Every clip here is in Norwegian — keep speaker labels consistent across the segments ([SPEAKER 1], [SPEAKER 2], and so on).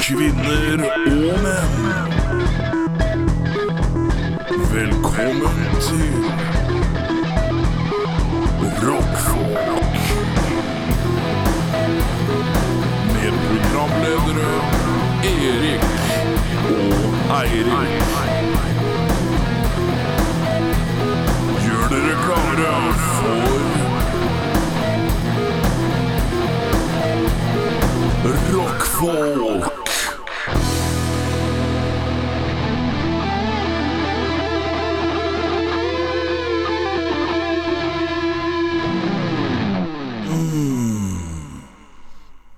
[SPEAKER 1] kvinner og menn. Velkommen til Rockfolk. Med programledere Erik og Eirik. Gjør dere klare for Rockfolk.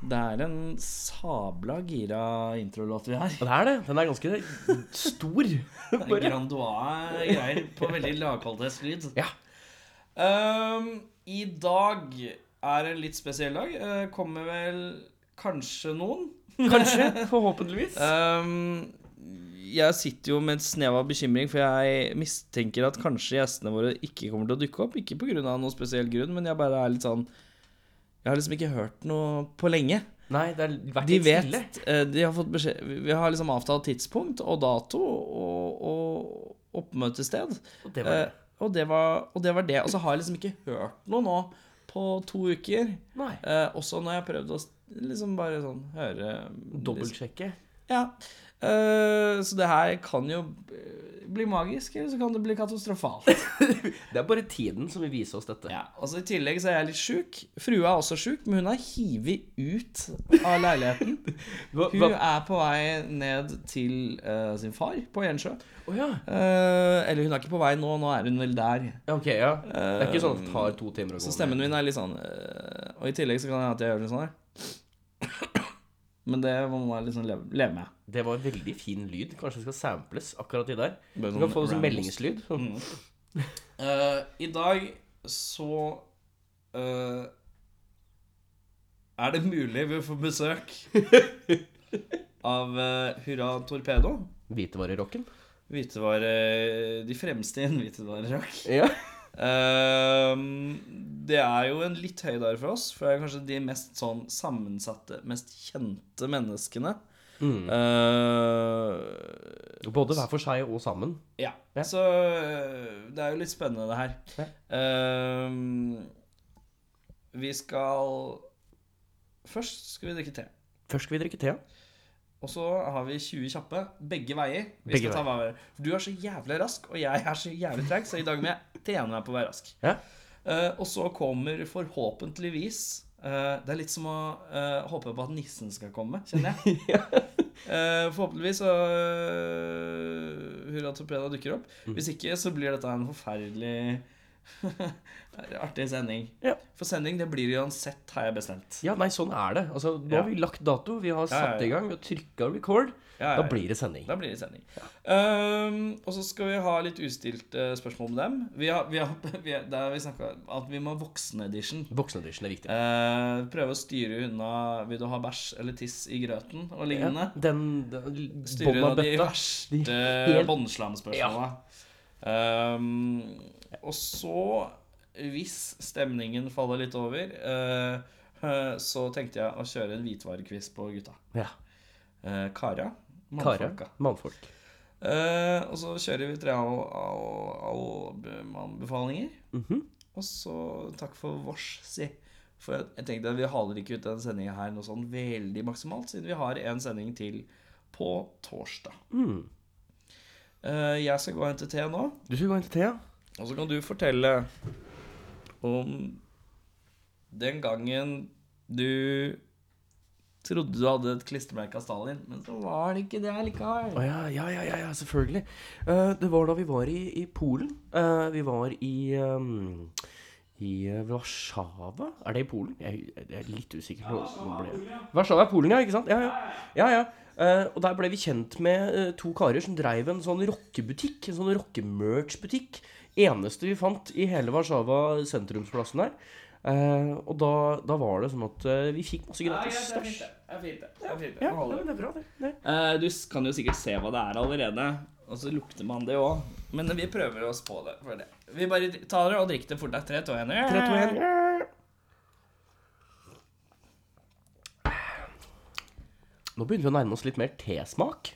[SPEAKER 2] Det er en sabla gira introlåt vi har.
[SPEAKER 3] Ja, Det er det. Den er ganske stor.
[SPEAKER 2] Det er Grandois-greier på veldig lavkvalitetslyd.
[SPEAKER 3] Ja.
[SPEAKER 2] Ehm, I dag er en litt spesiell dag. Eh, kommer vel kanskje noen.
[SPEAKER 3] Kanskje. Forhåpentligvis.
[SPEAKER 2] Ehm, jeg sitter jo med et snev av bekymring, for jeg mistenker at kanskje gjestene våre ikke kommer til å dukke opp. Ikke pga. noen spesiell grunn, men jeg bare er litt sånn Jeg har liksom ikke hørt noe på lenge.
[SPEAKER 3] Nei, det har vært
[SPEAKER 2] De
[SPEAKER 3] litt stille.
[SPEAKER 2] vet eh, De har fått beskjed vi- Vi har liksom avtalt tidspunkt og dato og, og oppmøtested.
[SPEAKER 3] Og det var det.
[SPEAKER 2] Eh, og, det var, og det var det. Og så har jeg liksom ikke hørt noe nå på to uker.
[SPEAKER 3] Nei.
[SPEAKER 2] Eh, også når jeg har prøvd å s- liksom bare sånn høre liksom-
[SPEAKER 3] Dobbeltsjekke.
[SPEAKER 2] Ja. Eh, så det her kan jo eh, bli magisk, eller så kan det bli katastrofalt.
[SPEAKER 3] Det er bare tiden som vil vise oss dette.
[SPEAKER 2] Ja, altså I tillegg så er jeg litt sjuk. Frua er også sjuk, men hun er hivet ut av leiligheten.
[SPEAKER 3] Hva,
[SPEAKER 2] Hun
[SPEAKER 3] hva,
[SPEAKER 2] er på vei ned til eh, sin far på Gjensjø.
[SPEAKER 3] Å, ja.
[SPEAKER 2] Eh, eller hun er ikke på vei nå, nå er hun vel der.
[SPEAKER 3] ja, ok, ja. Det er ikke sånn at det tar to timer å gå
[SPEAKER 2] Så
[SPEAKER 3] ned.
[SPEAKER 2] stemmen min er litt sånn eh, Og i tillegg så kan det hende at jeg gjør litt sånn her. Men det må man liksom leve, leve med.
[SPEAKER 3] Det var veldig fin lyd. Kanskje det skal samples akkurat de der.
[SPEAKER 2] Bare
[SPEAKER 3] Du kan
[SPEAKER 2] sånn
[SPEAKER 3] få det som
[SPEAKER 2] random. Mm.
[SPEAKER 3] meldingslyd. Sånn.
[SPEAKER 2] Eh, I dag så eh, er det mulig vi får besøk av eh, Hurra Torpedo.
[SPEAKER 3] Hvitevarerocken.
[SPEAKER 2] Hvitevare De fremste i en hvitevarerakk.
[SPEAKER 3] Ja.
[SPEAKER 2] Ehm, det er jo en litt høydere for oss, for det er kanskje de mest sånn sammensatte, mest kjente menneskene.
[SPEAKER 3] Mm.
[SPEAKER 2] Eh,
[SPEAKER 3] Både hver for seg og sammen.
[SPEAKER 2] ja.
[SPEAKER 3] Ja.
[SPEAKER 2] Så øh, det er jo litt spennende, det her.
[SPEAKER 3] Ja.
[SPEAKER 2] Ehm, vi skal Først skal vi drikke te.
[SPEAKER 3] Først skal vi drikke te.
[SPEAKER 2] Og så har vi 20 kjappe begge veier. Vi
[SPEAKER 3] Begge
[SPEAKER 2] skal ta hver vår. For Du er så jævlig rask, og jeg er så jævlig treg, så i dag må jeg trene meg på å være rask.
[SPEAKER 3] Ja.
[SPEAKER 2] Eh, og så kommer forhåpentligvis eh, Det er litt som å eh, håpe på at nissen skal komme, kjenner jeg. Eh, forhåpentligvis så eh, Hurra Torpeda dukker opp. Hvis ikke så blir dette en forferdelig artig sending.
[SPEAKER 3] Ja.
[SPEAKER 2] For sending det blir det uansett, har jeg bestemt.
[SPEAKER 3] Ja, nei, sånn er det. Altså, nå
[SPEAKER 2] Ja.
[SPEAKER 3] har vi lagt dato, vi har
[SPEAKER 2] ja,
[SPEAKER 3] satt i gang, vi har trykka record.
[SPEAKER 2] Ja, ja,
[SPEAKER 3] Da
[SPEAKER 2] ja.
[SPEAKER 3] blir det sending.
[SPEAKER 2] Da blir det sending. Um, og så skal vi ha litt ustilte spørsmål med dem. Vi har, vi har, vi har, der har vi snakka at vi må ha voksenedition.
[SPEAKER 3] Voksenedition er viktig.
[SPEAKER 2] Uh, prøve å styre unna Vil du ha bæsj eller tiss i grøten og lignende.
[SPEAKER 3] Den, den
[SPEAKER 2] Styre
[SPEAKER 3] bånn
[SPEAKER 2] unna
[SPEAKER 3] av
[SPEAKER 2] de
[SPEAKER 3] bøtta. De
[SPEAKER 2] verste
[SPEAKER 3] helt-
[SPEAKER 2] båndslamspørsmåla. Um, og så, hvis stemningen faller litt over, eh, eh, så tenkte jeg å kjøre en hvitvarekviss på gutta.
[SPEAKER 3] Ja.
[SPEAKER 2] Eh, Kara.
[SPEAKER 3] Kara.
[SPEAKER 2] mannfolka.
[SPEAKER 3] Mannfolk.
[SPEAKER 2] Eh, og så kjører vi tre all, all, allmannbefalinger. Og så takk for vårs, si. For jeg, jeg tenkte at vi haler ikke ut den sendinga her noe sånn veldig maksimalt, siden vi har en sending til på torsdag. Eh, jeg skal gå og hente te nå,
[SPEAKER 3] Du skal gå inn til Thea.
[SPEAKER 2] og så kan du fortelle om den gangen du trodde du hadde et klistremerke av Stalin, men så var det ikke det likevel.
[SPEAKER 3] Å ja, ja, ja, ja, ja selvfølgelig. Eh, det var da vi var i, i Polen. Eh, vi var i um, i eh, Warszawa? Er det i Polen? Jeg, jeg er litt usikker. på hvordan det ble. Warszawa er Polen, ja. Ikke sant? Ja, ja. ja, ja. Eh, og der ble vi kjent med eh, to karer som dreiv en sånn rockebutikk. En sånn rockemerch-butikk. Eneste vi fant i hele Warszawa sentrumsplassen her. Eh, og da, da var det sånn at eh, vi fikk masse
[SPEAKER 2] Ja, greit,
[SPEAKER 3] gratis
[SPEAKER 2] det er fint,
[SPEAKER 3] stæsj.
[SPEAKER 2] det. Det er fint, det. Det er fint, det.
[SPEAKER 3] Ja,
[SPEAKER 2] Nå holder
[SPEAKER 3] det
[SPEAKER 2] det.
[SPEAKER 3] det er bra, det. det.
[SPEAKER 2] Eh, Du s- kan jo sikkert se hva det er allerede, og så lukter man det òg. Men vi prøver oss på det. For det. Vi bare tar det og drikker det fort. Det er 3, 2, 1
[SPEAKER 3] Tre, to, en. Nå begynner vi å nærme oss litt mer tesmak.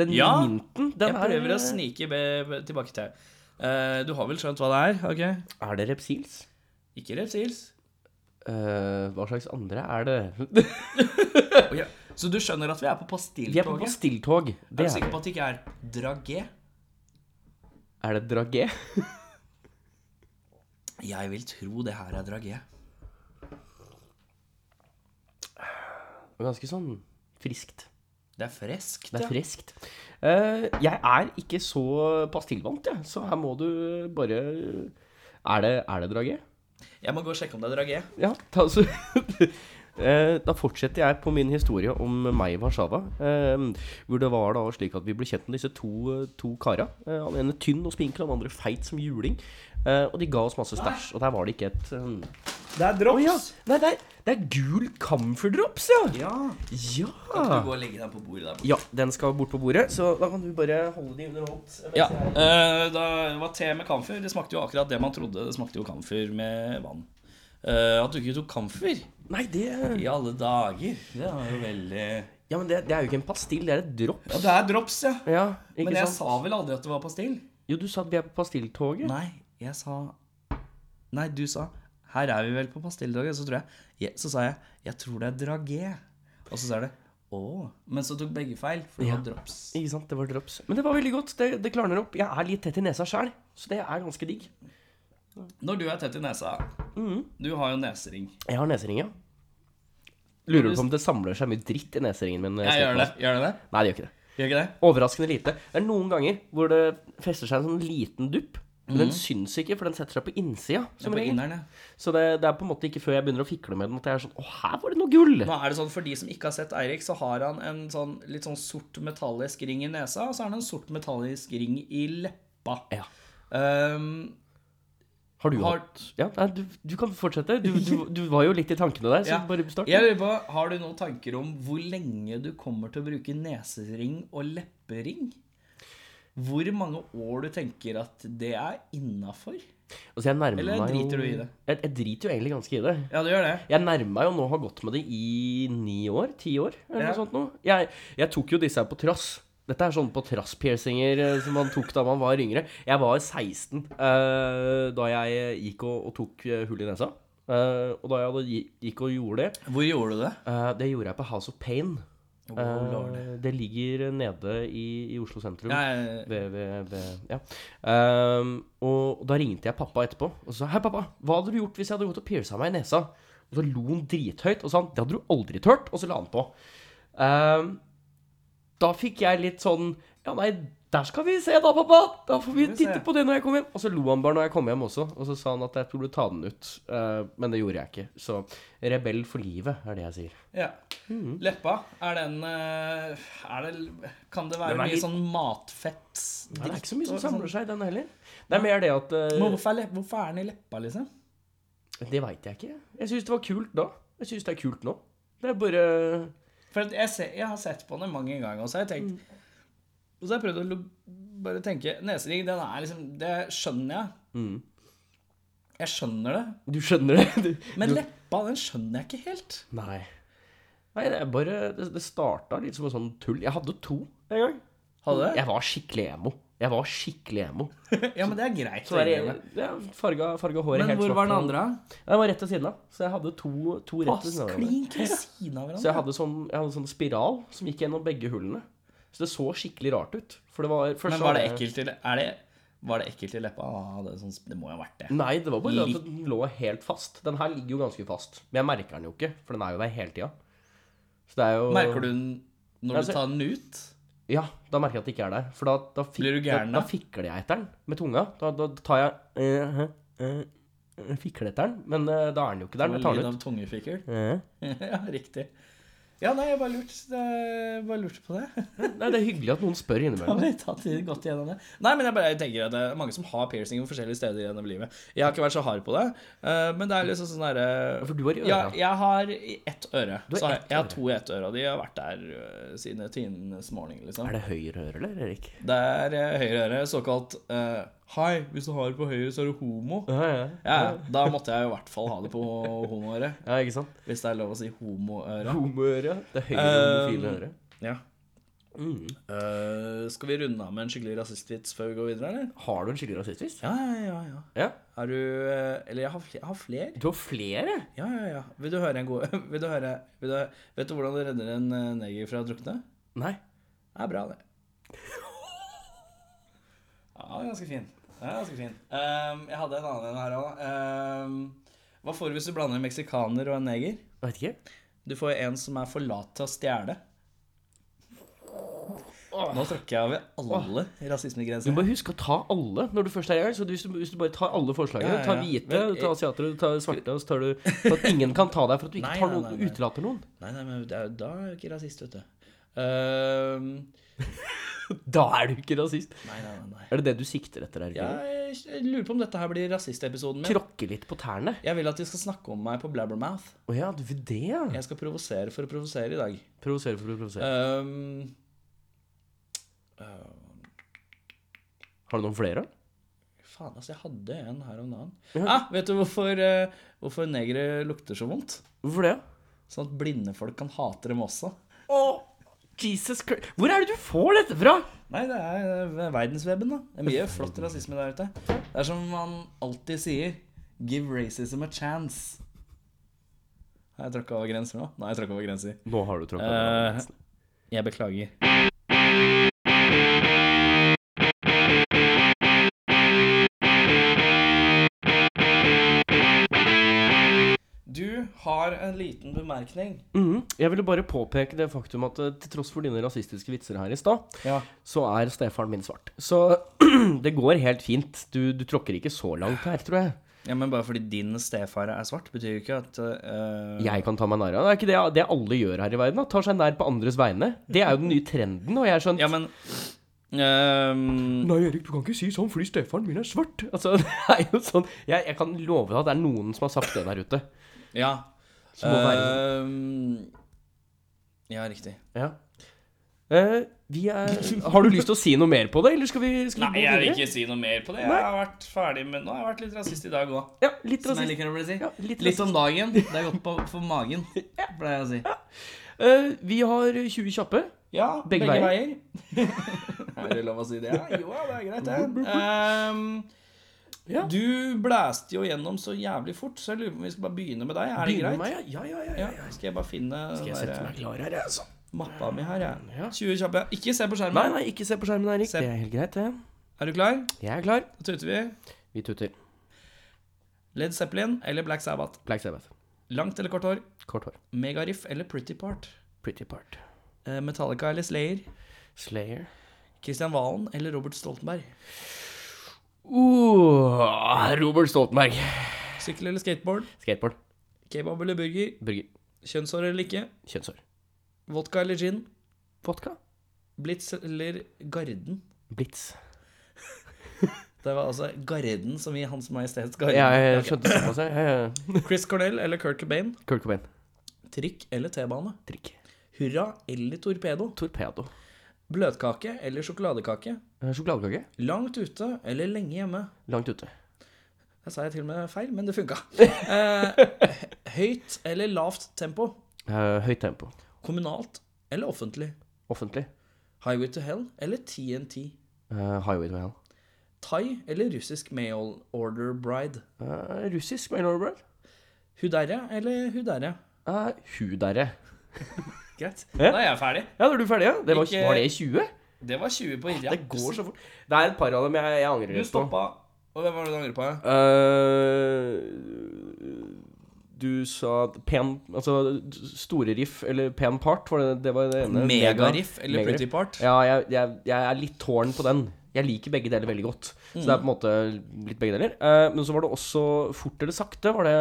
[SPEAKER 3] Den
[SPEAKER 2] Ja,
[SPEAKER 3] minten, den
[SPEAKER 2] Jeg prøver
[SPEAKER 3] er
[SPEAKER 2] å snike be- be- tilbake til Eh, Du har vel skjønt hva det er? ok?
[SPEAKER 3] Er det repsils?
[SPEAKER 2] Ikke repsils.
[SPEAKER 3] Eh, hva slags andre er det?
[SPEAKER 2] Å, ja. Så du skjønner at vi er på
[SPEAKER 3] Vi er på
[SPEAKER 2] pastilltoget?
[SPEAKER 3] pastilltog.
[SPEAKER 2] Er
[SPEAKER 3] Det
[SPEAKER 2] du
[SPEAKER 3] er,
[SPEAKER 2] sikker på at det ikke er dragé?
[SPEAKER 3] er det dragé?
[SPEAKER 2] Jeg vil tro det her er dragé.
[SPEAKER 3] Ganske sånn friskt.
[SPEAKER 2] Det er freskt.
[SPEAKER 3] Det
[SPEAKER 2] ja.
[SPEAKER 3] er friskt. Eh, jeg er ikke så pastillvant, jeg, så her må du bare Er det, er det dragé?
[SPEAKER 2] Jeg må gå og sjekke om det er dragé.
[SPEAKER 3] Ja, ta, så, Eh, da fortsetter jeg på min historie om meg i Warszawa. eh, hvor det var da slik at vi ble kjent med disse to, to kara. Eh, han ene tynn og spinkel, han andre feit som juling. Eh, og de ga oss masse stæsj. Og der var det ikke et eh,
[SPEAKER 2] Det er
[SPEAKER 3] Å ja! Nei, det er, det er gul camferdrops, ja!
[SPEAKER 2] Ja. Kan ikke du
[SPEAKER 3] Ja.
[SPEAKER 2] gå og legge deg på bordet der borte?
[SPEAKER 3] ja! Den skal bort på bordet, så da kan du bare holde de underholdt. mens
[SPEAKER 2] Ja.
[SPEAKER 3] jeg-
[SPEAKER 2] eh, da det var te med kamfer. Det smakte jo akkurat det man trodde. Det smakte jo kamfer med vann. Eh, at du ikke tok kamfer
[SPEAKER 3] Nei, det
[SPEAKER 2] i alle dager, det var jo veldig Ja,
[SPEAKER 3] Ja, men det, det er jo ikke en pastill, det er et dropp.
[SPEAKER 2] det er drops, ja.
[SPEAKER 3] Ja, ikke
[SPEAKER 2] Men jeg
[SPEAKER 3] sant?
[SPEAKER 2] sa vel aldri at det var pastill?
[SPEAKER 3] Jo, du sa at vi er på pastilltoget.
[SPEAKER 2] Nei, jeg sa Nei, du sa Her er vi vel på pastilldagen, så tror jeg ja, Så sa jeg, jeg tror det er dragé Og så sa det, åh Men så tok begge feil, for det var drops
[SPEAKER 3] Ikke sant, det var drops. Men det var veldig godt. Det, det klarner opp. Jeg er litt tett i nesa sjæl, så det er ganske digg.
[SPEAKER 2] Når du er tett i nesa Du har jo nesering
[SPEAKER 3] Jeg har nesering, ja. Lurer du på om det samler seg mye dritt i neseringen min? når
[SPEAKER 2] Jeg
[SPEAKER 3] sletter
[SPEAKER 2] gjør det,
[SPEAKER 3] meg?
[SPEAKER 2] gjør det det?
[SPEAKER 3] Nei, det gjør ikke det.
[SPEAKER 2] Gjør ikke det?
[SPEAKER 3] Overraskende lite. Det er noen ganger hvor det fester seg en sånn liten dupp. Men den syns ikke, for den setter seg på innsida.
[SPEAKER 2] Det
[SPEAKER 3] Som
[SPEAKER 2] er på
[SPEAKER 3] regel.
[SPEAKER 2] inneren, Mhm. ja
[SPEAKER 3] Så det, det er på en måte ikke før jeg begynner å fikle med den at jeg er sånn Å, her var det noe gull!
[SPEAKER 2] Nå er det sånn, for de som ikke har sett Eirik Så har han en sånn, litt sånn sort metallisk ring i nesa Og så har han en sort metallisk ring i leppa
[SPEAKER 3] Ja.
[SPEAKER 2] Ehm,
[SPEAKER 3] Har du
[SPEAKER 2] Har-
[SPEAKER 3] hatt Ja, nei, du, du kan fortsette. Du, du, du var jo litt i tankene der, så
[SPEAKER 2] Ja.
[SPEAKER 3] bare start.
[SPEAKER 2] Jeg lurer på, Har du noen tanker om hvor lenge du kommer til å bruke nesering og leppering? Hvor mange år du tenker at det er innafor?
[SPEAKER 3] Altså, jeg nærmer
[SPEAKER 2] Eller
[SPEAKER 3] meg jo-
[SPEAKER 2] driter du i det?
[SPEAKER 3] Jeg, jeg driter jo egentlig ganske i det.
[SPEAKER 2] Ja, det gjør det.
[SPEAKER 3] Jeg nærmer meg jo nå å ha gått med det i ni år, ti år, eller
[SPEAKER 2] Ja.
[SPEAKER 3] noe sånt noe. Jeg, jeg tok jo disse her på trass. Dette er sånn på trass-piercinger eh, som man tok da man var yngre. Jeg var 16 eh, da jeg gikk og, og tok eh, hull i nesa. Eh, og da jeg hadde, gi- gikk og gjorde det,
[SPEAKER 2] Hvor gjorde du det?
[SPEAKER 3] eh, det gjorde jeg på House of Pain.
[SPEAKER 2] Oh,
[SPEAKER 3] Eh,
[SPEAKER 2] lord.
[SPEAKER 3] det ligger nede i, i Oslo sentrum.
[SPEAKER 2] Nei,
[SPEAKER 3] Ved, ved, ved, ja. Ehm, og da ringte jeg pappa etterpå og sa Hei, pappa, hva hadde du gjort hvis jeg hadde gått og pierca meg i nesa? Og så lo han drithøyt og sa han, det hadde du aldri tørt, og så la han på. Ehm, da fikk jeg litt sånn Ja, nei, der skal vi se da, pappa! Da får vi
[SPEAKER 2] Får vi se."
[SPEAKER 3] titte på det når jeg kommer hjem. Og så lo han bare når jeg kom hjem også, og så sa han at jeg tror du tar den ut. Eh, men det gjorde jeg ikke. Så rebell for livet er det jeg sier.
[SPEAKER 2] ja.
[SPEAKER 3] Mm.
[SPEAKER 2] Leppa, er den eh, er det, Kan det være
[SPEAKER 3] Den er
[SPEAKER 2] mye
[SPEAKER 3] litt-
[SPEAKER 2] sånn matfett?
[SPEAKER 3] Nei, det er ikke så mye som
[SPEAKER 2] og sånn?
[SPEAKER 3] samler seg i den heller. Det er mer det at eh,
[SPEAKER 2] Men hvorfor er, lep- hvorfor er den i leppa, liksom?
[SPEAKER 3] Det veit jeg ikke. Jeg syns det var kult da. Jeg syns det er kult nå. Det er bare
[SPEAKER 2] For at jeg, ser, jeg har sett på den mange ganger, og så har jeg
[SPEAKER 3] Mm.
[SPEAKER 2] tenkt Og så har jeg prøvd å lo- bare tenke Nesering, den er liksom Det skjønner jeg.
[SPEAKER 3] Mm.
[SPEAKER 2] Jeg skjønner det.
[SPEAKER 3] Du skjønner det? Du,
[SPEAKER 2] Men
[SPEAKER 3] du,
[SPEAKER 2] leppa, den skjønner jeg ikke helt.
[SPEAKER 3] Nei. Nei, det er bare Det, det starta litt som en sånn tull. Jeg hadde to en gang.
[SPEAKER 2] Hadde du?
[SPEAKER 3] Jeg var skikkelig emo. Jeg var skikkelig emo.
[SPEAKER 2] Ja, men det er greit. å
[SPEAKER 3] Så der,
[SPEAKER 2] innrømme.
[SPEAKER 3] jeg farga, farga håret
[SPEAKER 2] men
[SPEAKER 3] helt
[SPEAKER 2] hvor
[SPEAKER 3] svart.
[SPEAKER 2] var den andre?
[SPEAKER 3] Den var rett ved siden av. Så jeg hadde to, to rett ved
[SPEAKER 2] Pass
[SPEAKER 3] siden av. hverandre.
[SPEAKER 2] klin ved siden av
[SPEAKER 3] Så jeg
[SPEAKER 2] hverandre.
[SPEAKER 3] hadde sånn, jeg hadde sånn spiral som gikk gjennom begge hullene. Så det så skikkelig rart ut. For det var først
[SPEAKER 2] Men
[SPEAKER 3] så
[SPEAKER 2] var det
[SPEAKER 3] hadde jeg-
[SPEAKER 2] ekkelt i le- er det, var det ekkelt i leppa? Ah, det, er sånn, det må jo ha vært det.
[SPEAKER 3] Nei, det var bare det
[SPEAKER 2] Litt.
[SPEAKER 3] at den lå helt fast. Den her ligger jo ganske fast. Men jeg merker den jo ikke, for den er jo der hele tida. Så det er jo
[SPEAKER 2] Merker du den når
[SPEAKER 3] Altså-
[SPEAKER 2] du tar den ut?
[SPEAKER 3] Ja, da merker jeg at det ikke er der. For da, da, fik,
[SPEAKER 2] Blir du gæren
[SPEAKER 3] da,
[SPEAKER 2] da?
[SPEAKER 3] da fikler jeg etter den med tunga. Da, da tar jeg eh, eh, eh, Fikler etter den, men eh, da er den jo ikke der.
[SPEAKER 2] Og
[SPEAKER 3] Jeg tar
[SPEAKER 2] lyd
[SPEAKER 3] den ut.
[SPEAKER 2] av tungefikkel?
[SPEAKER 3] Eh.
[SPEAKER 2] ja, riktig. Ja, nei, jeg bare lurte, jeg bare lurte på det.
[SPEAKER 3] Nei, det er hyggelig at noen spør
[SPEAKER 2] Da
[SPEAKER 3] innimellom.
[SPEAKER 2] har vi tatt det godt igjennom det. Nei, men jeg bare tenker at det er mange som har piercing på forskjellige steder gjennom livet. Jeg har ikke vært så hard på det, eh, men det er liksom sånn derre
[SPEAKER 3] For du har i øra.
[SPEAKER 2] ja, jeg har i ett øre.
[SPEAKER 3] har
[SPEAKER 2] Så har jeg,
[SPEAKER 3] ett
[SPEAKER 2] jeg har
[SPEAKER 3] øre.
[SPEAKER 2] to i ett øre, og de har vært der eh, siden tidenes morgen, liksom.
[SPEAKER 3] Er det høyre øre, eller, Erik?
[SPEAKER 2] Det er eh, høyre øre, såkalt eh, Hei, hvis du har det på høyre, så er du homo.
[SPEAKER 3] Ja, ja.
[SPEAKER 2] Ja, ja, da måtte jeg i hvert fall ha det på homoøret.
[SPEAKER 3] ja ikke sant?
[SPEAKER 2] Hvis det er lov å si homoøre.
[SPEAKER 3] Homoøre. Det høye homofile
[SPEAKER 2] Um,
[SPEAKER 3] øret.
[SPEAKER 2] Ja.
[SPEAKER 3] Mm.
[SPEAKER 2] Eh, skal vi runde av med en skikkelig rasistvits før vi går videre, eller?
[SPEAKER 3] Har du en skikkelig rasistisk?
[SPEAKER 2] Ja, ja, ja. ja.
[SPEAKER 3] Ja.
[SPEAKER 2] Er du eh, Eller jeg har, fl- jeg har flere.
[SPEAKER 3] Du har flere?
[SPEAKER 2] Ja, ja, ja. Vil du høre en god vil du høre, vil du, Vet du hvordan du redder en eh, neger fra å drukne?
[SPEAKER 3] Nei.
[SPEAKER 2] Det er bra, det. Ja, den er ganske fin. Den er ganske fin. Ehm, jeg hadde en annen en her òg. hva får du hvis du blander en meksikaner og en neger?
[SPEAKER 3] Veit ikke.
[SPEAKER 2] Du får en som er for lat til å stjele. Nå tråkker jeg over alle
[SPEAKER 3] Du
[SPEAKER 2] rasismegrenser.
[SPEAKER 3] må huske å ta alle når du først er i gang. Så hvis du, hvis du bare tar alle forslagene,
[SPEAKER 2] Ja, ja, eh, ja.
[SPEAKER 3] ta hvite,
[SPEAKER 2] Vel,
[SPEAKER 3] ta asiatere, ta svarte, og så tar du Så at ingen kan ta deg for at du ikke
[SPEAKER 2] Nei,
[SPEAKER 3] tar
[SPEAKER 2] nei,
[SPEAKER 3] noen,
[SPEAKER 2] nei, nei.
[SPEAKER 3] utelater noen.
[SPEAKER 2] Nei, nei, men det er, da er du ikke rasist, vet du. Ehm,
[SPEAKER 3] Da er du ikke rasist.
[SPEAKER 2] nei, nei, nei. nei.
[SPEAKER 3] Er det det du sikter etter her? Ja.
[SPEAKER 2] Jeg, jeg lurer på om dette her blir rasistepisoden min.
[SPEAKER 3] Tråkke litt på tærne?
[SPEAKER 2] Jeg vil at de skal snakke om meg på Blabbermouth.
[SPEAKER 3] Å ja, du vil det, ja.
[SPEAKER 2] Jeg skal provosere for å provosere i dag.
[SPEAKER 3] Provosere for å provosere.
[SPEAKER 2] Ehm,
[SPEAKER 3] Har du noen flere?
[SPEAKER 2] faen, altså, jeg hadde en her om dagen.
[SPEAKER 3] Ja.
[SPEAKER 2] Ah, vet du hvorfor, eh, hvorfor negere lukter så vondt?
[SPEAKER 3] Hvorfor det?
[SPEAKER 2] Sånn at blinde folk kan hate dem også.
[SPEAKER 3] Å, Jesus Christ. Hvor er det du får dette fra?
[SPEAKER 2] Nei, det er eh, verdenswebben, da. Det er mye flott rasisme der ute. Det er som man alltid sier Give racism a chance. Har jeg tråkka over grenser nå? Nei, jeg tråkka over grenser.
[SPEAKER 3] Nå har du tråkka
[SPEAKER 2] Eh, jeg beklager. Du har en liten bemerkning.
[SPEAKER 3] Mhm. Jeg ville bare påpeke det faktum at eh, til tross for dine rasistiske vitser her i stad,
[SPEAKER 2] Ja.
[SPEAKER 3] så er stefaren min svart. Så det går helt fint. Du, du tråkker ikke så langt her, tror jeg.
[SPEAKER 2] Men bare fordi din stefar er svart, betyr jo ikke at eh,
[SPEAKER 3] Jeg kan ta meg nær av. Det er ikke det, det alle gjør her i verden. Da. Tar seg nær på andres vegne. Det er jo den nye trenden, og jeg er sånn
[SPEAKER 2] Ja, men ehm,
[SPEAKER 3] Nei, Erik, du kan ikke si sånn fordi stefaren min er svart. Altså, det er jo sånn Jeg, jeg kan love deg at det er noen som har sagt det der ute.
[SPEAKER 2] Ja.
[SPEAKER 3] Som må være
[SPEAKER 2] Eh. Ehm, ja, riktig.
[SPEAKER 3] Ja. Eh, vi er Har du lyst til å si noe mer på det, eller skal vi, skal vi
[SPEAKER 2] Nei,
[SPEAKER 3] gå
[SPEAKER 2] jeg vil
[SPEAKER 3] videre?
[SPEAKER 2] ikke si noe mer på det. Jeg har vært ferdig med Nå har jeg vært litt rasist i dag òg.
[SPEAKER 3] Ja, litt
[SPEAKER 2] Som jeg
[SPEAKER 3] rasist.
[SPEAKER 2] liker å bli si.
[SPEAKER 3] Ja, litt
[SPEAKER 2] litt om dagen. Det er godt på, for magen, pleier jeg å si.
[SPEAKER 3] Eh, vi har 20 kjappe.
[SPEAKER 2] Ja,
[SPEAKER 3] begge veier.
[SPEAKER 2] er det lov å si det? Ja, jo, ja, det er greit, det. Ehm,
[SPEAKER 3] Ja.
[SPEAKER 2] Du blæste jo gjennom så jævlig fort, så jeg lurer på om vi skal bare begynne med deg. Er det
[SPEAKER 3] Begynner
[SPEAKER 2] greit?
[SPEAKER 3] med meg, ja? Ja, ja, ja.
[SPEAKER 2] Ja, skal jeg bare finne
[SPEAKER 3] Skal jeg
[SPEAKER 2] den
[SPEAKER 3] sette
[SPEAKER 2] der eh,
[SPEAKER 3] meg klar her, jeg, altså?
[SPEAKER 2] mappa mi her, jeg.
[SPEAKER 3] Ja.
[SPEAKER 2] 20 kjappe. Ikke se på
[SPEAKER 3] Nei,
[SPEAKER 2] skjermen.
[SPEAKER 3] nei, ikke se på skjermen, Erik.
[SPEAKER 2] Se-
[SPEAKER 3] Det er helt greit, det.
[SPEAKER 2] Er du klar?
[SPEAKER 3] Jeg er klar.
[SPEAKER 2] Da tuter vi.
[SPEAKER 3] Vi tuter.
[SPEAKER 2] Led Zeppelin eller Black Sabbath?
[SPEAKER 3] Black Sabbath.
[SPEAKER 2] Langt eller kort hår?
[SPEAKER 3] Kort hår.
[SPEAKER 2] Megariff eller Pretty Part?
[SPEAKER 3] Pretty part.
[SPEAKER 2] Eh, Metallica eller Slayer?
[SPEAKER 3] Slayer.
[SPEAKER 2] Christian Valen eller Robert Stoltenberg?
[SPEAKER 3] Uh, Robert Stoltenberg.
[SPEAKER 2] Sykkel eller skateboard?
[SPEAKER 3] Skateboard.
[SPEAKER 2] Kebab eller burger?
[SPEAKER 3] Burger.
[SPEAKER 2] Kjønnshår eller ikke?
[SPEAKER 3] Kjønnshår.
[SPEAKER 2] Vodka eller gin?
[SPEAKER 3] Vodka.
[SPEAKER 2] Blitz eller Garden?
[SPEAKER 3] Blitz.
[SPEAKER 2] Det var altså Garden som i Hans Majestets Garden.
[SPEAKER 3] Ja, jeg
[SPEAKER 2] Ok.
[SPEAKER 3] skjønte det på seg. Ja, ja.
[SPEAKER 2] Chris Cornell eller Kurt Cobain?
[SPEAKER 3] Kurt Cobain.
[SPEAKER 2] Trikk eller T-bane?
[SPEAKER 3] Trikk.
[SPEAKER 2] Hurra eller torpedo?
[SPEAKER 3] Torpedo.
[SPEAKER 2] Bløtkake eller sjokoladekake?
[SPEAKER 3] Eh, Sjokoladekake.
[SPEAKER 2] Langt ute eller lenge hjemme?
[SPEAKER 3] Langt ute.
[SPEAKER 2] Der sa jeg til og med feil, men det funka. Eh, høyt eller lavt tempo?
[SPEAKER 3] Eh, høyt tempo.
[SPEAKER 2] Kommunalt eller offentlig?
[SPEAKER 3] Offentlig.
[SPEAKER 2] Highway to Hell eller TNT?
[SPEAKER 3] Eh, highway to hell.
[SPEAKER 2] Thai eller russisk mail order bride?
[SPEAKER 3] Eh, russisk, my lord, bror.
[SPEAKER 2] Huderre eller huderre?
[SPEAKER 3] Eh, hu derre.
[SPEAKER 2] Greit.
[SPEAKER 3] Ja.
[SPEAKER 2] Da er jeg ferdig.
[SPEAKER 3] Ja, da er du ferdig, ja? Det var,
[SPEAKER 2] Ikke-
[SPEAKER 3] var det 20?
[SPEAKER 2] Det var 20 på Irja.
[SPEAKER 3] Ah, Det går så fort. Det er et par av dem jeg, jeg angrer
[SPEAKER 2] Du
[SPEAKER 3] litt på.
[SPEAKER 2] stoppa. Og hvem var det du angrer på? ja?
[SPEAKER 3] Eh, du sa at pen Altså store riff, eller pen part, var det det, var det ene?
[SPEAKER 2] Megariff eller
[SPEAKER 3] Megariff.
[SPEAKER 2] Pretty Part?
[SPEAKER 3] Ja, jeg, jeg, jeg er litt tårn på den. Jeg liker begge deler veldig godt. Så
[SPEAKER 2] Mm.
[SPEAKER 3] det er på en måte litt begge deler. Eh, men så var det også fort eller sakte. Var det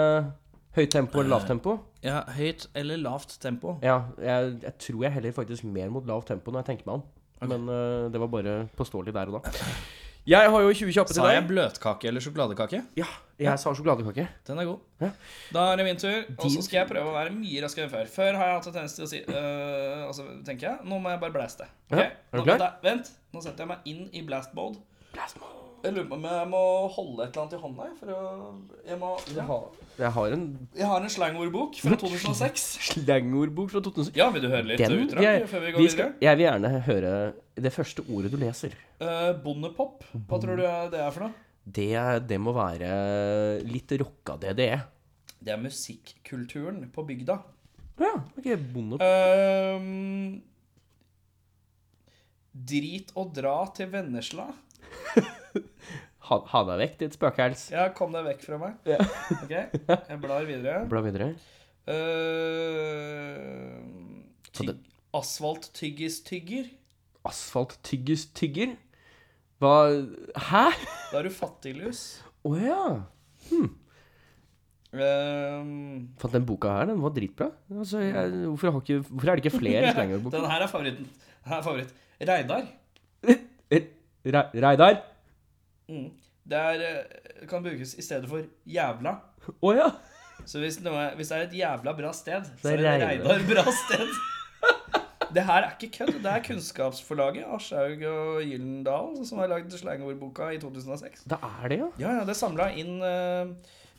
[SPEAKER 3] høyt tempo eller lavt tempo?
[SPEAKER 2] Ja, høyt eller lavt tempo?
[SPEAKER 3] Ja, jeg, jeg tror jeg heller faktisk mer mot lavt tempo når jeg tenker meg om. Men eh, det var bare påståelig der og da. Jeg har jo 20 kjappe til
[SPEAKER 2] Sa jeg
[SPEAKER 3] deg.
[SPEAKER 2] bløtkake eller sjokoladekake?
[SPEAKER 3] Ja, jeg sa sjokoladekake.
[SPEAKER 2] Den er god.
[SPEAKER 3] Ja.
[SPEAKER 2] Da er det min tur, og så
[SPEAKER 3] Din
[SPEAKER 2] skal jeg prøve å være mye raskere enn før. Før har jeg hatt en tendens til å si øh, Og så tenker jeg, nå må jeg bare blaste. Ok?
[SPEAKER 3] Ja, er du
[SPEAKER 2] Nå-
[SPEAKER 3] klar?
[SPEAKER 2] da- Vent, nå setter jeg meg inn i blast mode.
[SPEAKER 3] Blast mode.
[SPEAKER 2] Jeg lurer på om jeg må holde et eller annet i hånda. jeg, For å, jeg, må, jeg, har,
[SPEAKER 3] Jeg har en
[SPEAKER 2] jeg har en slangordbok fra 2006.
[SPEAKER 3] slangordbok fra 2006.
[SPEAKER 2] Ja, vil du høre litt
[SPEAKER 3] Den
[SPEAKER 2] utdrag
[SPEAKER 3] jeg,
[SPEAKER 2] før vi går
[SPEAKER 3] vi skal,
[SPEAKER 2] videre?
[SPEAKER 3] jeg vil gjerne høre det første ordet du leser.
[SPEAKER 2] Eh, bondepop, hva tror du det er for noe?
[SPEAKER 3] Det, det må være litt rocka E. DDE.
[SPEAKER 2] Det er musikkulturen på bygda.
[SPEAKER 3] Ja, ok, bonde...
[SPEAKER 2] Ehm, drit og dra til Vennesla.
[SPEAKER 3] Ha, ha deg vekk, ditt spøkels.
[SPEAKER 2] Ja, kom deg vekk fra meg.
[SPEAKER 3] Ja.
[SPEAKER 2] Ok, jeg blar videre.
[SPEAKER 3] Bla videre.
[SPEAKER 2] Ehm,
[SPEAKER 3] Så
[SPEAKER 2] tygg, Asfalt-tyggis-tygger.
[SPEAKER 3] Asfalt tygges tygger. Hva Hæ?
[SPEAKER 2] Da er du fattiglus.
[SPEAKER 3] Å ja.
[SPEAKER 2] Ehm,
[SPEAKER 3] Fant den boka her, den var dritbra. Altså, jeg, hvorfor, har ikke, hvorfor er det ikke flere slangordbok?
[SPEAKER 2] den her er favoritten. Den her er favoritt. Reidar.
[SPEAKER 3] Re, Reidar?
[SPEAKER 2] Mm. Det er, eh, kan brukes i stedet for jævla.
[SPEAKER 3] Å ja.
[SPEAKER 2] Så hvis, noe, hvis det er et jævla bra sted, så
[SPEAKER 3] Det
[SPEAKER 2] er
[SPEAKER 3] er
[SPEAKER 2] det et
[SPEAKER 3] Reidar.
[SPEAKER 2] Reidar bra sted. Det her er ikke kødd. Det er Kunnskapsforlaget, Aschehoug og Gyllendal, som har lagd slangordboka i 2006.
[SPEAKER 3] Da er det, ja.
[SPEAKER 2] Ja, ja, det samla inn eh,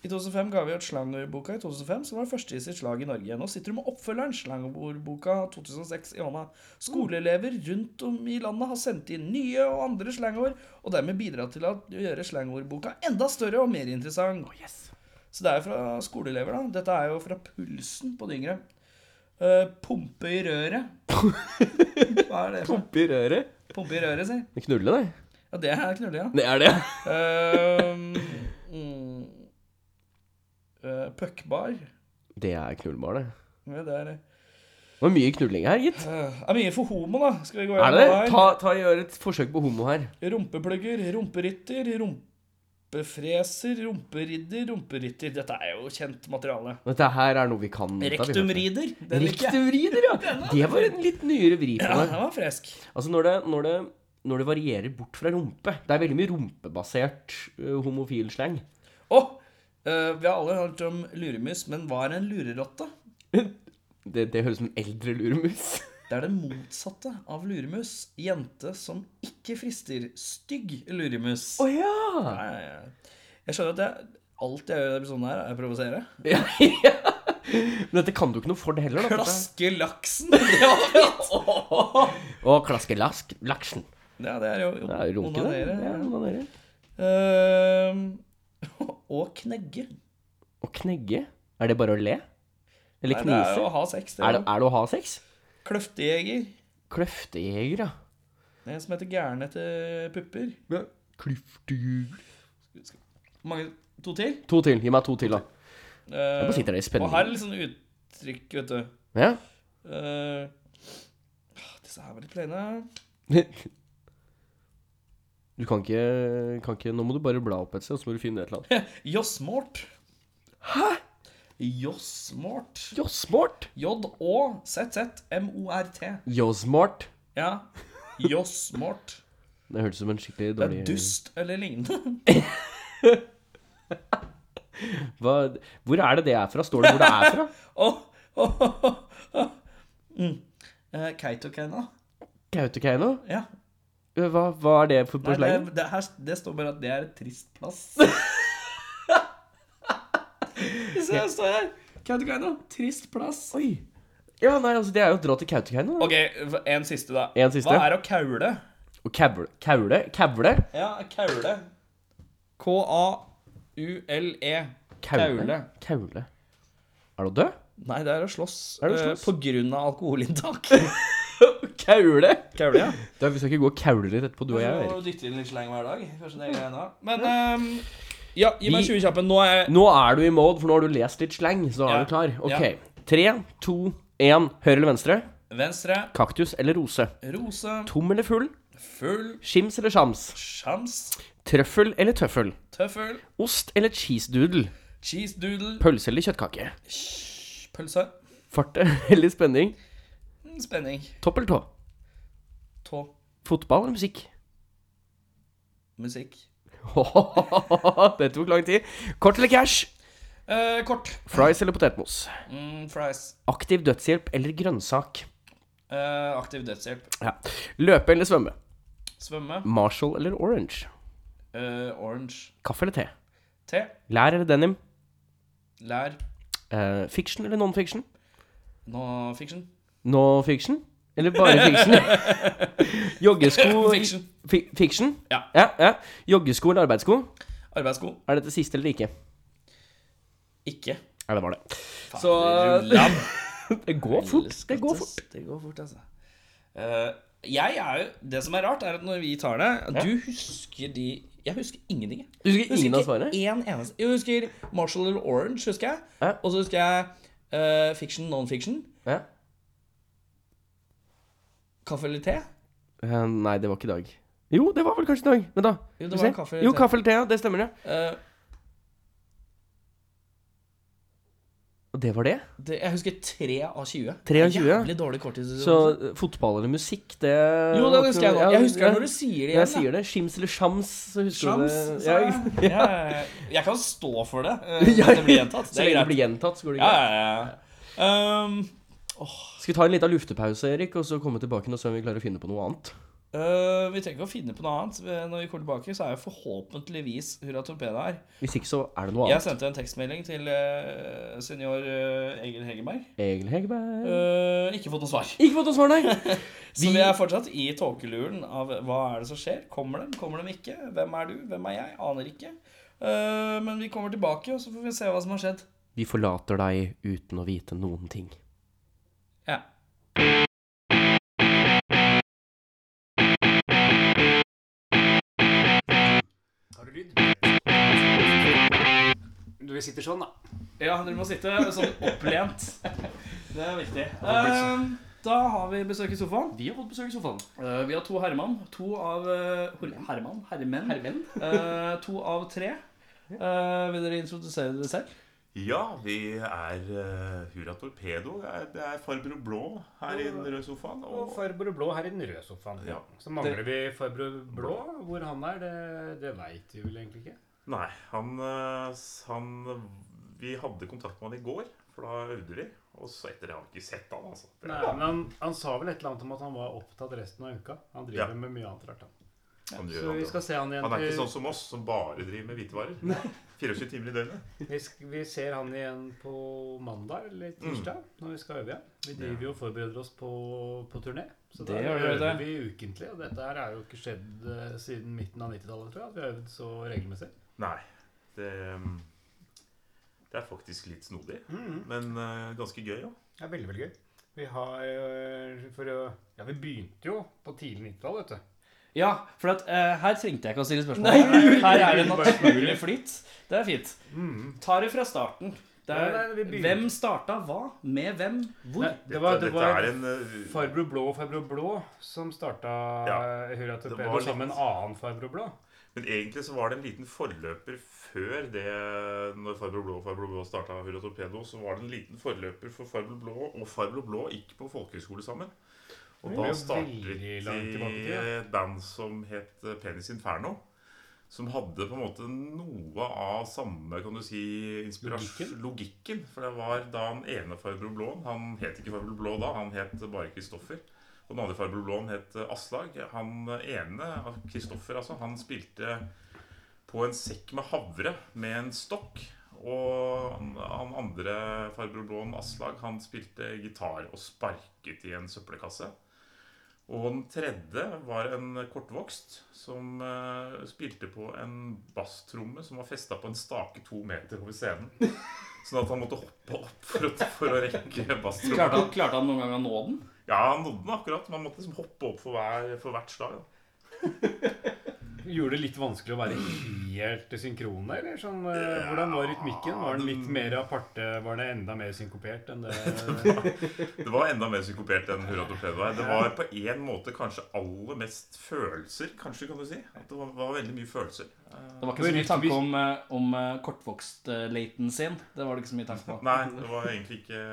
[SPEAKER 2] I 2005 ga vi ut slangordboka i 2005, som var den første i sitt slag i Norge. Nå sitter du med oppfølgeren, slangordboka 2006, i hånda. Skoleelever rundt om i landet har sendt inn nye og andre slangord, og dermed bidratt til å gjøre slangordboka enda større og mer interessant. Så det er jo fra skoleelever, da. Dette er jo fra pulsen på de yngre. Eh, pumpe i røret. Hva er det? for?
[SPEAKER 3] Pumpe i røret.
[SPEAKER 2] Pumpe i røret, si.
[SPEAKER 3] Knulle, det.
[SPEAKER 2] Ja, det er knulling, ja.
[SPEAKER 3] Det er det.
[SPEAKER 2] Ehm, mm, eh, Puckbar.
[SPEAKER 3] Det er knullbar, det.
[SPEAKER 2] Ja, det er det.
[SPEAKER 3] Det var mye knulling her, gitt.
[SPEAKER 2] Eh, det er mye for homo, da. Skal vi gå
[SPEAKER 3] Er det det?
[SPEAKER 2] gjennom
[SPEAKER 3] Ta, ta, gjør et forsøk på homo her.
[SPEAKER 2] det her? Rumpeplugger, rumperytter, rumpefreser, rumperidder, rumperytter. Dette er jo kjent materiale.
[SPEAKER 3] Dette her er noe vi kan. dette har vi hørt om.
[SPEAKER 2] Rektumrider. Den liker jeg.
[SPEAKER 3] Rektumrider, ja. Det var en litt nyere vri på
[SPEAKER 2] Ja,
[SPEAKER 3] det.
[SPEAKER 2] den var frisk.
[SPEAKER 3] Altså når det, når det når det varierer bort fra rumpe. Det er veldig mye rumpebasert uh, homofil slang.
[SPEAKER 2] Å! eh, vi har alle hørt om luremus, men hva er en lurerotte?
[SPEAKER 3] Det, det høres ut som en eldre luremus.
[SPEAKER 2] Det er det motsatte av luremus. Jente som ikke frister. Stygg luremus.
[SPEAKER 3] Å ja!
[SPEAKER 2] Nei, nei, nei. Jeg skjønner at jeg, alt jeg gjør i denne episoden her, er å provosere.
[SPEAKER 3] Men dette kan du ikke noe for det heller. da.
[SPEAKER 2] Klaske laksen! Det var fint!
[SPEAKER 3] Å, klaske lask, laksen.
[SPEAKER 2] Ja, det er jo jo,
[SPEAKER 3] Det er jo runke, det.
[SPEAKER 2] onanere,
[SPEAKER 3] Ja,
[SPEAKER 2] ja.
[SPEAKER 3] onanere.
[SPEAKER 2] Eh, og knegge.
[SPEAKER 3] Å knegge. Er det bare å le? Eller
[SPEAKER 2] Nei, det er jo
[SPEAKER 3] knise?
[SPEAKER 2] å ha sex. Det
[SPEAKER 3] Er
[SPEAKER 2] er
[SPEAKER 3] det,
[SPEAKER 2] jo.
[SPEAKER 3] er det å ha sex?
[SPEAKER 2] Kløftejeger.
[SPEAKER 3] Kløftejeger, ja.
[SPEAKER 2] Det er En som heter Gæren etter pupper.
[SPEAKER 3] Kløftejeger.
[SPEAKER 2] Mange, to til.
[SPEAKER 3] To til. Gi meg to til, da.
[SPEAKER 2] Uh,
[SPEAKER 3] Nå sitter det i
[SPEAKER 2] og her er
[SPEAKER 3] spenning.
[SPEAKER 2] litt sånn uttrykk, vet du.
[SPEAKER 3] Ja.
[SPEAKER 2] Eh, ah, disse her var litt plaine.
[SPEAKER 3] Du kan ikke, kan ikke Nå må du bare bla opp et sted, så må du finne et eller annet.
[SPEAKER 2] Jossmort. Hæ? Jossmort.
[SPEAKER 3] Jossmort!
[SPEAKER 2] J-Å-Z-Z-M-O-R-T.
[SPEAKER 3] Jossmort.
[SPEAKER 2] Ja. Jossmort.
[SPEAKER 3] Det hørtes ut som en skikkelig
[SPEAKER 2] Det er
[SPEAKER 3] dårlig
[SPEAKER 2] Eh, dust eller lignende.
[SPEAKER 3] Hva, Hvor er det det er fra? Står det hvor det er fra?
[SPEAKER 2] Åh, åh, åh, åh. Mm. Eh, Kautokeino.
[SPEAKER 3] Kautokeino?
[SPEAKER 2] Ja.
[SPEAKER 3] Hva, hva er det for
[SPEAKER 2] Nei,
[SPEAKER 3] på
[SPEAKER 2] det,
[SPEAKER 3] slengen?
[SPEAKER 2] det, her, det står bare at det er et trist plass. Se, her står her. Kautokeino. Trist plass.
[SPEAKER 3] Oi! Ja, nei, altså, det er jo å dra til Kautokeino. da.
[SPEAKER 2] Ok, en siste, da.
[SPEAKER 3] En siste.
[SPEAKER 2] Hva er å kaule?
[SPEAKER 3] Og kavle Kaule? Kavle?
[SPEAKER 2] Ja, kaule. E. K-a-u-l-e.
[SPEAKER 3] Kaule? Kaule. Er du død?
[SPEAKER 2] Nei, det er å slåss,
[SPEAKER 3] Er det å
[SPEAKER 2] eh,
[SPEAKER 3] slåss?
[SPEAKER 2] på grunn av alkoholinntak.
[SPEAKER 3] Kaule?
[SPEAKER 2] Kaule, ja.
[SPEAKER 3] Da, vi skal ikke gå og kaule litt etterpå, du og jeg.
[SPEAKER 2] Vi må
[SPEAKER 3] Erik.
[SPEAKER 2] dytte inn litt sleng hver dag. Kanskje det er greia nå. Men ehm, ja, gi meg
[SPEAKER 3] Vi-
[SPEAKER 2] 20 kjappe. Nå er jeg
[SPEAKER 3] Nå er du i mode, for nå har du lest litt slang, så er
[SPEAKER 2] Ja.
[SPEAKER 3] du klar.
[SPEAKER 2] Ja.
[SPEAKER 3] Ok. Tre, to, én. Høyre eller venstre?
[SPEAKER 2] Venstre,
[SPEAKER 3] Kaktus eller rose?
[SPEAKER 2] rose,
[SPEAKER 3] Tom eller full?
[SPEAKER 2] full,
[SPEAKER 3] Skims eller sjams?
[SPEAKER 2] sjans,
[SPEAKER 3] Trøffel eller tøffel?
[SPEAKER 2] tøffel,
[SPEAKER 3] Ost eller cheesedoodle?
[SPEAKER 2] cheese doodle,
[SPEAKER 3] Pølse eller kjøttkake?
[SPEAKER 2] pølse,
[SPEAKER 3] Fart eller spenning?
[SPEAKER 2] mm, spenning,
[SPEAKER 3] Topp eller tå?
[SPEAKER 2] tå,
[SPEAKER 3] Fotball eller musikk?
[SPEAKER 2] musikk.
[SPEAKER 3] Det tok lang tid. Kort eller cash?
[SPEAKER 2] Eh, kort.
[SPEAKER 3] Fries eller potetmos?
[SPEAKER 2] Mm, fries.
[SPEAKER 3] Aktiv dødshjelp eller grønnsak?
[SPEAKER 2] Eh, aktiv dødshjelp.
[SPEAKER 3] Ja. Løpe eller svømme?
[SPEAKER 2] Svømme.
[SPEAKER 3] Marshall eller orange?
[SPEAKER 2] eh, orange
[SPEAKER 3] Kaffe eller te?
[SPEAKER 2] te,
[SPEAKER 3] Lær eller denim?
[SPEAKER 2] lær,
[SPEAKER 3] Eh, fiction eller non-fiction?
[SPEAKER 2] no fiction.
[SPEAKER 3] No-fiction? Eller bare fiction? Joggesko
[SPEAKER 2] Fiction.
[SPEAKER 3] Fi fiction?
[SPEAKER 2] Ja.
[SPEAKER 3] ja, ja. Joggesko eller arbeidssko?
[SPEAKER 2] Arbeidssko,
[SPEAKER 3] Er dette siste eller ikke?
[SPEAKER 2] ikke.
[SPEAKER 3] Ja, det var det.
[SPEAKER 2] Faen,
[SPEAKER 3] Så
[SPEAKER 2] det rullan.
[SPEAKER 3] Det går fort. Det går fort.
[SPEAKER 2] Det går fort, altså. Eh, jeg er jo, det som er rart, er at når vi tar det Du husker de Jeg husker ingenting. jeg.
[SPEAKER 3] Du husker ingen av
[SPEAKER 2] ikke
[SPEAKER 3] svarene?
[SPEAKER 2] en eneste. Jeg husker Marshall eller Orange, husker jeg.
[SPEAKER 3] Ja.
[SPEAKER 2] Og så husker jeg eh, fiction, non-fiction.
[SPEAKER 3] Ja.
[SPEAKER 2] Kaffe eller te?
[SPEAKER 3] Eh, nei, det var ikke i dag. Jo, det var vel kanskje i dag. Men da.
[SPEAKER 2] Jo,
[SPEAKER 3] Skal
[SPEAKER 2] det
[SPEAKER 3] vi
[SPEAKER 2] var
[SPEAKER 3] se.
[SPEAKER 2] kaffe.
[SPEAKER 3] jo,
[SPEAKER 2] te.
[SPEAKER 3] kaffe eller te. Ja, det stemmer, ja.
[SPEAKER 2] Eh,
[SPEAKER 3] Og det var det.
[SPEAKER 2] det, jeg husker 3 av 20.
[SPEAKER 3] 3 av 20, ja.
[SPEAKER 2] Jævlig dårlig korttidshukommelse.
[SPEAKER 3] Så eh, fotball eller musikk, det
[SPEAKER 2] Jo, det husker jeg nå. Jeg husker
[SPEAKER 3] ja.
[SPEAKER 2] når du sier det
[SPEAKER 3] Jeg
[SPEAKER 2] igjen.
[SPEAKER 3] sier det. Skims eller shams, så husker
[SPEAKER 2] Sjams,
[SPEAKER 3] du det.
[SPEAKER 2] sa jeg.
[SPEAKER 3] Ja,
[SPEAKER 2] Ja, ja, ja. Jeg kan stå for det. eh, at det blir gjentatt.
[SPEAKER 3] Så
[SPEAKER 2] Det er
[SPEAKER 3] lenge det
[SPEAKER 2] greit.
[SPEAKER 3] blir gjentatt, så går det
[SPEAKER 2] Ja,
[SPEAKER 3] greit.
[SPEAKER 2] ja, ja. Um,
[SPEAKER 3] Skal vi ta en liten luftepause, Erik, og så komme tilbake når vi klarer å finne på noe annet?
[SPEAKER 2] øh, vi trenger ikke å finne på noe annet. Når vi kommer tilbake, så er jo forhåpentligvis Hurra Torpedo her.
[SPEAKER 3] Hvis ikke, så er det noe
[SPEAKER 2] Jeg
[SPEAKER 3] annet.
[SPEAKER 2] sendte en tekstmelding til uh, senior øh, Egil Hegerberg.
[SPEAKER 3] Egil Hegerberg
[SPEAKER 2] Øh, ikke fått noe svar.
[SPEAKER 3] Ikke fått noe svar, nei.
[SPEAKER 2] Så vi er fortsatt i tåkeluren av hva er det som skjer? Kommer de, kommer de ikke? Hvem er du? Hvem er jeg? Aner ikke. Øh, men vi kommer tilbake, og så får vi se hva som har skjedd.
[SPEAKER 3] Vi forlater deg uten å vite noen ting.
[SPEAKER 2] Ja.
[SPEAKER 4] Har du lyd? Du sitter sånn, da.
[SPEAKER 2] Ja, dere må sitte sånn opplent. Det er viktig.
[SPEAKER 4] Ehm,
[SPEAKER 2] da har vi besøk i sofaen.
[SPEAKER 3] Vi har fått besøk i sofaen.
[SPEAKER 2] Eh, vi har to herremann. To av eh, hor- Herremann? Herremenn? Eh, to av tre. Eh, vil dere introdusere dere selv?
[SPEAKER 5] Ja, vi er eh, Hurra Torpedo. Det er, det er farbror blå her i den røde sofaen.
[SPEAKER 4] Og
[SPEAKER 5] Og
[SPEAKER 4] farbror blå her i den røde sofaen.
[SPEAKER 5] Ja.
[SPEAKER 4] Så mangler vi farbror blå. Hvor han er, det, det veit vi vel egentlig ikke.
[SPEAKER 5] Nei, han, eh, s- han Vi hadde kontakt med han i går, for da øvde vi. Og så etter det har vi ikke sett han, altså. Det
[SPEAKER 4] Nei,
[SPEAKER 5] er,
[SPEAKER 4] men han, han sa vel et eller annet om at han var opptatt resten av uka. Han driver
[SPEAKER 5] Ja.
[SPEAKER 4] med mye annet rart. Han.
[SPEAKER 5] han, gjør
[SPEAKER 4] Så vi
[SPEAKER 5] alt.
[SPEAKER 4] skal se han igjen.
[SPEAKER 5] han er ikke
[SPEAKER 4] til-
[SPEAKER 5] sånn som oss, som bare driver med hvitevarer. 24 timer i døgnet.
[SPEAKER 4] vi, sk- vi ser han igjen på mandag
[SPEAKER 5] Mm.
[SPEAKER 4] eller tirsdag, når vi skal øve igjen. Vi driver jo og forbereder oss på, på turné. Så
[SPEAKER 2] Det
[SPEAKER 4] da
[SPEAKER 2] gjør dere, det.
[SPEAKER 4] øver vi ukentlig. Og dette her er jo ikke skjedd eh, siden midten av 90-tallet, tror jeg. At vi har øvd så regelmessig.
[SPEAKER 5] Nei. Det, mm, det er faktisk litt snodig,
[SPEAKER 4] Mm.
[SPEAKER 5] men eh, ganske gøy òg.
[SPEAKER 4] Det er veldig, veldig gøy. Vi har øh, for å Ja, vi begynte jo på tidlig 90-tall, vet du.
[SPEAKER 2] Ja, for at, eh, her trengte jeg ikke å stille spørsmål. her, her er det naturlig flyt. Det er fint. Ta det fra starten. Det er,
[SPEAKER 4] Mm. Nei, nei, vi begynner.
[SPEAKER 2] hvem starta hva? Med hvem? Hvor?
[SPEAKER 4] Nei, det
[SPEAKER 5] Dette,
[SPEAKER 4] var, det
[SPEAKER 5] dette
[SPEAKER 4] var
[SPEAKER 5] er en eh,
[SPEAKER 4] Farbror Blå og Farbror Blå som starta ja,
[SPEAKER 5] Ja,
[SPEAKER 4] Hurra til
[SPEAKER 5] det var litt-
[SPEAKER 4] sammen med en annen Farbror Blå.
[SPEAKER 5] Men egentlig så var det en liten forløper før det Når Farbror Blå og Farbror Blå starta Hurra Torpedo, så var det en liten forløper for Farbror Blå, og Farbror Blå gikk på folkehøyskole sammen. Og
[SPEAKER 4] Det
[SPEAKER 5] da
[SPEAKER 4] er jo
[SPEAKER 5] startet
[SPEAKER 4] veldig
[SPEAKER 5] de
[SPEAKER 4] langt tilbake til, ja.
[SPEAKER 5] et band som het eh, Penis Inferno. Som hadde på en måte noe av samme kan du si, inspirasjon Logikken. For det var da han ene Farbror Blå Han het ikke Farbror Blå da, han het bare Kristoffer. Og den andre farbror Blom het eh, Aslag. Han eh, ene, Kristoffer, altså, han spilte på en sekk med havre med en stokk. Og han- han andre farbror Blom, Aslag, han spilte gitar og sparket i en søppelkasse. Og den tredje var en kortvokst som eh, spilte på en basstromme som var festa på en stake to meter over scenen. Sånn at han måtte hoppe opp for å, for å rekke basstrommen.
[SPEAKER 2] Klarte han, klarte han noen gang å nå den?
[SPEAKER 5] Ja, han nådde den akkurat. Man måtte liksom hoppe opp for, hver, for hvert slag. Da.
[SPEAKER 4] Gjorde det litt vanskelig å være helt synkrone, eller? Sånn, øh, hvordan var rytmikken? Var den litt mer aparte? Var den enda mer synkopert enn det?
[SPEAKER 5] Det var enda mer psykopert enn Hurra Torpedo her. Det var på en måte kanskje aller mest følelser, kanskje, kan du si. At det var, var veldig mye følelser.
[SPEAKER 2] Det var ikke så mye tanke om, eh, om eh, kortvokstleiten sin. Det var det ikke så mye tanke på.
[SPEAKER 5] Nei, det var egentlig ikke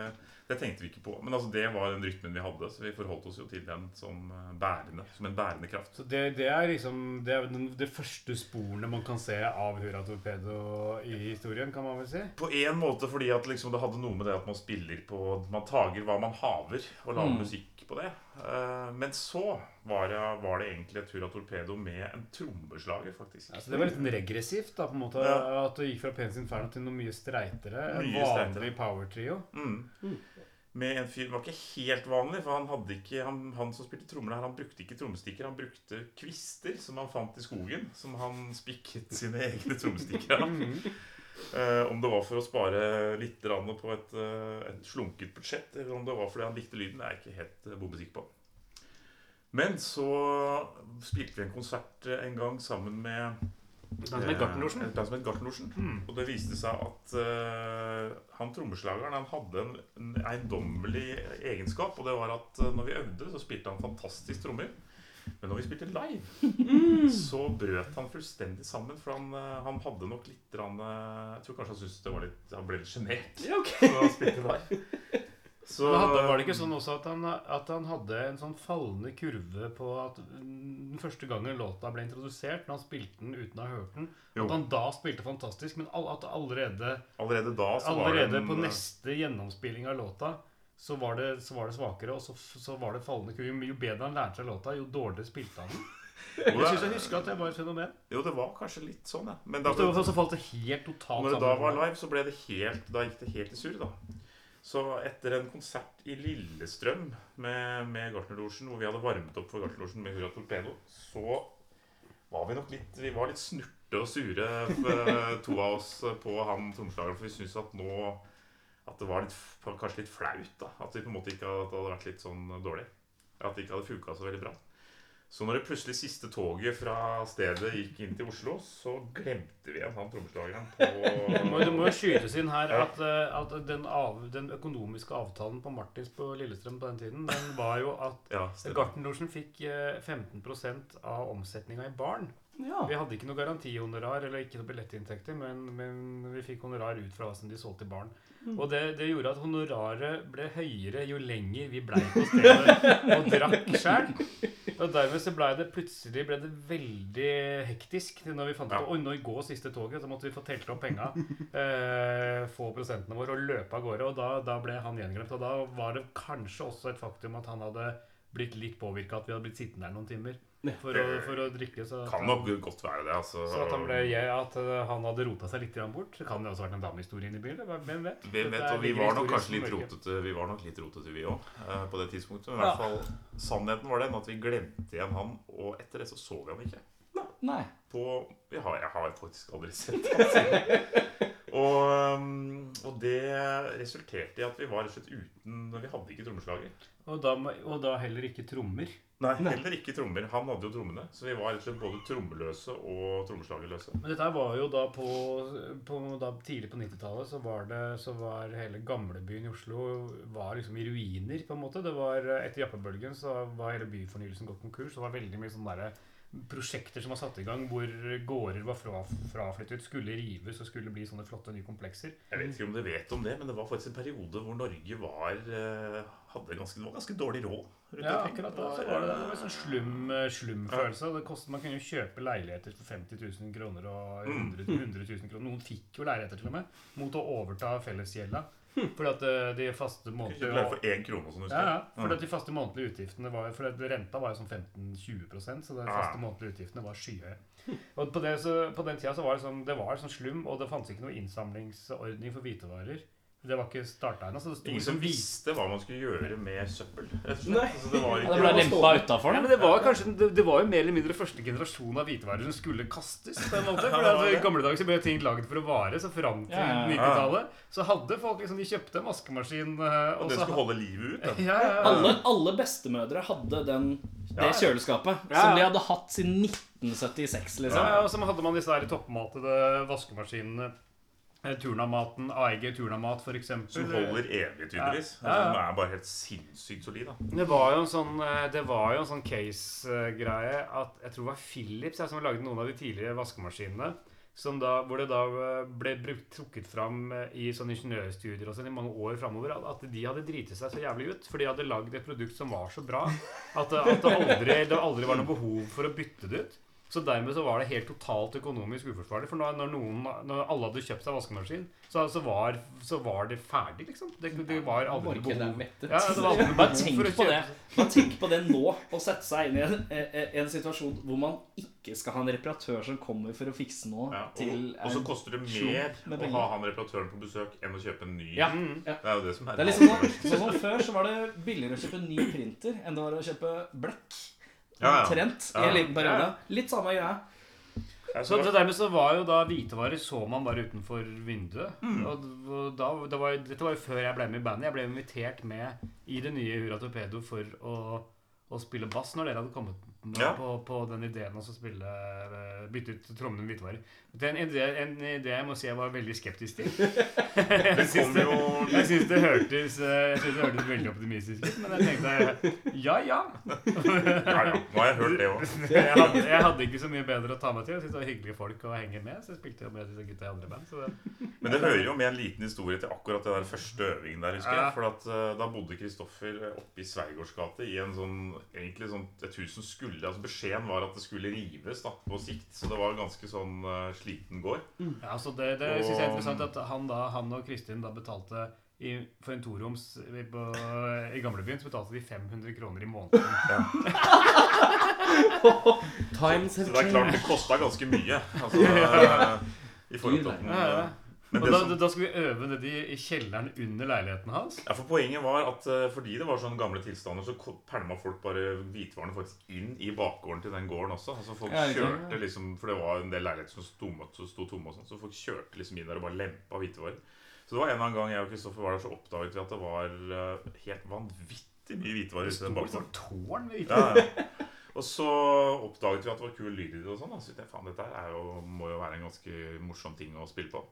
[SPEAKER 5] Det tenkte vi ikke på. Men altså, det var den rytmen vi hadde, så vi forholdt oss jo til den som eh, bærende, som en bærende kraft.
[SPEAKER 4] Så det, det er liksom det, er den, det første sporene man kan se av Hurra Torpedo i historien, kan man vel si.
[SPEAKER 5] På en måte fordi at liksom det hadde noe med det at man
[SPEAKER 4] Mm.
[SPEAKER 5] spiller på Man tager hva man haver, og lager musikk på det. Eh, Men så var, jeg- var det egentlig et Hurra Torpedo med en trommeslager, faktisk.
[SPEAKER 4] Altså, det var litt regressivt, da, på en måte,
[SPEAKER 5] Mm. Ja.
[SPEAKER 4] at det gikk fra Pens Inferno til noe mye streitere. En
[SPEAKER 5] Mye streitere.
[SPEAKER 4] vanlig power-trio.
[SPEAKER 5] Mm.
[SPEAKER 4] Mm.
[SPEAKER 5] Med en fyr, Det var ikke helt vanlig, for han, hadde ikke, han, han som spilte trommer der, han brukte ikke trommestikker. Han brukte kvister som han fant i skogen, som han spikket sine egne trommestikker av.
[SPEAKER 4] Mm.
[SPEAKER 5] Eh, om det var for å spare litt grann på et, eh, et slunket budsjett, eller om det var fordi han likte lyden, er jeg ikke helt eh, bombesikker på. Men så spilte vi en konsert eh, en gang sammen med
[SPEAKER 4] Han som het Gartnerlosjen.
[SPEAKER 5] Eh, en plass som het Gartnerlosjen. Og det viste seg at eh, han trommeslageren han hadde en, en eiendommelig egenskap. Og det var at eh, når vi øvde, så spilte han fantastisk trommer. Men når vi spilte live, så brøt han fullstendig sammen. For han, eh, han hadde nok litt grann, eh, Jeg tror kanskje han syntes det var litt Han ble litt sjenert.
[SPEAKER 3] Ja, ok.
[SPEAKER 5] når han spilte live. Så,
[SPEAKER 4] Men hadde, var det ikke sånn også at han, at han hadde en sånn fallende kurve på at mm, den første gangen låta ble introdusert, når han spilte den uten å ha hørt den,
[SPEAKER 5] Jo.
[SPEAKER 4] at han da spilte fantastisk, men all, at allerede,
[SPEAKER 5] eh, Allerede da så var
[SPEAKER 4] allerede
[SPEAKER 5] det en, eh,
[SPEAKER 4] på neste gjennomspilling av låta så var, det, så var det svakere, og så, så var det fallende kurve. Jo- Jo bedre han lærte seg låta, jo dårligere spilte han den.
[SPEAKER 5] Jo,
[SPEAKER 4] Jeg
[SPEAKER 5] det-
[SPEAKER 4] synes jeg husker at det var et fenomen.
[SPEAKER 5] Jo, det var kanskje litt sånn, ja. Men da
[SPEAKER 4] Og så- Så falt det helt
[SPEAKER 5] Og
[SPEAKER 4] totalt
[SPEAKER 5] når det da
[SPEAKER 4] sammen.
[SPEAKER 5] var live, så ble det helt, da gikk det helt i surr, da. Så etter en konsert i Lillestrøm med, med Gartnerlosjen, hvor vi hadde varmet opp for Gartnerlosjen med Hurra Torpedo, så var vi nok litt Vi var litt snurte og sure, f- to av oss, på han trommeslageren, for vi syntes at nå At det var litt, f- kanskje litt flaut, da. At vi på en måte ikke hadde, at det hadde vært litt sånn dårlig. At det ikke hadde funka så veldig bra. Så når det plutselig siste toget fra stedet gikk inn til Oslo, så glemte vi igjen han trommeslageren
[SPEAKER 4] Det må, det må
[SPEAKER 5] på
[SPEAKER 4] jo skytes inn her
[SPEAKER 5] Ja.
[SPEAKER 4] at, eh, at den, av, den økonomiske avtalen på Martins på Lillestrøm på den tiden, den var jo at
[SPEAKER 5] Ja, stemmer.
[SPEAKER 4] Gartnerlosjen fikk eh, 15 av omsetninga i baren.
[SPEAKER 3] Ja.
[SPEAKER 4] Vi hadde ikke noe garantihonorar eller ikke noe billettinntekter, men, men vi fikk honorar ut fra hva som de solgte i baren. Og det, det gjorde at honoraret ble høyere jo lenger vi blei på stedet og drakk sjøl. Og dermed så ble det plutselig ble det veldig hektisk til når vi fant ut
[SPEAKER 5] Ja.
[SPEAKER 4] at «Oi, nå går siste toget. Så måtte vi få telt opp penga, eh, få prosentene våre og løpe av gårde. Og da, da ble han gjenglemt. Og da var det kanskje også et faktum at han hadde blitt litt påvirka, at vi hadde blitt sittende der noen timer for å, for å drikke. Så
[SPEAKER 5] Kan nok godt være det, altså.
[SPEAKER 4] så at han, ble, at eh, han hadde rota seg litt grann bort. Det kan jo også ha vært en damehistorie inni bilen. Hvem vet?
[SPEAKER 5] Hvem vet,
[SPEAKER 4] Dette
[SPEAKER 5] og vi
[SPEAKER 4] ligger
[SPEAKER 5] var nok
[SPEAKER 4] historisk
[SPEAKER 5] kanskje litt
[SPEAKER 4] mørke.
[SPEAKER 5] rotete, vi var nok litt rotete vi òg, på det tidspunktet. Men i hvert fall, sannheten var den at vi glemte igjen han, og etter det så så vi han ikke.
[SPEAKER 2] Nei.
[SPEAKER 5] På, jeg, har, jeg har faktisk aldri sett han siden. Og, øhm, og det resulterte i at vi var rett og slett uten Vi hadde ikke trommeslager.
[SPEAKER 4] Og da, må- og da heller ikke trommer.
[SPEAKER 5] Nei, Heller ikke trommer. Han hadde jo trommene. Så vi var rett og slett både trommeløse og trommeslagerløse.
[SPEAKER 4] Men dette her var jo da på, på da Tidlig på 90-tallet så var det Så var hele gamlebyen i Oslo Var liksom i ruiner, på en måte. Det var eh, Etter jappebølgen så var hele byfornyelsen gått konkurs. og Det var veldig mye sånne derre prosjekter som var satt i gang, hvor gårder var fra, fraflyttet, skulle rives og skulle bli sånne flotte nye komplekser.
[SPEAKER 5] Jeg vet ikke om du vet om det, men det var faktisk en periode hvor Norge var, eh, hadde ganske, det var ganske dårlig råd. rundt
[SPEAKER 4] Ja,
[SPEAKER 5] omkring.
[SPEAKER 4] akkurat da så var det, det var en sånn slum, slumfølelse. og Det kostet, man kunne jo kjøpe leiligheter for 50 000 kroner og 100,
[SPEAKER 5] Mm.
[SPEAKER 4] 100 000 kroner. Noen fikk jo leiligheter til og med, mot å overta fellesgjelda.
[SPEAKER 5] Hm.
[SPEAKER 4] Fordi at eh, de faste
[SPEAKER 5] Kjøpte leie
[SPEAKER 4] månedlige
[SPEAKER 5] for én krone, som du
[SPEAKER 4] ja,
[SPEAKER 5] husker.
[SPEAKER 4] ja, fordi at de faste månedlige utgiftene var For at renta var jo sånn 15-20 så de
[SPEAKER 5] Ja.
[SPEAKER 4] faste månedlige utgiftene var skyhøye. Og på, det, så, på den tida så var det sånn, det var sånn slum, og det fantes ikke noe innsamlingsordning for hvitevarer. Det var ikke starta ennå. så det sto
[SPEAKER 5] Ingen
[SPEAKER 4] liksom
[SPEAKER 5] som
[SPEAKER 4] hvite-
[SPEAKER 5] visste hva man skulle gjøre med søppel. rett og slett.
[SPEAKER 3] Nei.
[SPEAKER 5] Altså, det var
[SPEAKER 2] Ja, det
[SPEAKER 5] ikke
[SPEAKER 2] ble lempa utafor,
[SPEAKER 4] Ja, men
[SPEAKER 2] det.
[SPEAKER 4] det var kanskje Det, det var jo mer eller mindre første generasjon av hvitevarer som skulle kastes. på en måte
[SPEAKER 5] Ja,
[SPEAKER 4] For
[SPEAKER 5] det var
[SPEAKER 4] at I
[SPEAKER 5] det.
[SPEAKER 4] gamle dager så ble ting laget for å vare, så fram til
[SPEAKER 2] Ja, ja, ja.
[SPEAKER 4] 90-tallet så hadde folk liksom De kjøpte en vaskemaskin eh,
[SPEAKER 5] Og
[SPEAKER 4] og
[SPEAKER 5] den
[SPEAKER 4] så
[SPEAKER 5] skulle holde livet ut. Da.
[SPEAKER 4] ja, ja, ja.
[SPEAKER 2] Alle, alle bestemødre hadde den, det
[SPEAKER 5] Ja.
[SPEAKER 2] kjøleskapet
[SPEAKER 4] Ja.
[SPEAKER 2] som de hadde hatt siden 1976,
[SPEAKER 4] Ja,
[SPEAKER 2] liksom.
[SPEAKER 4] ja, og så hadde man disse her toppmatede vaskemaskinene. eh, Turnamaten, AEG Turnamat f.eks.
[SPEAKER 5] Som holder evig, tydeligvis.
[SPEAKER 4] Ja, ja.
[SPEAKER 5] Altså, den er bare helt sinnssykt solid. da.
[SPEAKER 4] Det var jo en sånn, eh, det var jo en sånn case-greie at jeg tror det var Philips ja, som lagde noen av de tidligere vaskemaskinene. Som da, hvor det da eh, ble brukt, trukket fram eh, i sånne ingeniørstudier og sånn i mange år framover, at- at de hadde driti seg så jævlig ut. For de hadde eh, lagd et produkt som var så bra at, at det, aldri, det aldri var noe behov for å bytte det ut. Så dermed så var det helt totalt økonomisk uforsvarlig. For når, når, noen, når alle hadde kjøpt seg vaskemaskin, så, så, var, så var det ferdig, liksom. Det, det var aldri
[SPEAKER 2] Markedet er
[SPEAKER 4] behov.
[SPEAKER 2] mettet.
[SPEAKER 4] Ja, det var aldri
[SPEAKER 2] Bare
[SPEAKER 4] behov
[SPEAKER 2] tenk
[SPEAKER 4] for å
[SPEAKER 2] på
[SPEAKER 4] kjøpe
[SPEAKER 2] det. Bare tenk på det nå, å sette seg inn i en, en, en situasjon hvor man ikke skal ha en reparatør som kommer for å fikse noe
[SPEAKER 5] Ja, og,
[SPEAKER 2] til
[SPEAKER 5] og så
[SPEAKER 2] en-
[SPEAKER 5] koster det
[SPEAKER 2] slump med
[SPEAKER 5] mer å
[SPEAKER 2] penger.
[SPEAKER 5] ha han reparatøren på besøk enn å kjøpe en ny.
[SPEAKER 2] Ja.
[SPEAKER 4] Mm.
[SPEAKER 5] Det er jo det som er
[SPEAKER 2] Det er liksom sånn, sånn som Før så var det billigere å kjøpe ny printer enn det var å kjøpe blekk.
[SPEAKER 5] Ja, ja.
[SPEAKER 2] Omtrent i
[SPEAKER 5] Ja,
[SPEAKER 2] en liten
[SPEAKER 4] ja,
[SPEAKER 2] periode.
[SPEAKER 4] ja.
[SPEAKER 2] Litt samme greia.
[SPEAKER 5] Jeg
[SPEAKER 4] Så,
[SPEAKER 5] så-
[SPEAKER 4] så dermed så var jo da hvitevarer så man bare utenfor vinduet.
[SPEAKER 2] Mm.
[SPEAKER 4] Og, og da, det var, jo- dette var jo før jeg ble med i bandet. Jeg ble invitert med i det nye Hurra Torpedo for å, å spille bass når dere hadde kommet med
[SPEAKER 5] Ja.
[SPEAKER 4] på, på den ideen om å spille, eh, bytte ut trommene med hvitevarer. Det er en idé, en idé jeg må si jeg var veldig skeptisk til.
[SPEAKER 5] det kommer jo
[SPEAKER 4] Jeg syns det hørtes eh, jeg synes det hørtes veldig optimistisk ut, men jeg tenkte ja ja.
[SPEAKER 5] Ja, ja. Nå har jeg hørt det òg.
[SPEAKER 4] Jeg hadde, jeg hadde ikke så mye bedre å ta meg til. Jeg syntes det var hyggelige folk å henge med. Så jeg spilte jo med disse gutta i andre band. Så det,
[SPEAKER 5] Men det hører jo med en liten historie til akkurat den der første øvingen der. husker
[SPEAKER 4] Ja.
[SPEAKER 5] jeg For at eh, Da bodde Kristoffer eh, oppe i Sveigårds gate i en sånn, egentlig sånn et hus som skulle altså Beskjeden var at det skulle rives da, på sikt, så det var ganske sånn eh, sliten gård.
[SPEAKER 4] ja, så det, det synes jeg er interessant at han, da, han og Kristin da betalte i, for en toroms i, på, i gamlebyen så betalte de 500 kroner i måneden.
[SPEAKER 3] Times
[SPEAKER 5] Så
[SPEAKER 3] have
[SPEAKER 5] det er klart
[SPEAKER 3] changed.
[SPEAKER 5] det kosta ganske mye. Altså, eh, I forhold til at den,
[SPEAKER 4] Ja, ja.
[SPEAKER 5] eh, men
[SPEAKER 4] Og
[SPEAKER 5] det
[SPEAKER 4] da,
[SPEAKER 5] som,
[SPEAKER 4] da skulle vi øve nedi i kjelleren under leiligheten hans.
[SPEAKER 5] ja, for Poenget var at eh, fordi det var sånne gamle tilstander, så ko- pælma folk bare hvitvarene faktisk inn i bakgården til den gården også. Altså folk
[SPEAKER 2] Ja, ikke sant?
[SPEAKER 5] kjørte liksom, For det var en del leiligheter som sto tomme, som sto tomme og sånn, så folk kjørte liksom inn der og bare lempa hvitevarer. Så det var en eller annen gang jeg og Kristoffer var der, så oppdaget vi at det var eh, helt vanvittig mye hvitevarer ute i
[SPEAKER 4] Det
[SPEAKER 5] den
[SPEAKER 4] var et
[SPEAKER 5] bakgården.
[SPEAKER 4] sånt tårn ved
[SPEAKER 5] Ja,
[SPEAKER 4] ytteren.
[SPEAKER 5] ja. Og så oppdaget vi at det var kul lyd i det. og sånn da. Så tenkte jeg, faen, dette her er jo, må jo være en ganske morsom ting å spille på.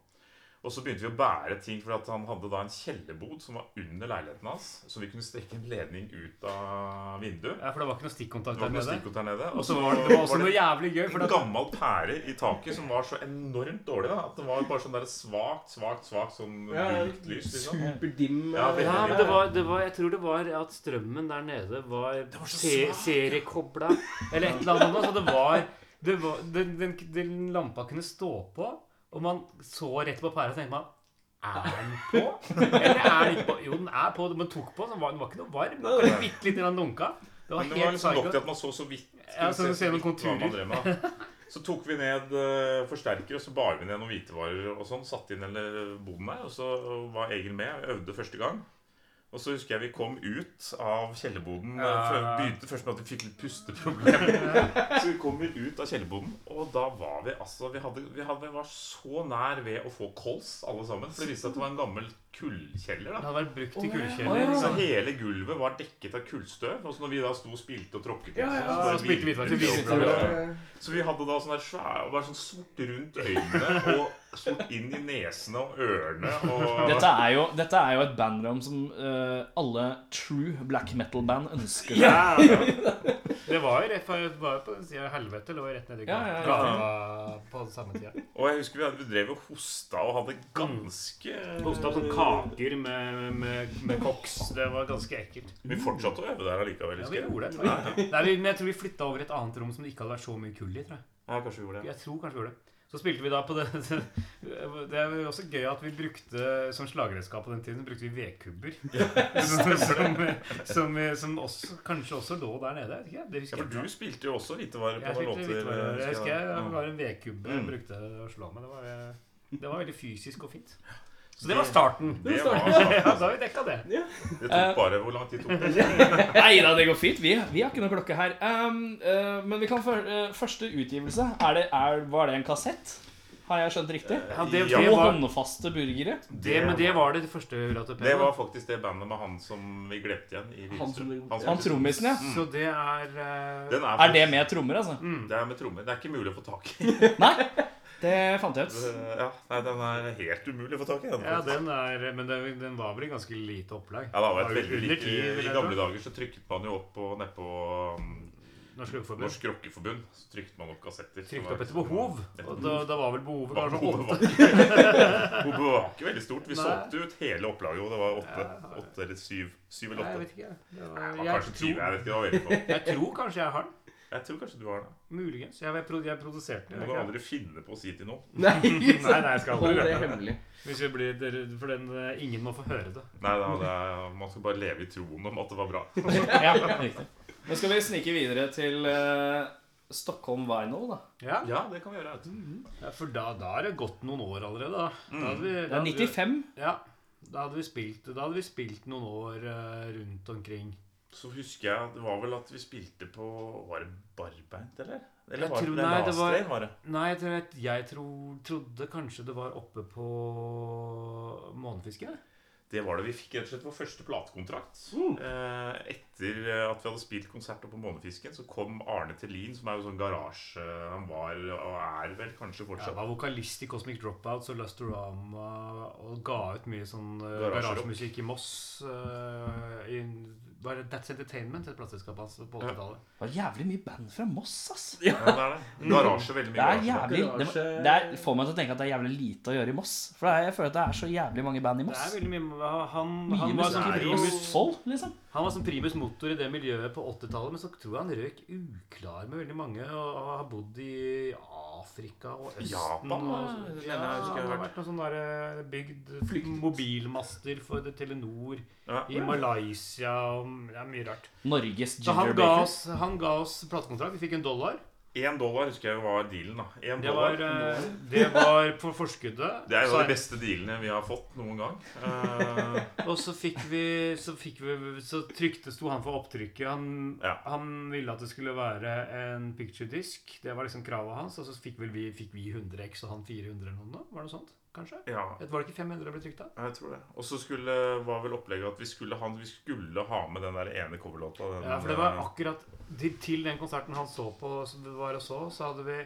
[SPEAKER 5] Og så begynte vi å bære ting, for han hadde da en kjellerbod som var under leiligheten hans. Så vi kunne strekke en ledning ut av vinduet.
[SPEAKER 4] Ja, for det var ikke noe stikkontakt
[SPEAKER 5] Det
[SPEAKER 4] der
[SPEAKER 5] var ikke noe
[SPEAKER 4] nede.
[SPEAKER 5] stikkord der nede.
[SPEAKER 4] Og så var det, det var også noe jævlig gøy. For
[SPEAKER 5] en
[SPEAKER 4] at,
[SPEAKER 5] gammel pære i taket som var så enormt dårlig da, at det var bare sånn der svakt, svakt, svakt sånn gult lys. liksom.
[SPEAKER 3] Superdim.
[SPEAKER 5] Ja, veldig.
[SPEAKER 3] eh,
[SPEAKER 5] Ja,
[SPEAKER 6] Nei, men det var, det var, jeg tror det var at strømmen der nede var,
[SPEAKER 5] var så
[SPEAKER 6] se,
[SPEAKER 5] svak, ja.
[SPEAKER 6] seriekobla.
[SPEAKER 4] Eller et eller annet sånt. Så det var, det var den, den, den lampa kunne stå på, og man så rett på pæra og tenkte man er den på? Eller er den ikke på? Jo, den er på. Man tok på, så var den var ikke noe varm. Den var bitte litt grann dunka. Det var
[SPEAKER 5] Men det var
[SPEAKER 4] helt
[SPEAKER 5] liksom nok til
[SPEAKER 4] psycho.
[SPEAKER 5] at man så så vidt
[SPEAKER 4] Ja, så du ser noen
[SPEAKER 5] hva man
[SPEAKER 4] konturer.
[SPEAKER 5] drev med, da. Så tok vi ned eh, forsterker, og så bar vi ned noen hvitevarer og sånn. Satte inn eller boden der, og så var Egil med. Vi øvde første gang. Og så husker jeg vi kom ut av kjellerboden. eh, før- Begynte først med at vi fikk litt pusteproblemer. Så vi kom vi ut av kjellerboden, og da var vi altså vi, hadde, vi, hadde, vi var så nær ved å få kols, alle sammen. For det viste seg at det var en gammel kullkjeller. da
[SPEAKER 4] Den hadde vært brukt i
[SPEAKER 2] Å,
[SPEAKER 4] kullkjeller.
[SPEAKER 5] så Liksom, hele gulvet var dekket av kullstøv. Og så når vi da sto og spilte og tråkket på,
[SPEAKER 4] ja. Så spilte vi hvitvær til
[SPEAKER 5] vi
[SPEAKER 4] hvitvær.
[SPEAKER 5] Så vi hadde da sånn der svære og Bare sånn sort rundt øynene og sort inn i nesene og ørene og
[SPEAKER 2] Dette er jo, dette er jo et bandrom som eh, alle true black metal-band ønsker seg.
[SPEAKER 5] ja, ja.
[SPEAKER 4] Det var jo rett det var jo på den sida av helvete. Det var jo rett nedi
[SPEAKER 2] Ja, ja, ja.
[SPEAKER 4] gata på den samme tida.
[SPEAKER 5] Og jeg husker vi, hadde, vi drev og hosta og hadde ganske
[SPEAKER 4] Hosta sånn kaker med, med, med koks. Det var ganske ekkelt.
[SPEAKER 5] Vi fortsatte å øve der allikevel.
[SPEAKER 4] Ja,
[SPEAKER 5] husker
[SPEAKER 4] vi
[SPEAKER 5] jeg.
[SPEAKER 4] gjorde det. Tror jeg. Nei, vi, men jeg tror vi flytta over et annet rom som det ikke hadde vært så mye kull i. tror jeg.
[SPEAKER 5] Ja, kanskje vi gjorde det.
[SPEAKER 4] Jeg tror kanskje vi gjorde det. Så spilte vi da på det Det er jo også gøy at vi brukte som slagredskap på den tiden brukte vi vedkubber. som, som, som, som også, kanskje også lå der nede. vet ikke jeg. Det
[SPEAKER 5] Ja,
[SPEAKER 4] husker
[SPEAKER 5] for
[SPEAKER 4] jeg.
[SPEAKER 5] du spilte jo også hvitevarer
[SPEAKER 4] Jeg
[SPEAKER 5] på noen
[SPEAKER 4] spilte litt
[SPEAKER 5] låter.
[SPEAKER 4] varmere. Jeg husker jeg det
[SPEAKER 5] Mm.
[SPEAKER 4] var en vedkubbe jeg
[SPEAKER 5] Mm.
[SPEAKER 4] brukte å slå med. Det var, eh, det var veldig fysisk og fint. Så det var starten.
[SPEAKER 5] Det var
[SPEAKER 4] Ja, da har vi dekka det.
[SPEAKER 5] Det tok bare Hvor lang tid tok det?
[SPEAKER 2] Nei da, det går fint. Vi, vi har ikke noe klokke her. Ehm, eh, men vi kan for, eh, første utgivelse er det, er, Var det en kassett? Har jeg skjønt riktig?
[SPEAKER 4] Ja, det,
[SPEAKER 5] Ja.
[SPEAKER 2] Og
[SPEAKER 4] det, var,
[SPEAKER 2] håndfaste burgere.
[SPEAKER 4] det, men det var det første Hurra til
[SPEAKER 5] Det
[SPEAKER 4] Pelle.
[SPEAKER 5] var faktisk det bandet med han som vi glemte igjen i
[SPEAKER 3] Han som vi-
[SPEAKER 5] Lillestrøm.
[SPEAKER 2] Han trommisen, ja.
[SPEAKER 4] Så det er eh,
[SPEAKER 5] Den
[SPEAKER 2] Er det
[SPEAKER 5] faktisk-
[SPEAKER 2] med trommer, altså?
[SPEAKER 4] Mm.
[SPEAKER 5] Det er med trommer. Det er ikke mulig å få tak i.
[SPEAKER 2] Nei, det fant jeg ut.
[SPEAKER 5] Det- Ja, nei, den er helt umulig å få tak i. Den,
[SPEAKER 4] Ja,
[SPEAKER 5] faktisk.
[SPEAKER 4] den er Men den, den var vel i ganske lite opplag?
[SPEAKER 5] Ja, det var et
[SPEAKER 4] jo
[SPEAKER 5] veldig
[SPEAKER 4] under
[SPEAKER 5] likt.
[SPEAKER 4] ti, vil
[SPEAKER 5] I, I
[SPEAKER 4] jeg
[SPEAKER 5] gamle
[SPEAKER 4] tro.
[SPEAKER 5] dager så trykket man jo opp på nedpå um,
[SPEAKER 4] Norsk Lugeforbund.
[SPEAKER 5] Norsk Rockeforbund. Så trykket man opp kassetter. som
[SPEAKER 4] Trykte
[SPEAKER 5] var-
[SPEAKER 4] opp etter behov. Og da, da var vel behovet
[SPEAKER 5] Var-
[SPEAKER 4] kanskje
[SPEAKER 5] Behovet
[SPEAKER 4] åtte.
[SPEAKER 5] var ikke- behovet var ikke veldig stort. Vi
[SPEAKER 4] Nei.
[SPEAKER 5] solgte ut hele opplaget, og det var åtte, åtte eller syv, syv eller
[SPEAKER 4] Nei, Jeg
[SPEAKER 5] åtte.
[SPEAKER 4] vet ikke. jeg. Det
[SPEAKER 5] Det
[SPEAKER 4] var,
[SPEAKER 5] var
[SPEAKER 4] jeg,
[SPEAKER 5] kanskje 20,
[SPEAKER 4] tror,
[SPEAKER 5] jeg vet ikke. Det var veldig få.
[SPEAKER 4] jeg tror kanskje jeg har den.
[SPEAKER 5] Jeg tror kanskje du har det.
[SPEAKER 4] Muligens. Jeg, vet, jeg produserte
[SPEAKER 5] Du
[SPEAKER 4] den.
[SPEAKER 5] kan
[SPEAKER 4] jeg vet ikke.
[SPEAKER 5] aldri finne på å si til noen.
[SPEAKER 3] Nei,
[SPEAKER 4] Nei, nei, jeg skal
[SPEAKER 3] hold
[SPEAKER 4] aldri
[SPEAKER 3] det
[SPEAKER 4] gjøre det.
[SPEAKER 3] hemmelig.
[SPEAKER 4] Hvis vi blir, dere- for den, eh, ingen må få høre det.
[SPEAKER 5] Nei, da, det er, Man skal bare leve i troen om at det var bra.
[SPEAKER 4] Ja, riktig.
[SPEAKER 2] Nå skal vi snike videre til eh, Stockholm Vinyl, da.
[SPEAKER 4] Ja,
[SPEAKER 5] Ja, det kan vi gjøre. vet du.
[SPEAKER 4] ja, for da, da er det gått noen år allerede. Da, da, hadde, vi,
[SPEAKER 2] Det
[SPEAKER 4] da,
[SPEAKER 2] er
[SPEAKER 4] hadde, vi,
[SPEAKER 2] 95.
[SPEAKER 4] ja, da, hadde, vi spilt, da hadde vi spilt noen år eh, rundt omkring.
[SPEAKER 5] Så husker jeg det var vel at vi spilte på Var det Barbeint, eller? Eller
[SPEAKER 6] Jeg
[SPEAKER 5] var
[SPEAKER 6] tror-
[SPEAKER 5] det,
[SPEAKER 6] nei,
[SPEAKER 5] nei,
[SPEAKER 6] det var-
[SPEAKER 5] Lastrain, var det?
[SPEAKER 4] Nei, jeg, tror, jeg- jeg tror, trodde kanskje det var oppe på Månefiske.
[SPEAKER 5] Det var det. Vi fikk rett og slett vår første platekontrakt. Eh, etter at vi hadde spilt konsert oppe på Månefisken, så kom Arne Tellin, som er jo sånn garasje Han var og er vel
[SPEAKER 4] Jeg
[SPEAKER 5] kanskje fortsatt
[SPEAKER 4] var vokalist i Cosmic Dropouts og Lustorama og ga ut mye sånn eh,
[SPEAKER 5] Garasjerock.
[SPEAKER 4] garasjemusikk i Moss. eh, i, var det That's Entertainment, et plateselskap hans på 80-tallet?
[SPEAKER 2] Det var jævlig mye band fra Moss, ass.
[SPEAKER 5] ja, det er det. Garasje, veldig
[SPEAKER 2] Det
[SPEAKER 5] mye
[SPEAKER 2] er
[SPEAKER 5] garasje.
[SPEAKER 2] jævlig det, må- det er, får meg til å tenke at det er jævlig lite å gjøre i Moss. For det er, jeg føler at det er så jævlig mange band i
[SPEAKER 4] Det er
[SPEAKER 2] Moss.
[SPEAKER 4] veldig mye Han,
[SPEAKER 2] Mye
[SPEAKER 4] han, var, sånn
[SPEAKER 2] musikk i
[SPEAKER 4] primus,
[SPEAKER 2] Østfold, liksom.
[SPEAKER 4] han var sånn primus motor i det miljøet på 80-tallet, men så tror jeg han røk uklar med veldig mange og, og har bodd i Afrika og Østen.
[SPEAKER 5] Japan,
[SPEAKER 4] og,
[SPEAKER 5] det mener jeg
[SPEAKER 4] ja, han
[SPEAKER 5] husker jeg
[SPEAKER 4] har
[SPEAKER 5] har hørt.
[SPEAKER 4] vært noen sånne der, eh, bygd mobilmaster for det, Telenor
[SPEAKER 5] Ja.
[SPEAKER 4] i Malaysia og det er mye rart.
[SPEAKER 2] Norges
[SPEAKER 4] Så han
[SPEAKER 2] Ginger
[SPEAKER 4] ga
[SPEAKER 2] Baker.
[SPEAKER 4] oss, han ga oss platekontrakt. Vi fikk en dollar.
[SPEAKER 5] Én dollar husker jeg var dealen. da En
[SPEAKER 4] Det var,
[SPEAKER 5] dollar.
[SPEAKER 4] eh, det var på forskuddet.
[SPEAKER 5] Det er jo
[SPEAKER 4] Så-
[SPEAKER 5] de beste dealene vi har fått noen gang. Eh,
[SPEAKER 4] Og så fikk vi Så, fikk vi, så trykte, sto han for opptrykket. Han,
[SPEAKER 5] Ja.
[SPEAKER 4] han ville at det skulle være en picture disk. Det var liksom kravet hans. Og så fikk vel vi, fikk vi 100 X og han 400 eller noe. da? Var det noe sånt? Kanskje?
[SPEAKER 5] ja,
[SPEAKER 4] Var det ikke 500 det ble trykt av?
[SPEAKER 5] jeg tror det. Og så skulle, var vel opplegget at vi skulle, ha, vi skulle ha med den der ene coverlåta. den-
[SPEAKER 4] Ja, for det var akkurat til, til den konserten han så på, som vi var og så, så hadde vi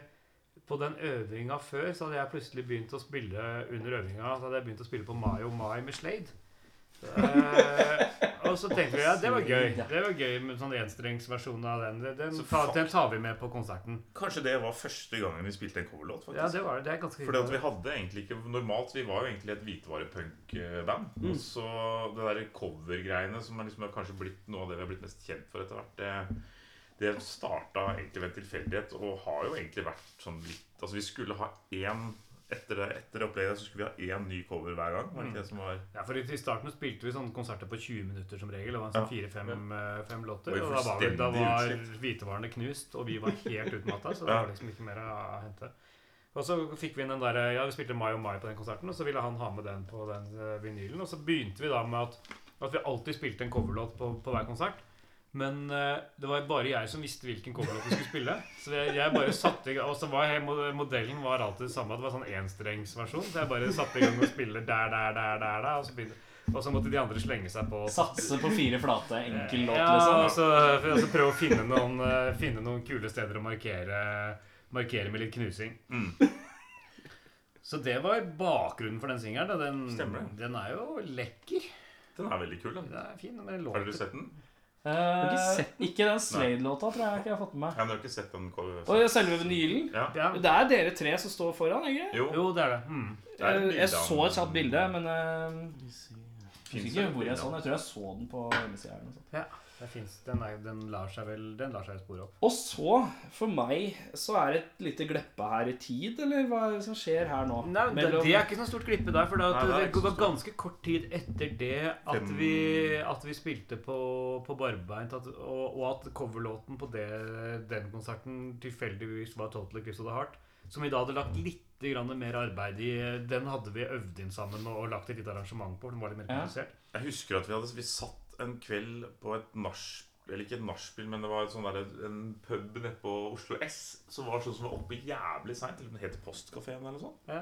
[SPEAKER 4] på den øvinga før så hadde jeg plutselig begynt å spille under øvinga så hadde jeg begynt å spille på Mai og Mai med Slade. Eh, og så tenkte vi ja, det var gøy. Det var gøy med sånn enstrengsversjon av den. Den, den,
[SPEAKER 5] Så
[SPEAKER 4] tar,
[SPEAKER 5] fuck.
[SPEAKER 4] den tar vi med på konserten.
[SPEAKER 5] Kanskje det var første gangen vi spilte en coverlåt, faktisk.
[SPEAKER 4] Ja, det var det. Det er ganske
[SPEAKER 5] Fordi at vi hadde egentlig ikke Normalt, vi var jo egentlig et hvitvarepunk-band.
[SPEAKER 4] Mm.
[SPEAKER 5] Og så det der cover-greiene som er liksom har kanskje blitt noe av det vi har blitt mest kjent for etter hvert, det, det starta egentlig ved en tilfeldighet og har jo egentlig vært sånn litt Altså, vi skulle ha én etter det, etter det opplegget så skulle vi ha én ny cover hver gang. Var det
[SPEAKER 4] Mm.
[SPEAKER 5] ikke det som var
[SPEAKER 4] Ja, for I starten spilte vi sånne konserter på 20 minutter som regel. Det var sånn fire-fem eh, fem låter.
[SPEAKER 5] Oi,
[SPEAKER 4] Og da var, vi, da var
[SPEAKER 5] fullstendig
[SPEAKER 4] hvitevarene knust, og vi var helt utmatta. Så det var liksom ikke mer å hente. Og så fikk vi inn den der, ja, vi spilte Mai og Mai på den konserten, og så ville han ha med den på den eh, vinylen. Og så begynte vi da med at, at vi alltid spilte en coverlåt på, på hver konsert. Men eh, det var bare jeg som visste hvilken coverlåt vi skulle spille. Så jeg, jeg bare satte i gang, Og så var hele mod- modellen var alltid det samme. Det var sånn enstrengsversjon. Så jeg bare satte i gang og spiller der, der, der, der, der og, så begynte, og så måtte de andre slenge seg på.
[SPEAKER 2] Satse på fire flate, enkel låt,
[SPEAKER 4] Ja,
[SPEAKER 2] liksom.
[SPEAKER 4] altså, for- altså prøve å finne noen, eh, finne noen kule steder å markere, markere med litt knusing.
[SPEAKER 5] Mm.
[SPEAKER 4] Så det var bakgrunnen for den singelen. da. Den,
[SPEAKER 5] Stemmer det.
[SPEAKER 4] den er jo lekker.
[SPEAKER 5] Den er veldig kul, den.
[SPEAKER 4] Den er fin, men den
[SPEAKER 5] Har dere
[SPEAKER 4] låter
[SPEAKER 5] sett den?
[SPEAKER 2] Eh, ikke den Slade-låta, tror jeg ikke jeg har fått med meg.
[SPEAKER 5] Ja, dere har ikke sett den cover...
[SPEAKER 2] Og selve vinylen.
[SPEAKER 5] Ja.
[SPEAKER 4] ja.
[SPEAKER 2] Det er dere tre som står foran, ikke
[SPEAKER 5] Jo,
[SPEAKER 4] Jo, det er det. Mm.
[SPEAKER 5] det er et
[SPEAKER 2] Jeg
[SPEAKER 5] bilde av
[SPEAKER 2] så et kjapt bilde, men eh, jeg husker
[SPEAKER 5] Finnes
[SPEAKER 2] ikke
[SPEAKER 5] det
[SPEAKER 2] hvor
[SPEAKER 5] et
[SPEAKER 2] jeg
[SPEAKER 5] bilde
[SPEAKER 2] så den.
[SPEAKER 5] av
[SPEAKER 2] Jeg tror jeg så den på hjemmesida. eller noe sånt.
[SPEAKER 4] Ja, det finnes, den, er, den lar seg vel Den lar seg spore opp.
[SPEAKER 2] Og så, for meg, så er det et lite gleppe her i tid, eller hva er det som skjer her nå?
[SPEAKER 4] Nei, det,
[SPEAKER 2] Mellom-
[SPEAKER 4] det er ikke så stort glippe der, for det, at
[SPEAKER 5] Nei, det er
[SPEAKER 4] det,
[SPEAKER 5] ikke så
[SPEAKER 4] var
[SPEAKER 5] stort.
[SPEAKER 4] ganske kort tid etter det at
[SPEAKER 5] Fem-
[SPEAKER 4] vi, at vi spilte på, på Barbeint, at, og, og at coverlåten på det, den konserten tilfeldigvis var 'Total Eclipse of the Heart', som vi da hadde lagt litt grann mer arbeid i. Den hadde vi øvd inn sammen og, og lagt et lite arrangement på. for Den var litt mer
[SPEAKER 2] Ja.
[SPEAKER 4] komplisert.
[SPEAKER 5] Jeg husker at vi hadde Vi satt en kveld på et nach... Eller ikke et nachspiel, men det var et sånn der, en pub nede på Oslo S som var sånn som var oppe jævlig seint. Eller den het Postkafeen eller noe sånt.
[SPEAKER 4] Ja.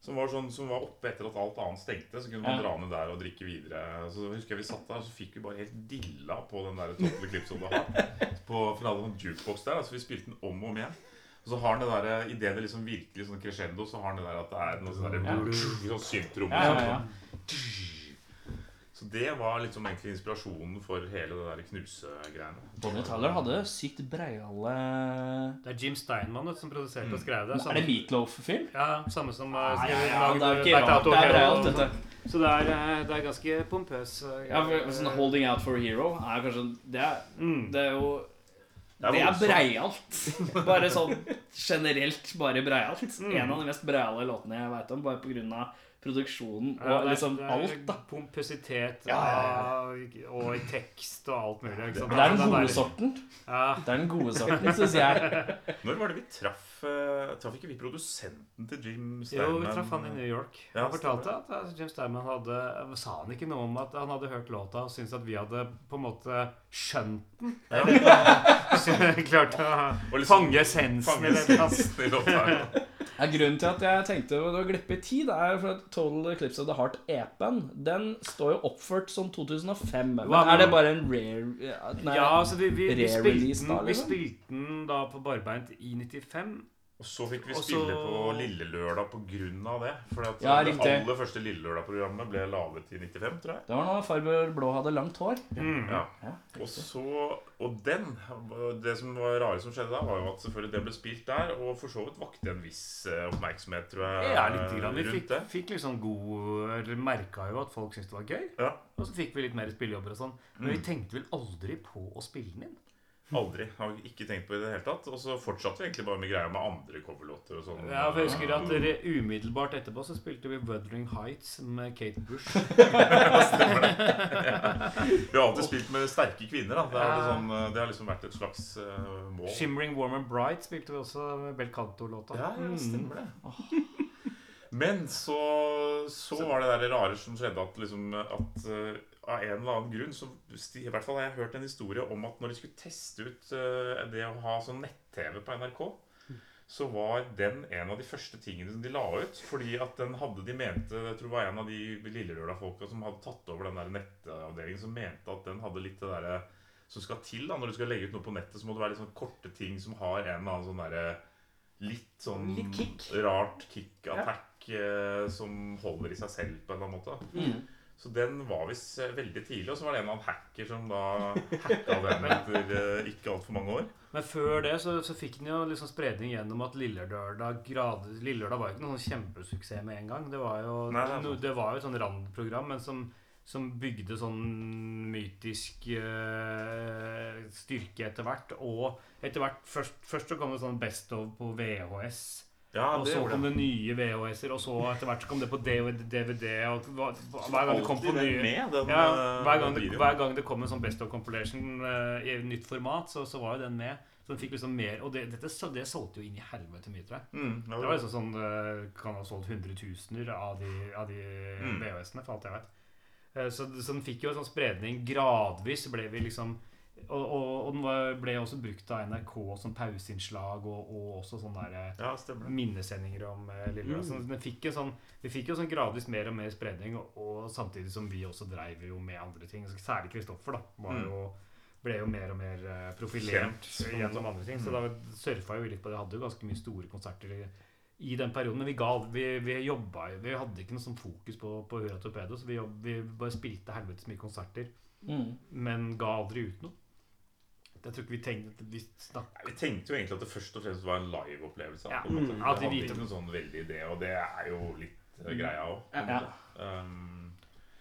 [SPEAKER 5] Som var, sånn, som var oppe etter at alt annet stengte. Så kunne man
[SPEAKER 2] Ja.
[SPEAKER 5] dra ned der og drikke videre. Så husker jeg vi satt der, så fikk vi bare helt dilla på den der Total Eclipse of the Heart. På, for den hadde en jukebox der, så vi spilte den om og om igjen. Og så har den det der, i det det liksom virkelig sånn crescendo, så har den det der at det er noe sånn der Sånn synt-tromme.
[SPEAKER 2] Ja, ja, ja.
[SPEAKER 5] Så det var liksom egentlig inspirasjonen for hele det der knusegreiene.
[SPEAKER 2] Bonnie Tyler hadde sykt breiale
[SPEAKER 4] Det er Jim Steinman vet, du, som produserte og skrev det.
[SPEAKER 2] Mm. Er det Meatloaf-film?
[SPEAKER 4] ja, samme som uh,
[SPEAKER 2] Ja, ja, ja,
[SPEAKER 4] skrev
[SPEAKER 2] det er
[SPEAKER 4] Dag-
[SPEAKER 2] ikke rart.
[SPEAKER 4] Dato
[SPEAKER 2] Det er
[SPEAKER 4] Hero.
[SPEAKER 2] breialt, dette.
[SPEAKER 4] Så det er, eh, det er ganske pompøs. eh,
[SPEAKER 2] Ja, for, sånn Holding Out for a Hero er kanskje sånn Det er,
[SPEAKER 4] Mm.
[SPEAKER 2] det er jo Det er
[SPEAKER 5] voldsomt.
[SPEAKER 2] breialt. Bare sånn generelt bare breialt.
[SPEAKER 4] Mm.
[SPEAKER 2] En av de mest breiale låtene jeg veit om, bare pga. produksjonen
[SPEAKER 4] Ja,
[SPEAKER 2] og
[SPEAKER 4] det er-
[SPEAKER 2] liksom
[SPEAKER 4] det er
[SPEAKER 2] alt, da.
[SPEAKER 4] Pompøsitet
[SPEAKER 2] Ja,
[SPEAKER 4] ja. og i tekst og alt mulig. Ikke sant?
[SPEAKER 2] Det er den
[SPEAKER 4] bare-
[SPEAKER 2] gode sorten.
[SPEAKER 4] Ja,
[SPEAKER 2] Det er den gode sorten, syns jeg.
[SPEAKER 5] Når var det vi traff eh, Traff ikke vi produsenten til Jim
[SPEAKER 4] jo,
[SPEAKER 5] Steinman?
[SPEAKER 4] vi traff han i New York.
[SPEAKER 5] eh, Ja,
[SPEAKER 4] han fortalte at eh, James Diamond hadde Sa han ikke noe om at han hadde hørt låta og syntes at vi hadde på en måte skjønt den? Eller klarte å
[SPEAKER 5] Og liksom-
[SPEAKER 4] fange essensen i
[SPEAKER 5] Fanget
[SPEAKER 4] det. altså.
[SPEAKER 5] i låta.
[SPEAKER 2] Ja, grunnen til at jeg tenkte å glippe i tid, er for at Total Eclipse of the Heart EP-en Den står jo oppført som 2005. Men
[SPEAKER 4] Hva-
[SPEAKER 2] er det bare en rare ja, nei,
[SPEAKER 4] Ja, altså vi, vi, vi,
[SPEAKER 2] Re-release
[SPEAKER 4] spilte
[SPEAKER 2] da,
[SPEAKER 4] den, vi
[SPEAKER 2] liksom?
[SPEAKER 4] spilte den da på barbeint i 95.
[SPEAKER 5] Og så fikk vi
[SPEAKER 4] Og så-
[SPEAKER 5] spille på Lille Lørdag på grunn av det. For at
[SPEAKER 2] Ja,
[SPEAKER 5] det
[SPEAKER 2] riktig.
[SPEAKER 5] aller første Lille Lørdag-programmet ble laget i 95, tror jeg.
[SPEAKER 2] Det var når Farber Blå hadde langt hår.
[SPEAKER 4] Mm.
[SPEAKER 5] Ja. Og så Og den Det som var rare som skjedde da, var jo at selvfølgelig det ble spilt der, og for så vidt vakte en viss eh, oppmerksomhet, tror jeg,
[SPEAKER 4] Ja, litt grann. Vi
[SPEAKER 5] Eh, rundt
[SPEAKER 4] fikk,
[SPEAKER 5] det.
[SPEAKER 4] fikk litt sånn god Eller merka jo at folk syntes det var gøy.
[SPEAKER 5] Ja.
[SPEAKER 4] Og så fikk vi litt mer spillejobber og sånn. Men
[SPEAKER 5] Mm.
[SPEAKER 4] vi tenkte vel aldri på å spille den inn.
[SPEAKER 5] Aldri. Har ikke tenkt på det i det hele tatt. Og så fortsatte vi egentlig bare med greia med andre coverlåter og sånn.
[SPEAKER 4] Ja, for jeg husker at dere umiddelbart etterpå så spilte vi Wuthering Heights med Kate Bush.
[SPEAKER 5] Vi har alltid spilt med sterke kvinner, da. Det, er
[SPEAKER 4] Ja.
[SPEAKER 5] alltid sånn, eh, det har liksom vært et slags eh, mål.
[SPEAKER 4] Shimmering Warm and Bright spilte vi også med Mm. Bel Canto-låta.
[SPEAKER 5] Ja, ja, stemmer det. Men så, så var det der rare som skjedde at, liksom, at eh, av en eller annen grunn så, sti- I hvert fall har jeg hørt en historie om at når de skulle teste ut eh, det å ha sånn nett-TV på NRK, så var den en av de første tingene som de la ut. Fordi at den hadde de mente Jeg tror det var en av de Lillerøla-folka som hadde tatt over den der nettavdelingen, som mente at den hadde litt det derre som skal til da, når du skal legge ut noe på nettet, så må det være litt sånn korte ting som har en eller annen sånn derre Litt sånn
[SPEAKER 6] Litt kick.
[SPEAKER 5] rart kick-attack eh, som holder i seg selv på en eller annen måte.
[SPEAKER 4] Mm.
[SPEAKER 5] Så den var visst eh, veldig tidlig, og så var det en av en hacker som da hacka den etter eh, ikke altfor mange år.
[SPEAKER 4] Men før det så, så fikk den jo liksom spredning gjennom at Lillerdørdag gradvis Lillerdørdag var jo ikke noen sånn kjempesuksess med en gang. Det var jo,
[SPEAKER 5] Nei, det er
[SPEAKER 4] no,
[SPEAKER 5] sant.
[SPEAKER 4] det var jo et sånn randprogram, men som, som bygde sånn mytisk eh, styrke etter hvert. Og etter hvert først, først så kom det sånn Best of på VHS.
[SPEAKER 5] Ja,
[SPEAKER 4] Og
[SPEAKER 5] det
[SPEAKER 4] så
[SPEAKER 5] gjorde
[SPEAKER 4] kom
[SPEAKER 5] den.
[SPEAKER 4] det nye VHS-er, og så etter hvert så kom det på DVD. DVD og hva- hver gang det kom på
[SPEAKER 5] Alltid den
[SPEAKER 4] nye
[SPEAKER 5] med, den,
[SPEAKER 4] ja,
[SPEAKER 5] eh,
[SPEAKER 4] hver, gang
[SPEAKER 5] den
[SPEAKER 4] det,
[SPEAKER 5] videoen.
[SPEAKER 4] hver gang det kom en sånn Best of Compilation eh, i nytt format, så, så var jo den med. Så den fikk liksom mer Og det, dette, så- det solgte jo inn i helvete mye, tror jeg.
[SPEAKER 5] Mm, ja,
[SPEAKER 4] Det var liksom sånn eh, Kan ha solgt hundretusener av de, av de
[SPEAKER 5] Mm.
[SPEAKER 4] VHS-ene, for alt jeg vet. Eh, Så, så den fikk jo en sånn spredning. Gradvis ble vi liksom Og, og, og den var, ble også brukt av NRK som pauseinnslag, og, og også sånn derre
[SPEAKER 5] ja, stemmer det.
[SPEAKER 4] minnesendinger om eh, Lillehammer. Så den fikk en sånn, vi fikk jo sånn gradvis mer og mer spredning, og, og samtidig som vi også dreiv jo med andre ting. Så Særlig Kristoffer da, var jo, ble jo mer og mer eh,
[SPEAKER 5] Kjent,
[SPEAKER 4] profilert
[SPEAKER 5] på en måte.
[SPEAKER 4] gjennom andre ting. Så da surfa jo vi litt på det. Hadde jo ganske mye store konserter i, i den perioden. Men vi, ga, vi, vi jobba jo Vi hadde ikke noe sånn fokus på, på Hurra Torpedo, så vi, jobb, vi bare spilte helvetes mye konserter,
[SPEAKER 2] Mm.
[SPEAKER 4] men ga aldri ut noe. Jeg tror ikke vi tenkte Vi snakka
[SPEAKER 5] Nei, Vi tenkte jo egentlig at det først og fremst var en live-opplevelse.
[SPEAKER 4] Ja,
[SPEAKER 5] på en måte.
[SPEAKER 4] mm, at de
[SPEAKER 5] Vi
[SPEAKER 4] Mm.
[SPEAKER 5] hadde
[SPEAKER 4] hvite-
[SPEAKER 5] ikke noen sånn veldig idé, og det er jo litt eh, greia òg.
[SPEAKER 2] Ja.
[SPEAKER 5] Um,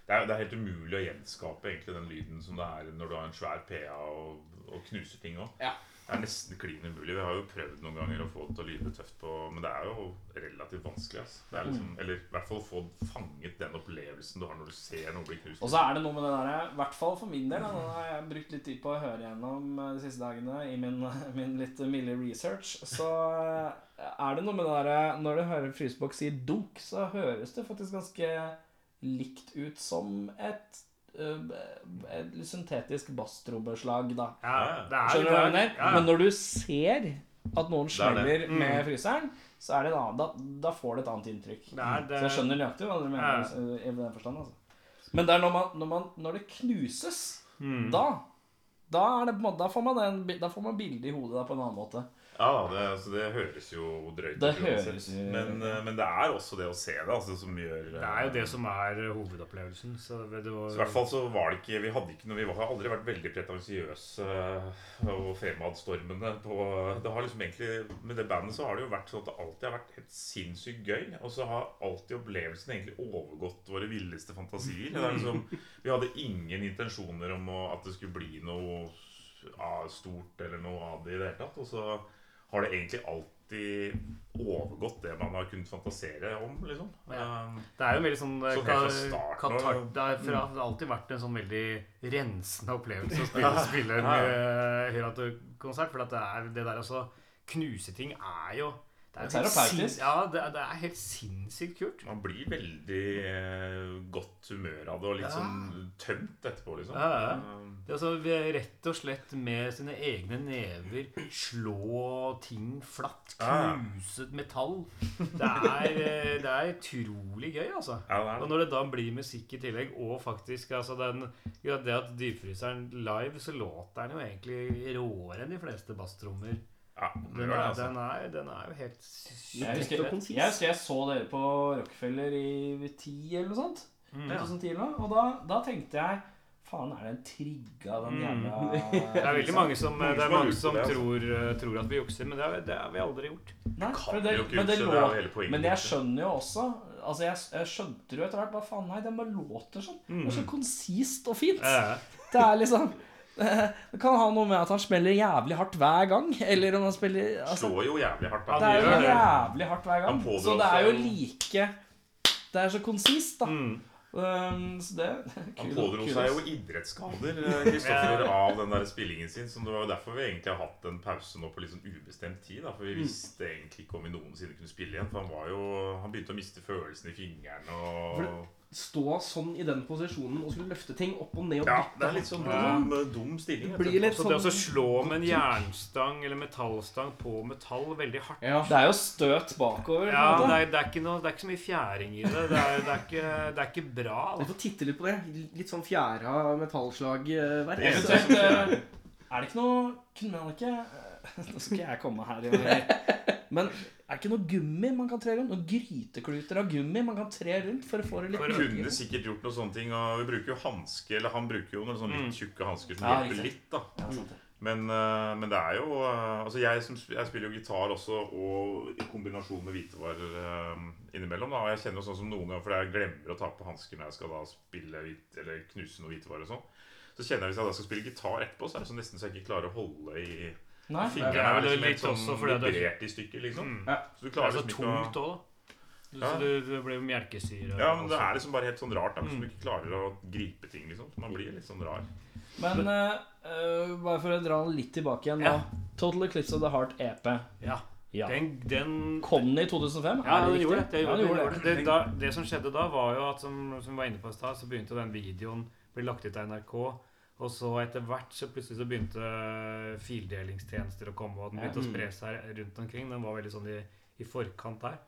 [SPEAKER 5] det, er- det er helt umulig å gjenskape egentlig den lyden som det er når du har en svær PA og, og knuser ting òg.
[SPEAKER 2] Ja.
[SPEAKER 5] Det er nesten klin umulig. Vi har jo prøvd noen ganger å få det til å lyde tøft på Men det er jo relativt vanskelig. Altså. Det er liksom, eller i hvert fall å få fanget den opplevelsen du har når du ser noe bli knust.
[SPEAKER 2] Og så er det noe med det der, i hvert fall for min del, da, den har jeg brukt litt tid på å høre gjennom eh, de siste dagene i min, min litt milde research, så eh, er det noe med det der, eh, når du hører Frysebox si dunk, så høres det faktisk ganske likt ut som et, eh, et syntetisk basstrombeslag, da.
[SPEAKER 4] ja, det er-
[SPEAKER 2] Skjønner du hva jeg
[SPEAKER 4] det
[SPEAKER 2] mener?
[SPEAKER 4] er- ja, ja.
[SPEAKER 2] Men når du ser at noen
[SPEAKER 5] Det er
[SPEAKER 2] smeller
[SPEAKER 5] det.
[SPEAKER 4] Mm.
[SPEAKER 2] med fryseren, så er det en annen, da, da får du et annet inntrykk.
[SPEAKER 4] Det er- det-
[SPEAKER 2] Mm. Så jeg skjønner nøyaktig hva du mener eh, i den forstand. Altså. Men det er når, man, når, man, når det knuses,
[SPEAKER 4] Mm.
[SPEAKER 2] da da, er det, på en måte- da får man, den, bi- da får man bildet i hodet da, på en annen måte.
[SPEAKER 5] Ja, det, altså, det høres jo drøyt
[SPEAKER 2] Det
[SPEAKER 5] uansett.
[SPEAKER 2] høres jo-
[SPEAKER 5] men, eh, men det er også det å se det altså, som gjør
[SPEAKER 4] Det er jo det som er eh, hovedopplevelsen. Så det var,
[SPEAKER 5] Så i hvert fall så var det ikke Vi hadde ikke noe Vi har aldri vært veldig pretensiøse eh, og fremadstormende på Det har liksom egentlig Med det bandet så har det jo vært sånn at det alltid har vært helt sinnssykt gøy. Og så har alltid opplevelsen egentlig overgått våre villeste fantasier. Det er liksom, vi hadde ingen intensjoner om å, at det skulle bli noe av stort eller noe av det i det hele tatt. Og så har det egentlig alltid overgått det man har kunnet fantasere om, liksom.
[SPEAKER 4] Ja.
[SPEAKER 5] Um,
[SPEAKER 4] Det er jo en veldig sånn eh,
[SPEAKER 5] Så helt fra
[SPEAKER 4] ka-
[SPEAKER 5] starten av-
[SPEAKER 4] katar- Det er fra- det har alltid vært en sånn veldig rensende opplevelse å spille, spille en eh, Herato-konsert. For at det, er, det der altså Knuse ting er jo Det
[SPEAKER 2] Det er
[SPEAKER 4] helt sin-
[SPEAKER 2] terapeutisk.
[SPEAKER 4] Ja, det, er- det er helt sinnssykt kult.
[SPEAKER 5] Man blir veldig eh, godt humør av det, og litt sånn tømt etterpå, liksom.
[SPEAKER 4] Ja, ja.
[SPEAKER 5] Um,
[SPEAKER 4] Det er altså vi er rett og slett med sine egne never slå ting flatt,
[SPEAKER 5] Ja.
[SPEAKER 4] knuse metall. Det er, eh, det er utrolig gøy, altså.
[SPEAKER 5] ja, det
[SPEAKER 4] Og
[SPEAKER 5] er det.
[SPEAKER 4] når det da blir musikk i tillegg, og faktisk altså den, ja, det at dypfryseren live, så låter den jo egentlig råere enn de fleste basstrommer.
[SPEAKER 5] Ja, det
[SPEAKER 4] Den,
[SPEAKER 5] gjør det,
[SPEAKER 4] er-
[SPEAKER 5] altså.
[SPEAKER 4] den, er- den er jo helt sykt
[SPEAKER 2] Jeg husker,
[SPEAKER 4] fett.
[SPEAKER 2] jeg husker jeg så dere på Rockefeller i 10 eller noe sånt.
[SPEAKER 4] Mm.
[SPEAKER 2] 2010 eller noe. Og da, da tenkte jeg Faen, er den trigga, den jævla
[SPEAKER 4] Mm. Det er veldig mange som, eh, det er mange som
[SPEAKER 5] Mange som
[SPEAKER 4] tror, eh, tror at vi jukser, men det har, det har vi aldri gjort.
[SPEAKER 2] Nei, for
[SPEAKER 5] kan
[SPEAKER 2] det,
[SPEAKER 5] jo ikke
[SPEAKER 2] men, det
[SPEAKER 5] jukse, det er jo hele
[SPEAKER 2] lå,
[SPEAKER 5] poenget.
[SPEAKER 2] men jeg skjønner jo også Altså, jeg, jeg skjønte jo etter hvert bare faen, nei, den bare låter sånn. Det er så konsist og fint.
[SPEAKER 4] Mm. Ja, ja.
[SPEAKER 2] Det er liksom eh, Det kan ha noe med at han smeller jævlig hardt hver gang, eller om han spiller altså,
[SPEAKER 5] Slår jo jævlig hardt.
[SPEAKER 4] Ja,
[SPEAKER 5] da.
[SPEAKER 2] Det er jo
[SPEAKER 4] gjør det.
[SPEAKER 2] jævlig hardt hver gang.
[SPEAKER 5] Han pådrar
[SPEAKER 2] Så det er jo
[SPEAKER 5] seg- Mm.
[SPEAKER 2] like Det er så konsist, da. Um, så det
[SPEAKER 5] Han
[SPEAKER 2] kudos-
[SPEAKER 5] pådro seg jo idrettsskader eh, Kristoffer, av den der spillingen sin. Så det var jo derfor vi egentlig har hatt en pause nå på litt sånn ubestemt tid. Da, for vi visste egentlig ikke om vi noensinne kunne spille igjen. For han var jo Han begynte å miste følelsen i fingrene og
[SPEAKER 3] Stå sånn i den posisjonen og skulle løfte ting opp og ned og
[SPEAKER 5] Ja,
[SPEAKER 3] dytte.
[SPEAKER 5] det er litt sånn dum, dum stilling.
[SPEAKER 3] Blir litt
[SPEAKER 4] Eh, Så det å
[SPEAKER 3] sånn
[SPEAKER 4] slå med en jernstang eller metallstang på metall veldig hardt
[SPEAKER 3] ja.
[SPEAKER 2] Det er jo støt bakover. på en
[SPEAKER 4] Ja,
[SPEAKER 2] måte.
[SPEAKER 4] det er, det, er ikke noe, det er ikke så mye fjæring i det. Det er, det er, ikke, det er ikke bra. altså.
[SPEAKER 3] Man får titte litt på det. Litt sånn fjæra metallslagverk.
[SPEAKER 2] Jeg
[SPEAKER 5] sånn
[SPEAKER 2] synes at, eh, er det ikke noe Kunne man ikke eh, Nå skal ikke jeg komme her i Men er det ikke noe gummi man kan tre rundt? Noen grytekluter av gummi man kan tre rundt for å få det litt
[SPEAKER 5] Vi kunne sikkert gjort noen sånne ting. Og vi bruker jo hanske, eller han bruker jo noen sånne
[SPEAKER 4] Mm.
[SPEAKER 5] litt tjukke hansker som
[SPEAKER 2] Ja,
[SPEAKER 5] hjelper
[SPEAKER 2] riktig.
[SPEAKER 5] litt, da.
[SPEAKER 2] Ja, sant det.
[SPEAKER 5] Men, eh, men det er jo eh, Altså, jeg, som, sp- jeg spiller jo gitar også, og i kombinasjon med hvitevarer eh, innimellom. da, Og jeg kjenner jo sånn som noen ganger, fordi jeg glemmer å ta på hansker når jeg skal da spille hvit, eller knuse noe hvitevarer og sånn. Så kjenner jeg hvis jeg da skal spille gitar etterpå, så er det sånn nesten så jeg ikke klarer å holde i
[SPEAKER 2] Nei,
[SPEAKER 4] det
[SPEAKER 5] fingrene.
[SPEAKER 4] er
[SPEAKER 5] er
[SPEAKER 4] vel
[SPEAKER 5] liksom
[SPEAKER 4] litt
[SPEAKER 5] helt
[SPEAKER 4] også
[SPEAKER 5] sånn
[SPEAKER 4] fordi det er-
[SPEAKER 5] vibrert i stykker, liksom.
[SPEAKER 4] Mm.
[SPEAKER 5] Så du
[SPEAKER 4] Det er
[SPEAKER 5] klarer
[SPEAKER 4] så
[SPEAKER 5] liksom ikke å
[SPEAKER 4] tungt òg, da. Du,
[SPEAKER 5] Ja.
[SPEAKER 4] så du, du blir jo melkesyre.
[SPEAKER 5] ja, men Det er liksom bare helt sånn rart da, hvis du ikke klarer å gripe ting. liksom Så Man blir litt sånn rar.
[SPEAKER 2] Men eh, eh, bare for å dra den litt tilbake igjen nå.
[SPEAKER 4] Ja.
[SPEAKER 2] Total Eclipse of the Heart EP.
[SPEAKER 4] ja.
[SPEAKER 2] Ja.
[SPEAKER 4] Den, den
[SPEAKER 2] Kom den i 2005?
[SPEAKER 4] ja,
[SPEAKER 2] Er
[SPEAKER 4] den
[SPEAKER 2] riktig?
[SPEAKER 4] gjorde det. Det,
[SPEAKER 2] Ja, den
[SPEAKER 4] gjorde, det,
[SPEAKER 2] gjorde
[SPEAKER 4] gjorde det. Det, da, det som skjedde da, var jo at som, som vi var inne på i stad, så begynte jo den videoen bli lagt ut av NRK. Og så etter hvert så plutselig så begynte fildelingstjenester å komme, og den begynte å spre seg rundt omkring. Den var veldig sånn i, i forkant der.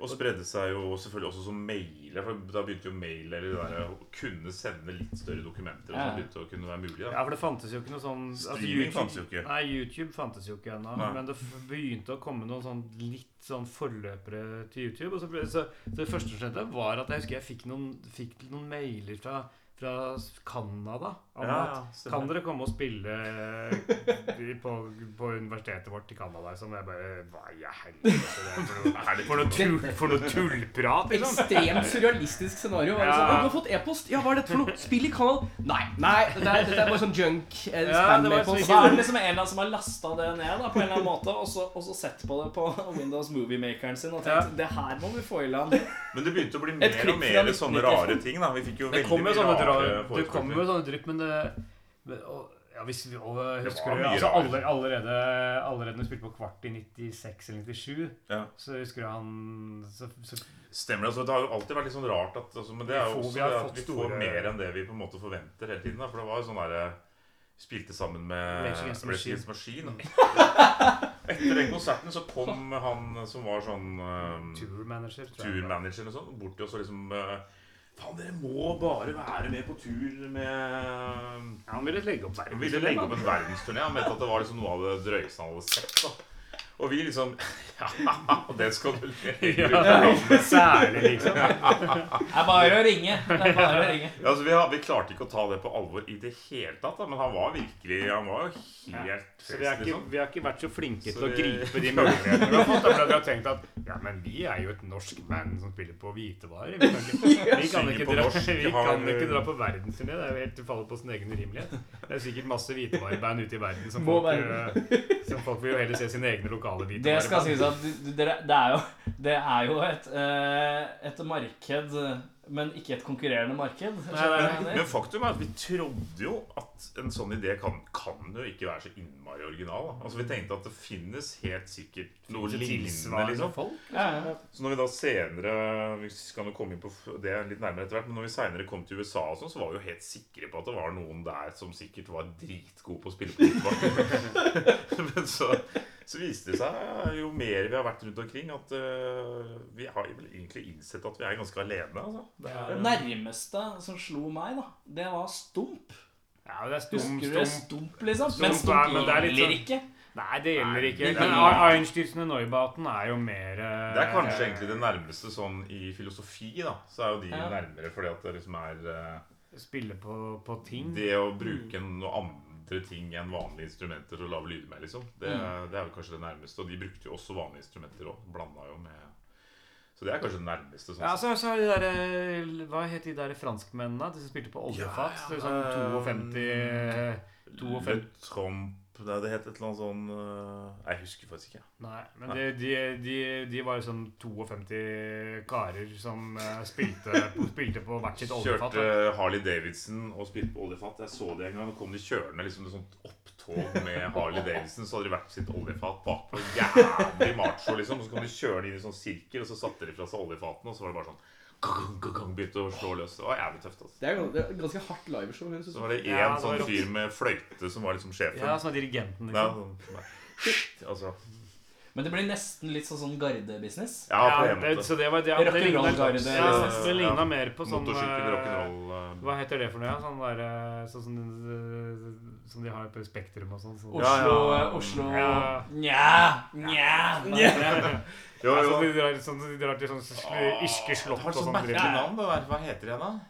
[SPEAKER 5] Og spredde seg jo selvfølgelig også som mailer. For da begynte jo mail eller det der, å kunne sende litt større dokumenter. Og
[SPEAKER 2] Ja.
[SPEAKER 5] så begynte det å kunne være mulig da
[SPEAKER 4] Ja, for det fantes jo ikke noe sånn altså,
[SPEAKER 5] Streaming
[SPEAKER 4] YouTube-
[SPEAKER 5] fantes jo ikke.
[SPEAKER 4] Nei, YouTube fantes jo ikke ennå.
[SPEAKER 5] Nei.
[SPEAKER 4] Men det f- begynte å komme noen sånn litt sånn forløpere til YouTube. Og så, ble, så, så det første som skjedde, var at jeg husker jeg fikk noen, fikk noen mailer fra fra Canada. om
[SPEAKER 5] Ja,
[SPEAKER 4] at,
[SPEAKER 5] ja, stemmer.
[SPEAKER 4] kan dere komme og spille eh, på, på universitetet vårt i Canada? Som jeg bare Hva i helvete er det for noe,
[SPEAKER 5] Er det
[SPEAKER 4] for noe, tull, for noe tullprat, liksom?
[SPEAKER 3] Ekstremt surrealistisk scenario. Var det
[SPEAKER 4] Ja.
[SPEAKER 3] sånn, «Å, du har fått e-post. Ja, hva er dette for noe? Spill i kanal. Nei, nei, dette er, dette er bare sånn junk. eh,
[SPEAKER 4] Ja, det var
[SPEAKER 3] Spam-e-post.
[SPEAKER 2] Og så er det liksom en eller annen som har lasta det ned da, på en eller annen måte, og så, og så sett på det på Windows Moviemakeren sin og tenkt det her må vi få i land.
[SPEAKER 5] Men det begynte å bli mer
[SPEAKER 2] klikk
[SPEAKER 5] og
[SPEAKER 2] fra
[SPEAKER 5] mer
[SPEAKER 2] mitt
[SPEAKER 5] sånne rare ting. da Vi fikk jo
[SPEAKER 4] Det
[SPEAKER 5] veldig
[SPEAKER 4] kom jo
[SPEAKER 5] mye
[SPEAKER 4] sånne, dra,
[SPEAKER 5] rare
[SPEAKER 4] det kom jo
[SPEAKER 5] forespørsler.
[SPEAKER 4] sånne drypp, men det men- og, ja, hvis vi, og, husker
[SPEAKER 5] var
[SPEAKER 4] du,
[SPEAKER 5] mye
[SPEAKER 4] altså,
[SPEAKER 5] rart.
[SPEAKER 4] alle, allerede, allerede når vi spilte på kvart i 96 eller 97,
[SPEAKER 5] Ja.
[SPEAKER 4] så husker du han så, så,
[SPEAKER 5] Stemmer det. Altså, det har jo alltid vært litt sånn rart at altså, Men det er
[SPEAKER 4] Vi
[SPEAKER 5] jo
[SPEAKER 4] får-
[SPEAKER 5] også
[SPEAKER 4] vi har
[SPEAKER 5] det
[SPEAKER 4] fått
[SPEAKER 5] at vi får
[SPEAKER 4] store-
[SPEAKER 5] mer enn det vi på en måte forventer hele tiden. da For det var jo sånn derre Spilte sammen med
[SPEAKER 4] Rage Against the Machine.
[SPEAKER 5] Against the Machine. Og etter, etter den konserten så kom han som var sånn um,
[SPEAKER 4] Tour manager, tror jeg.
[SPEAKER 5] turmanager og sånn, bort til oss og liksom eh, Faen, dere må bare være med på tur med ehm,
[SPEAKER 4] Ja, han ville legge opp verden.
[SPEAKER 5] Han ville legge opp en verdensturné. Han mente at det var liksom noe av det drøyeste han hadde sett. da Og vi liksom Ja, den skal du le av.
[SPEAKER 4] Særlig, liksom.
[SPEAKER 2] Det er bare å ringe. Det er bare å ringe.
[SPEAKER 5] Ja, altså, vi, har- vi klarte ikke å ta det på alvor i det hele tatt, da, men han var virkelig Han var jo helt liksom.
[SPEAKER 4] Så vi har, ikke, vi har ikke vært så flinke til å
[SPEAKER 5] Så vi-
[SPEAKER 4] gripe de mulighetene vi har fått. da, fordi Vi har tenkt at ja, men vi er jo et norsk band som spiller på hvitevarer. Vi kan ikke, vi kan
[SPEAKER 5] Synger
[SPEAKER 4] ikke,
[SPEAKER 5] på
[SPEAKER 4] dra,
[SPEAKER 5] norsk,
[SPEAKER 4] vi
[SPEAKER 5] har- eh,
[SPEAKER 4] kan ikke dra på verdensturné. Det er jo helt til å falle på sin egen urimelighet. Det er sikkert masse hvitevareband ute i verden som
[SPEAKER 2] Må
[SPEAKER 4] folk, eh, som folk vil jo heller se sine egne lokale
[SPEAKER 2] Det skal sies
[SPEAKER 4] hvitevareband.
[SPEAKER 2] at du- du- dere, det er jo, det er jo et, eh, et marked, men ikke et konkurrerende marked.
[SPEAKER 4] nei,
[SPEAKER 5] Men faktum er at vi trodde jo at en sånn idé kan, kan jo ikke være så innmari original. Da. Altså Vi tenkte at det finnes helt sikkert noe lignende.
[SPEAKER 4] Tilsvarende
[SPEAKER 5] Liksom.
[SPEAKER 4] folk.
[SPEAKER 2] Ja, ja.
[SPEAKER 5] Så når vi da senere Vi skal jo komme inn på f- det litt nærmere etter hvert, men når vi senere kom til USA, og sånn, så var vi jo helt sikre på at det var noen der som sikkert var dritgod på å spille på fotball. men så, så viste det seg, jo mer vi har vært rundt omkring, at øh, vi har vel egentlig innsett at vi er ganske alene. Altså. Det er,
[SPEAKER 2] Det nærmeste som slo meg, da, det var Stump.
[SPEAKER 4] Ja, det er stum,
[SPEAKER 2] Husker du
[SPEAKER 4] stum.
[SPEAKER 2] Stump, liksom? Men
[SPEAKER 4] Stump
[SPEAKER 2] Stump
[SPEAKER 4] er- men det er litt
[SPEAKER 2] gjelder
[SPEAKER 4] sånn-
[SPEAKER 2] ikke.
[SPEAKER 4] Nei, det gjelder ikke.
[SPEAKER 2] det
[SPEAKER 4] Men
[SPEAKER 2] gjelder ikke.
[SPEAKER 4] Einstürzende Neubaten er jo mer eh,
[SPEAKER 5] Det er kanskje egentlig det nærmeste sånn i filosofi, da. Så er jo de
[SPEAKER 2] Ja.
[SPEAKER 5] nærmere fordi at det liksom er eh,
[SPEAKER 4] Spille på, på ting.
[SPEAKER 5] Det å bruke noe andre ting enn vanlige instrumenter til å lage lyder med, liksom. Det, det er jo kanskje det nærmeste. Og de brukte jo også vanlige instrumenter òg. Blanda jo med Så det er kanskje det nærmeste. Sånn.
[SPEAKER 4] Ja, altså, så, så har de der, eh, Hva het de der franskmennene? De som spilte på oljefat?
[SPEAKER 5] Ja, ja,
[SPEAKER 4] sånn
[SPEAKER 5] eh,
[SPEAKER 4] 52 eh, 52
[SPEAKER 5] Le Tromp Nei, det het et eller annet sånn eh, Jeg husker faktisk ikke.
[SPEAKER 4] Nei, men de, de, de, de var jo sånn 52 karer som eh, spilte, spilte på hvert sitt oljefat.
[SPEAKER 5] Kjørte
[SPEAKER 4] da.
[SPEAKER 5] Harley Davidson og spilte på oljefat. Jeg så det en gang. Da kom de kjørende liksom et sånt opptog med Harley Davidson. Så hadde de vært på sitt oljefat bakpå. Jævlig macho, liksom. Og så kom de kjørende inn i sånn sirkel, og så satte de fra seg oljefatene, og så var det bare sånn gang, gang, gang, Begynte å slå løs. Det var jævlig tøft, altså.
[SPEAKER 3] Det er gans- det er ganske hardt liveshow. høres det ut
[SPEAKER 5] Så
[SPEAKER 3] som.
[SPEAKER 5] var det én
[SPEAKER 4] Ja, det var
[SPEAKER 5] sånn
[SPEAKER 4] rått.
[SPEAKER 5] fyr med fløyte som var liksom sjefen.
[SPEAKER 4] Ja, sånn dirigenten,
[SPEAKER 5] Nei,
[SPEAKER 4] liksom.
[SPEAKER 5] sånn, nei. Shit, altså.
[SPEAKER 2] Men det blir nesten litt sånn, sånn gardebusiness.
[SPEAKER 5] Ja, på
[SPEAKER 4] Ja,
[SPEAKER 5] en
[SPEAKER 4] det,
[SPEAKER 5] måte.
[SPEAKER 4] så det var det, det, liksom-
[SPEAKER 2] Rock'n'roll
[SPEAKER 4] lignet-
[SPEAKER 2] garde, det-
[SPEAKER 4] ja, det lignet
[SPEAKER 5] Ja.
[SPEAKER 4] mer på sånn
[SPEAKER 5] Motorsykkel,
[SPEAKER 4] eh,
[SPEAKER 5] rock'n'roll eh,
[SPEAKER 4] Hva heter det for noe? Ja? Sånn der, eh, sånn som, eh, som de har på Spektrum og sånn. sånn.
[SPEAKER 2] Oslo, eh,
[SPEAKER 5] Ja, ja.
[SPEAKER 2] Oslo
[SPEAKER 4] Ja.
[SPEAKER 2] Nja, nja, nja.
[SPEAKER 5] Jo,
[SPEAKER 4] Ja,
[SPEAKER 5] jo.
[SPEAKER 4] sånn de drar, sånn, de drar til sånn sl- irske slott
[SPEAKER 5] Har
[SPEAKER 4] og
[SPEAKER 5] et sånt
[SPEAKER 4] sånn.
[SPEAKER 5] merkelig navn, det der. Hva heter det igjen, da?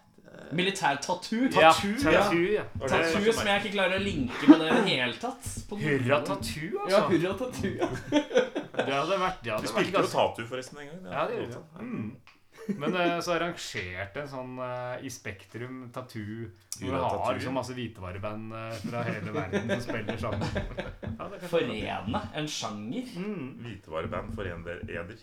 [SPEAKER 2] Militær tattoo.
[SPEAKER 4] Ja,
[SPEAKER 2] Tattoo,
[SPEAKER 4] tattoo, ja.
[SPEAKER 5] Var det-
[SPEAKER 2] tattoo som jeg ikke klarer å linke med det i det hele tatt. På noen
[SPEAKER 4] Hurra
[SPEAKER 2] måte.
[SPEAKER 4] tattoo,
[SPEAKER 3] Ja,
[SPEAKER 4] altså.
[SPEAKER 3] hurra tattoo. ja.
[SPEAKER 4] Det hadde vært, det
[SPEAKER 5] Vi
[SPEAKER 4] hadde vært
[SPEAKER 5] spilte jo
[SPEAKER 4] ganske
[SPEAKER 5] Tatu forresten en gang.
[SPEAKER 4] Ja, det gjorde vi. Men eh, så arrangerte en sånn eh, i Spektrum tattoo hvor
[SPEAKER 5] Hurra
[SPEAKER 4] det har
[SPEAKER 5] tattoo.
[SPEAKER 4] liksom masse hvitevareband eh, fra hele verden som spiller sammen. Ja, det kan-
[SPEAKER 2] Forene en sjanger.
[SPEAKER 5] Hvitevareband for en del eder.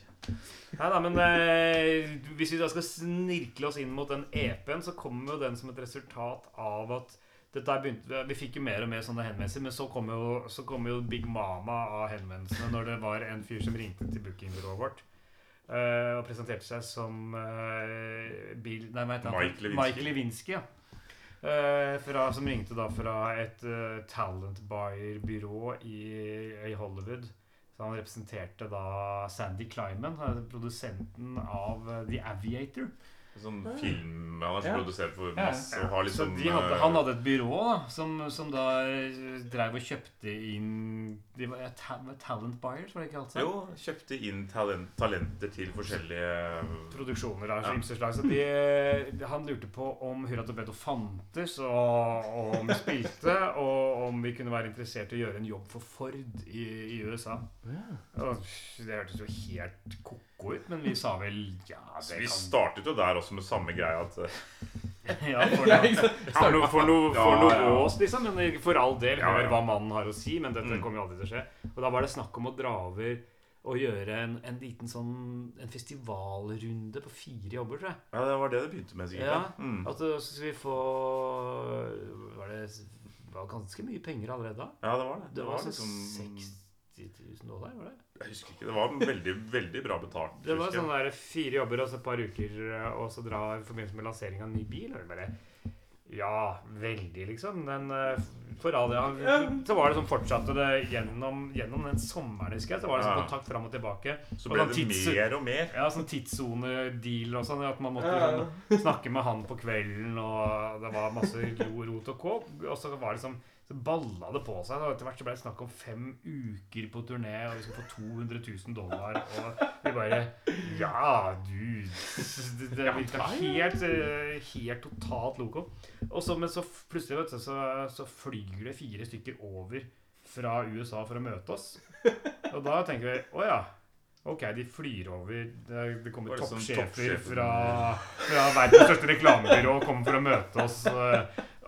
[SPEAKER 4] Nei da, men eh, hvis vi da skal snirkle oss inn mot den EP-en, så kommer jo den som et resultat av at dette her begynte, Vi fikk jo mer og mer sånne henvendelser, men så kom jo, så kom jo Big Mama av henvendelsene når det var en fyr som ringte til bookingbyrået vårt eh, og presenterte seg som eh, Bill Nei, hva heter han?
[SPEAKER 5] Mike Lewinsky.
[SPEAKER 4] Mike Lewinsky ja. Eh, fra, som ringte da fra et eh, talentbuyer-byrå i, i Hollywood. Så han representerte da Sandy Kleiman, eh, produsenten av eh, The Aviator.
[SPEAKER 5] Sånn
[SPEAKER 4] Ah.
[SPEAKER 5] film Han er så
[SPEAKER 3] Ja.
[SPEAKER 5] produsert for
[SPEAKER 2] ja.
[SPEAKER 5] masse og har
[SPEAKER 4] Så
[SPEAKER 5] liksom
[SPEAKER 4] de hadde,
[SPEAKER 5] eh,
[SPEAKER 4] han hadde et byrå da, som, som da eh, drev og kjøpte inn de var, ja, ta, Talent buyers, var det ikke alt seg?
[SPEAKER 5] Jo, kjøpte inn talent, talenter til forskjellige
[SPEAKER 4] Produksjoner av
[SPEAKER 5] Ja.
[SPEAKER 4] ymse slag. Så de, eh, han lurte på om Hurra Torpedo fantes, og, og om vi spilte, og om vi kunne være interessert i å gjøre en jobb for Ford i, i USA. Og det hørtes jo helt ko-ko ut, men vi sa vel ja,
[SPEAKER 5] Så
[SPEAKER 4] det
[SPEAKER 5] Vi
[SPEAKER 4] kan
[SPEAKER 5] startet jo der også med samme greia at eh,
[SPEAKER 4] Ja, for noe, for noe, for noe, for noe
[SPEAKER 5] Ja, ja.
[SPEAKER 4] vås, liksom. Men for all del,
[SPEAKER 5] Ja, ja.
[SPEAKER 4] hør hva mannen har å si. Men dette
[SPEAKER 5] Mm.
[SPEAKER 4] kommer jo aldri til å skje. Og da var det snakk om å dra over og gjøre en, en liten sånn En festivalrunde på fire jobber, tror jeg.
[SPEAKER 5] Ja, det var det det begynte med, sikkert.
[SPEAKER 4] Ja,
[SPEAKER 5] ja. Mm.
[SPEAKER 4] At øh, så skulle vi få øh, Var det det var ganske mye penger allerede da?
[SPEAKER 5] ja, det var det.
[SPEAKER 4] Det var sånn
[SPEAKER 5] liksom
[SPEAKER 4] 60 000 dollar, var det?
[SPEAKER 5] Jeg husker ikke. Det var veldig, veldig bra betalt.
[SPEAKER 4] Det var
[SPEAKER 5] husker jeg.
[SPEAKER 4] sånn der fire jobber og så et par uker, og så dra i forbindelse med lansering av en ny bil. Og det bare Ja, veldig, liksom. Men eh, for all del han- Så var det sånn fortsatte det gjennom, gjennom den sommeren, husker jeg. Så var det sånn
[SPEAKER 5] Ja.
[SPEAKER 4] kontakt fram og tilbake.
[SPEAKER 5] Så
[SPEAKER 4] Og
[SPEAKER 5] ble
[SPEAKER 4] sånn
[SPEAKER 5] det
[SPEAKER 4] tids-
[SPEAKER 5] mer og mer.
[SPEAKER 4] Ja, sånn tidssonedeal og sånn. At man måtte liksom
[SPEAKER 3] Ja, ja.
[SPEAKER 4] sånn, snakke med han på kvelden, og det var masse ro- rot og kåp. Og så var det sånn Så balla det på seg. og Etter hvert så ble det snakk om fem uker på turné, og vi skulle få 200 000 dollar. Og vi bare Ja, du Det, det virka helt, eh, helt totalt loco. Og så, men så f- plutselig vet du, så, så flyr det fire stykker over fra USA for å møte oss. Og da tenker vi å ja. Ok, de flyr over. Det, det kommer
[SPEAKER 5] Var det sånn
[SPEAKER 4] toppsjefer
[SPEAKER 5] toppsjefen-
[SPEAKER 4] fra, fra verdens største reklamebyrå og kommer for å møte oss. eh,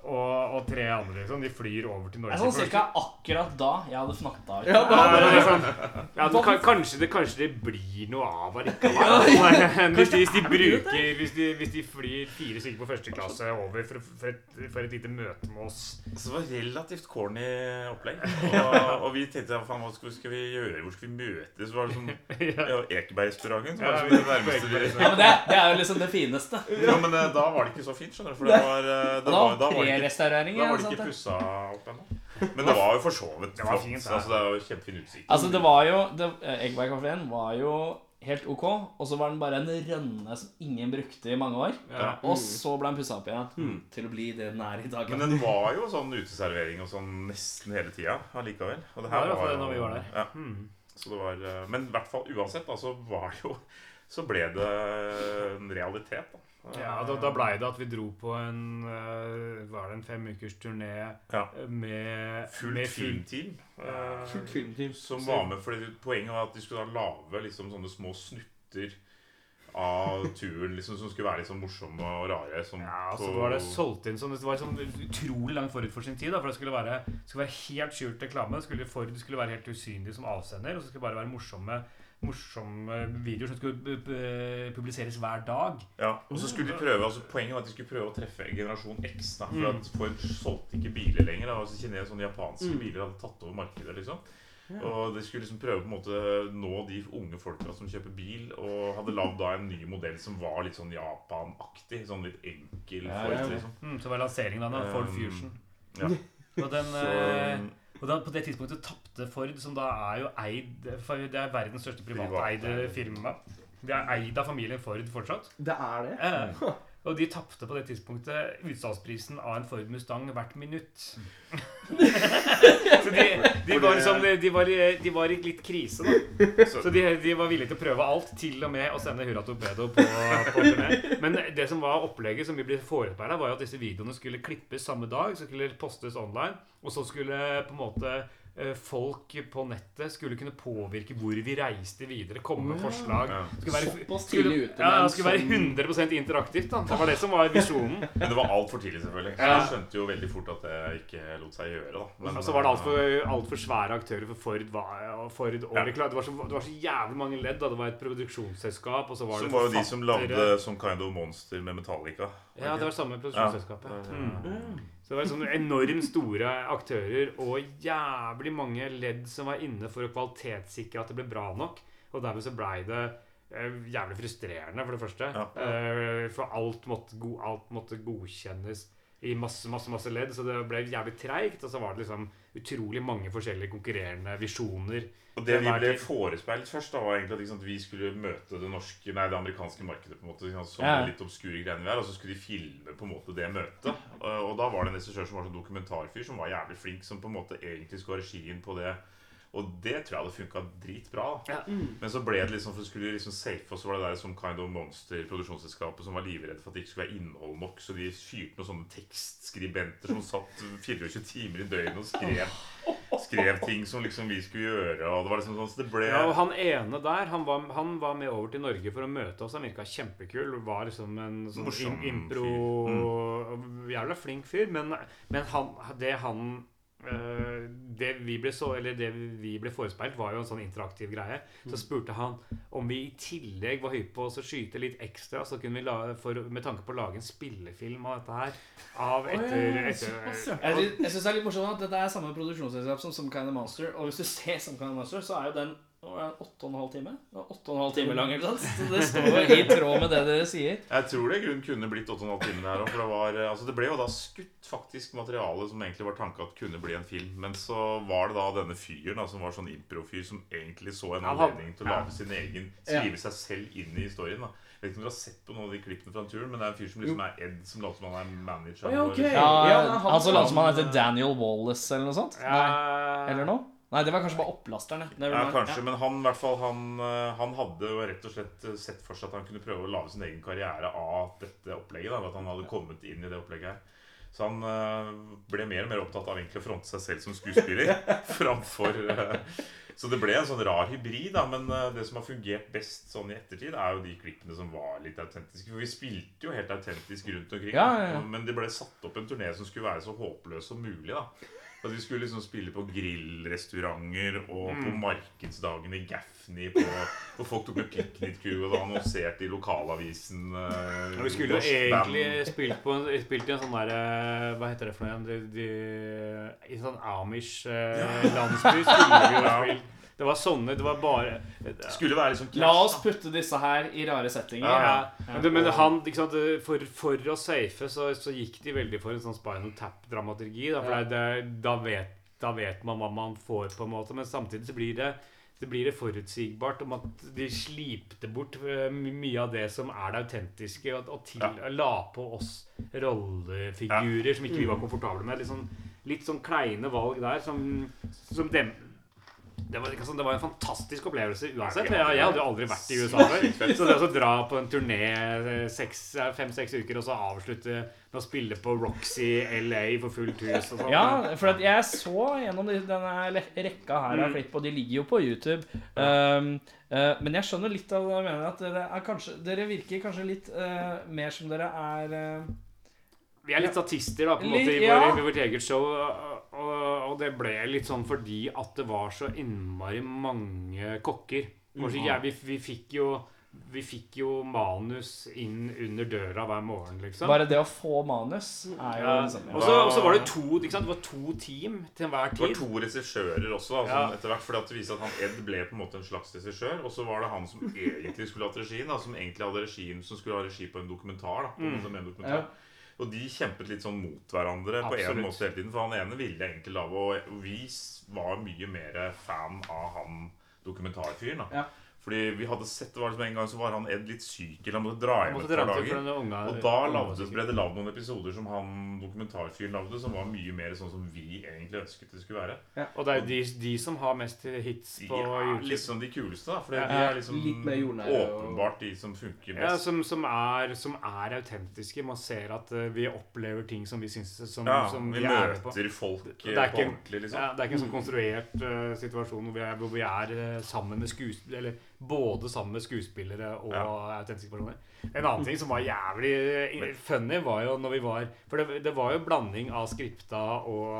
[SPEAKER 4] Og, og tre andre, liksom. De flyr over til
[SPEAKER 2] Det
[SPEAKER 4] Norge.
[SPEAKER 2] er sånn
[SPEAKER 4] for å-
[SPEAKER 2] cirka akkurat da jeg hadde fnatta ut.
[SPEAKER 4] Ja,
[SPEAKER 6] Ja,
[SPEAKER 4] men
[SPEAKER 6] det
[SPEAKER 4] det
[SPEAKER 6] er
[SPEAKER 4] er sånn-
[SPEAKER 6] Ja, det kan, kanskje, det, kanskje det blir noe av allikevel. Hvis, de- hvis de bruker
[SPEAKER 4] Hvis de, hvis de flyr fire stykker på første klasse over for, for, et, for et lite møte med oss
[SPEAKER 5] Så det var relativt corny opplegg. Og, og vi tenkte ja, faen, hva skal, skal vi gjøre, hvor skal vi møtes? Så var det sånn ja, Ekebergrestauranten. Så var det, sånn, det nærmeste vi
[SPEAKER 2] Ja, men det, det er jo liksom det fineste.
[SPEAKER 5] Ja, men eh, da var det ikke så fint, skjønner du. For det var, eh, det
[SPEAKER 2] Da
[SPEAKER 5] var, da var det ikke
[SPEAKER 2] Prerestaurering.
[SPEAKER 5] da var det
[SPEAKER 2] sant
[SPEAKER 5] ikke
[SPEAKER 2] det?
[SPEAKER 5] pussa opp ennå. Men det var jo for så vidt
[SPEAKER 4] Det var
[SPEAKER 5] flott.
[SPEAKER 4] fint, ja.
[SPEAKER 5] altså, det var jo kjempefin utsikt.
[SPEAKER 2] Altså, det var jo det- eh, Eggbergkafeen var jo helt ok, og så var den bare en rønne som ingen brukte i mange år.
[SPEAKER 5] Ja.
[SPEAKER 7] Mm.
[SPEAKER 2] Og så ble den pussa opp igjen til å bli det den er i dag.
[SPEAKER 5] Men den var jo sånn uteservering og sånn nesten hele tida allikevel. Og det
[SPEAKER 4] var i
[SPEAKER 5] her
[SPEAKER 4] hvert
[SPEAKER 5] var
[SPEAKER 4] fall
[SPEAKER 5] jo
[SPEAKER 4] det når vi var der.
[SPEAKER 5] Ja.
[SPEAKER 4] Hmm.
[SPEAKER 5] Så det var eh, Men i hvert fall uansett, da, så var det jo Så ble det en realitet, da.
[SPEAKER 4] Ja, da, da blei det at vi dro på en eh, Var det en fem ukers turné
[SPEAKER 5] Ja.
[SPEAKER 4] med
[SPEAKER 5] Fullt
[SPEAKER 4] med full-
[SPEAKER 5] filmteam. eh,
[SPEAKER 3] Fullt filmteam.
[SPEAKER 5] Som var med fordi Poenget var at de skulle da lage liksom sånne små snutter av turen liksom, som skulle være litt sånn morsomme og rare. Som
[SPEAKER 4] Ja, så
[SPEAKER 5] på-
[SPEAKER 4] var det solgt inn som Det var sånn utrolig langt forut for sin tid. Da, for det skulle være, skulle være helt skjult reklame. Det skulle, Ford skulle være helt usynlig som avsender. Og så skulle det bare være morsomme, morsomme videoer som skulle bu- bu- publiseres hver dag.
[SPEAKER 5] Ja, og så skulle de prøve, altså Poenget var at de skulle prøve å treffe generasjon X. da,
[SPEAKER 2] Mm.
[SPEAKER 5] For at Ford solgte ikke biler lenger. da, altså Kines, sånne Japanske
[SPEAKER 2] Mm.
[SPEAKER 5] biler hadde tatt over markedet. liksom. Og de skulle liksom prøve på en måte nå de unge folka som kjøper bil, og hadde lagd da en ny modell som var litt sånn Japan-aktig. Sånn litt enkel
[SPEAKER 2] Ja,
[SPEAKER 5] Ford,
[SPEAKER 2] ja, ja.
[SPEAKER 5] liksom.
[SPEAKER 4] Mm, så var lanseringen av den, Ford
[SPEAKER 5] Um,
[SPEAKER 4] Fusion.
[SPEAKER 5] ja.
[SPEAKER 4] Og den... eh,
[SPEAKER 5] Så, ehm,
[SPEAKER 4] Og da, på det tidspunktet tapte Ford, som da er jo eid for Det er verdens største privateide
[SPEAKER 5] Privateide.
[SPEAKER 4] firma. Det er eid av familien Ford fortsatt.
[SPEAKER 3] Det er det.
[SPEAKER 4] Eh, og de tapte på det tidspunktet utsalgsprisen av en Ford Mustang hvert minutt. Så de, de, var liksom, de, var, i- de var i litt krise, da. Så de, de var villige til å prøve alt, til og med å sende Hurra Torpedo på, på turné. Men det som var opplegget som vi ble foreberedt, var jo at disse videoene skulle klippes samme dag. Så skulle de postes online. Og så skulle på en måte eh, folk på nettet skulle kunne påvirke hvor vi reiste videre. Komme med forslag.
[SPEAKER 5] ja.
[SPEAKER 4] Det skulle være-
[SPEAKER 3] Såpass
[SPEAKER 4] skulle-
[SPEAKER 3] tidlig ute med
[SPEAKER 4] Ja,
[SPEAKER 3] en
[SPEAKER 4] det skulle være
[SPEAKER 3] sånn-
[SPEAKER 4] 100 interaktivt. da Det var det som var visjonen.
[SPEAKER 5] Men det var altfor tidlig, selvfølgelig. Så
[SPEAKER 4] Ja.
[SPEAKER 5] jeg skjønte jo veldig fort at det ikke lot seg gjøre. da. Men, eh,
[SPEAKER 4] Og så var det altfor alt for svære aktører for Ford. var- og Ford og
[SPEAKER 5] Ja.
[SPEAKER 4] rekla- det, var så, det var så jævlig mange ledd. da Det var et produksjonsselskap, og så var
[SPEAKER 5] Som
[SPEAKER 4] det
[SPEAKER 5] var jo de som lagde
[SPEAKER 4] forfattere.
[SPEAKER 5] Some Kind of Monster med Metallica.
[SPEAKER 4] Ja, det var samme produksjonsselskapet.
[SPEAKER 5] Ja.
[SPEAKER 4] Mm. Så det var sånn enormt store aktører og jævlig mange ledd som var inne for å kvalitetssikre at det ble bra nok. Og dermed så blei det eh, jævlig frustrerende, for det første.
[SPEAKER 5] Ja.
[SPEAKER 4] Eh, For alt måtte, go alt måtte godkjennes i masse, masse masse ledd, så det ble jævlig treigt. Og så var det liksom utrolig mange forskjellige konkurrerende visjoner.
[SPEAKER 5] Og det vi
[SPEAKER 4] Hvem er
[SPEAKER 5] ble
[SPEAKER 4] de?
[SPEAKER 5] forespeilt først, da, var egentlig at ikke sant, vi skulle møte det norske, nei, det amerikanske markedet på en måte, ikke sant, som
[SPEAKER 2] Ja.
[SPEAKER 5] de litt obskure greiene vi er, og så skulle de filme på en måte det møtet. Og, og da var det en regissør som var sånn dokumentarfyr, som var jævlig flink, som på en måte egentlig skulle ha regien på det. Og det tror jeg hadde funka dritbra. da.
[SPEAKER 4] Ja.
[SPEAKER 5] Men så ble det liksom, for det skulle liksom safe, og så var det der som Kind of Monster, produksjonsselskapet, som var livredd for at det ikke skulle være innhold nok, så de fyrte noen sånne tekstskribenter som satt 24 timer i døgnet og skrev skrev ting som liksom vi skulle gjøre. Og det var liksom sånn, så det ble
[SPEAKER 4] Ja, og han ene der, han var, han var med over til Norge for å møte oss. Han virka kjempekul. Var liksom en sånn
[SPEAKER 5] Morsom
[SPEAKER 4] im- impro Jævla flink fyr. Men, men han, det han eh, det vi, ble så, eller det vi ble forespeilt, var jo en sånn interaktiv greie. Så spurte han om vi i tillegg var hypp på oss å skyte litt ekstra så kunne vi la, for, med tanke på å lage en spillefilm av dette her. Av etter, etter
[SPEAKER 2] Jeg, sy- jeg synes det er litt morsomt at dette er samme produksjonsselskap som Some Kind of Monster. Og hvis du ser Some Kind of Monster, så er jo den Det var en åtte og en halv time. Det var åtte og en halv time lang, ikke sant? Så det står jo i tråd med det dere sier.
[SPEAKER 5] Jeg tror det i grunnen kunne blitt 8,5 timer her òg. Det, var, eh, altså det ble jo da skutt faktisk materiale som egentlig var tanka at kunne bli en film. Men så var det da denne fyren da, som var sånn improfyr, som egentlig så
[SPEAKER 4] Han
[SPEAKER 5] en
[SPEAKER 4] hadde-
[SPEAKER 5] anledning til å lage sin egen Skrive seg selv inn i historien. da jeg vet ikke om dere har sett på noen av de klippene fra turen, men det er en fyr som liksom er Ed, som later som han er manager.
[SPEAKER 7] Å, ja, ok.
[SPEAKER 5] eller-
[SPEAKER 7] Ja,
[SPEAKER 2] Ja,
[SPEAKER 7] han-
[SPEAKER 2] han så langt som han heter Daniel Wallace eller noe sånt. Nei,
[SPEAKER 4] Eh,
[SPEAKER 2] eller noe? Nei, det var kanskje bare opplasteren. ja. Never
[SPEAKER 5] Ja,
[SPEAKER 2] mind.
[SPEAKER 5] kanskje, men han, i hvert fall, han, eh, han hadde jo rett og slett eh, sett for seg at han kunne prøve å lage sin egen karriere av dette opplegget. Da, ved at han hadde kommet inn i det opplegget her. Så han eh, ble mer og mer opptatt av egentlig å fronte seg selv som skuespiller. framfor eh, Så det ble en sånn rar hybrid, da. Men eh, det som har fungert best sånn i ettertid, er jo de klippene som var litt autentiske. For vi spilte jo helt autentisk rundt omkring.
[SPEAKER 2] Ja,
[SPEAKER 5] da.
[SPEAKER 2] ja, ja.
[SPEAKER 5] Men det ble satt opp en turné som skulle være så håpløs som mulig, da. At vi skulle liksom spille på grillrestauranter og på
[SPEAKER 4] Mm.
[SPEAKER 5] markedsdagen i Gaffney. På, hvor folk tok med piknikkur og annonserte i lokalavisen. eh,
[SPEAKER 4] Ja, Vi skulle jo
[SPEAKER 5] norsk band.
[SPEAKER 4] egentlig spilt, på, en- spilt i en sånn der eh, Hva heter det for noe igjen? De- de- I en sånn Amish-landsby skulle vi jo
[SPEAKER 5] Ja.
[SPEAKER 4] spilt. Det var sånne Det var bare
[SPEAKER 5] Skulle være liksom
[SPEAKER 2] La oss putte disse her i rare settinger.
[SPEAKER 5] Ja, ja.
[SPEAKER 4] Men det- Men han, ikke sant, det- for, for å safe så, så gikk de veldig for en sånn Spinal Tap-dramaturgi. Da, for det er- det er- da, vet, da vet man hva man får, på en måte. Men samtidig så blir det det blir det forutsigbart om at de slipte bort eh, my- mye av det som er det autentiske, og, og til, la på oss rollefigurer som ikke vi var komfortable med. Litt sånn, litt sånn kleine valg der som, som dem det var, ikke sant, det var en fantastisk opplevelse uansett. Jeg, jeg hadde jo aldri vært i USA før. Så det å dra på en turné eh, fem-seks uker og så avslutte med å spille på Roxy LA for fullt hus og sånn
[SPEAKER 2] Ja, for at jeg så gjennom de- denne her le- rekka her
[SPEAKER 4] Mm.
[SPEAKER 2] av klipp, og de ligger jo på YouTube. Um, eh, men jeg skjønner litt av det jeg mener, at dere, er kanskje, dere virker kanskje litt eh, mer som dere er eh,
[SPEAKER 4] Vi er litt statister da, på en måte,
[SPEAKER 2] Litt,
[SPEAKER 4] i,
[SPEAKER 2] ja.
[SPEAKER 4] vår, i vårt eget show. Og, og det ble litt sånn fordi at det var så innmari mange kokker.
[SPEAKER 2] Mm.
[SPEAKER 4] Kanskje, jeg, vi, vi, fikk jo, vi fikk jo manus inn under døra hver morgen, liksom.
[SPEAKER 2] Bare det å få manus er jo
[SPEAKER 4] Ja.
[SPEAKER 2] liksom,
[SPEAKER 4] Og så- og så var det to ikke sant? Det var to team til enhver
[SPEAKER 5] Det var
[SPEAKER 4] tid.
[SPEAKER 5] to regissører også, da,
[SPEAKER 4] Ja.
[SPEAKER 5] sånn etter hvert, fordi at det viste at han Ed ble på en måte en slags regissør. Og så var det han som egentlig skulle hatt regien, da, som egentlig hadde regien som skulle ha regi på en dokumentar. Da, på
[SPEAKER 4] Mm.
[SPEAKER 5] en- som en dokumentar.
[SPEAKER 2] Ja.
[SPEAKER 5] Og de kjempet litt sånn mot hverandre på en
[SPEAKER 4] Absolutt.
[SPEAKER 5] måte hele tiden. For han ene ville egentlig lage Og vi s- var mye mer fan av han dokumentarfyren. da
[SPEAKER 2] Ja.
[SPEAKER 5] Fordi vi hadde sett det var liksom En gang så var han Ed litt syk, eller han måtte dra hjem
[SPEAKER 4] måtte
[SPEAKER 5] et
[SPEAKER 4] dra
[SPEAKER 5] par
[SPEAKER 4] hjem til
[SPEAKER 5] dager.
[SPEAKER 4] for den unga-
[SPEAKER 5] Og da
[SPEAKER 4] unga var
[SPEAKER 5] lagde,
[SPEAKER 4] syk.
[SPEAKER 5] ble det lagd noen episoder som han dokumentarfyren lagde, som var mye mer sånn som vi egentlig ønsket det skulle være.
[SPEAKER 4] Og det er de, de som har mest hits
[SPEAKER 5] De
[SPEAKER 4] på
[SPEAKER 5] er
[SPEAKER 4] YouTube.
[SPEAKER 5] liksom de kuleste, da. For
[SPEAKER 4] Ja,
[SPEAKER 5] de er liksom
[SPEAKER 2] litt mer jordnære og-
[SPEAKER 5] åpenbart de som funker
[SPEAKER 4] Ja,
[SPEAKER 5] best.
[SPEAKER 4] som, som, er, som er autentiske. Man ser at eh, vi opplever ting som vi syns som,
[SPEAKER 5] Ja,
[SPEAKER 4] som
[SPEAKER 5] vi
[SPEAKER 4] er med
[SPEAKER 5] møter folk
[SPEAKER 4] Det
[SPEAKER 5] eh,
[SPEAKER 4] er
[SPEAKER 5] på
[SPEAKER 4] ikke-
[SPEAKER 5] ordentlig, liksom.
[SPEAKER 4] Ja, det er ikke en sånn konstruert eh, situasjon hvor vi er, hvor vi er eh, sammen med skuespillere Eller både sammen med skuespillere og autentiske personer. En annen ting som var jævlig eh, funny, var jo når vi var For det, det var jo blanding av skripta og,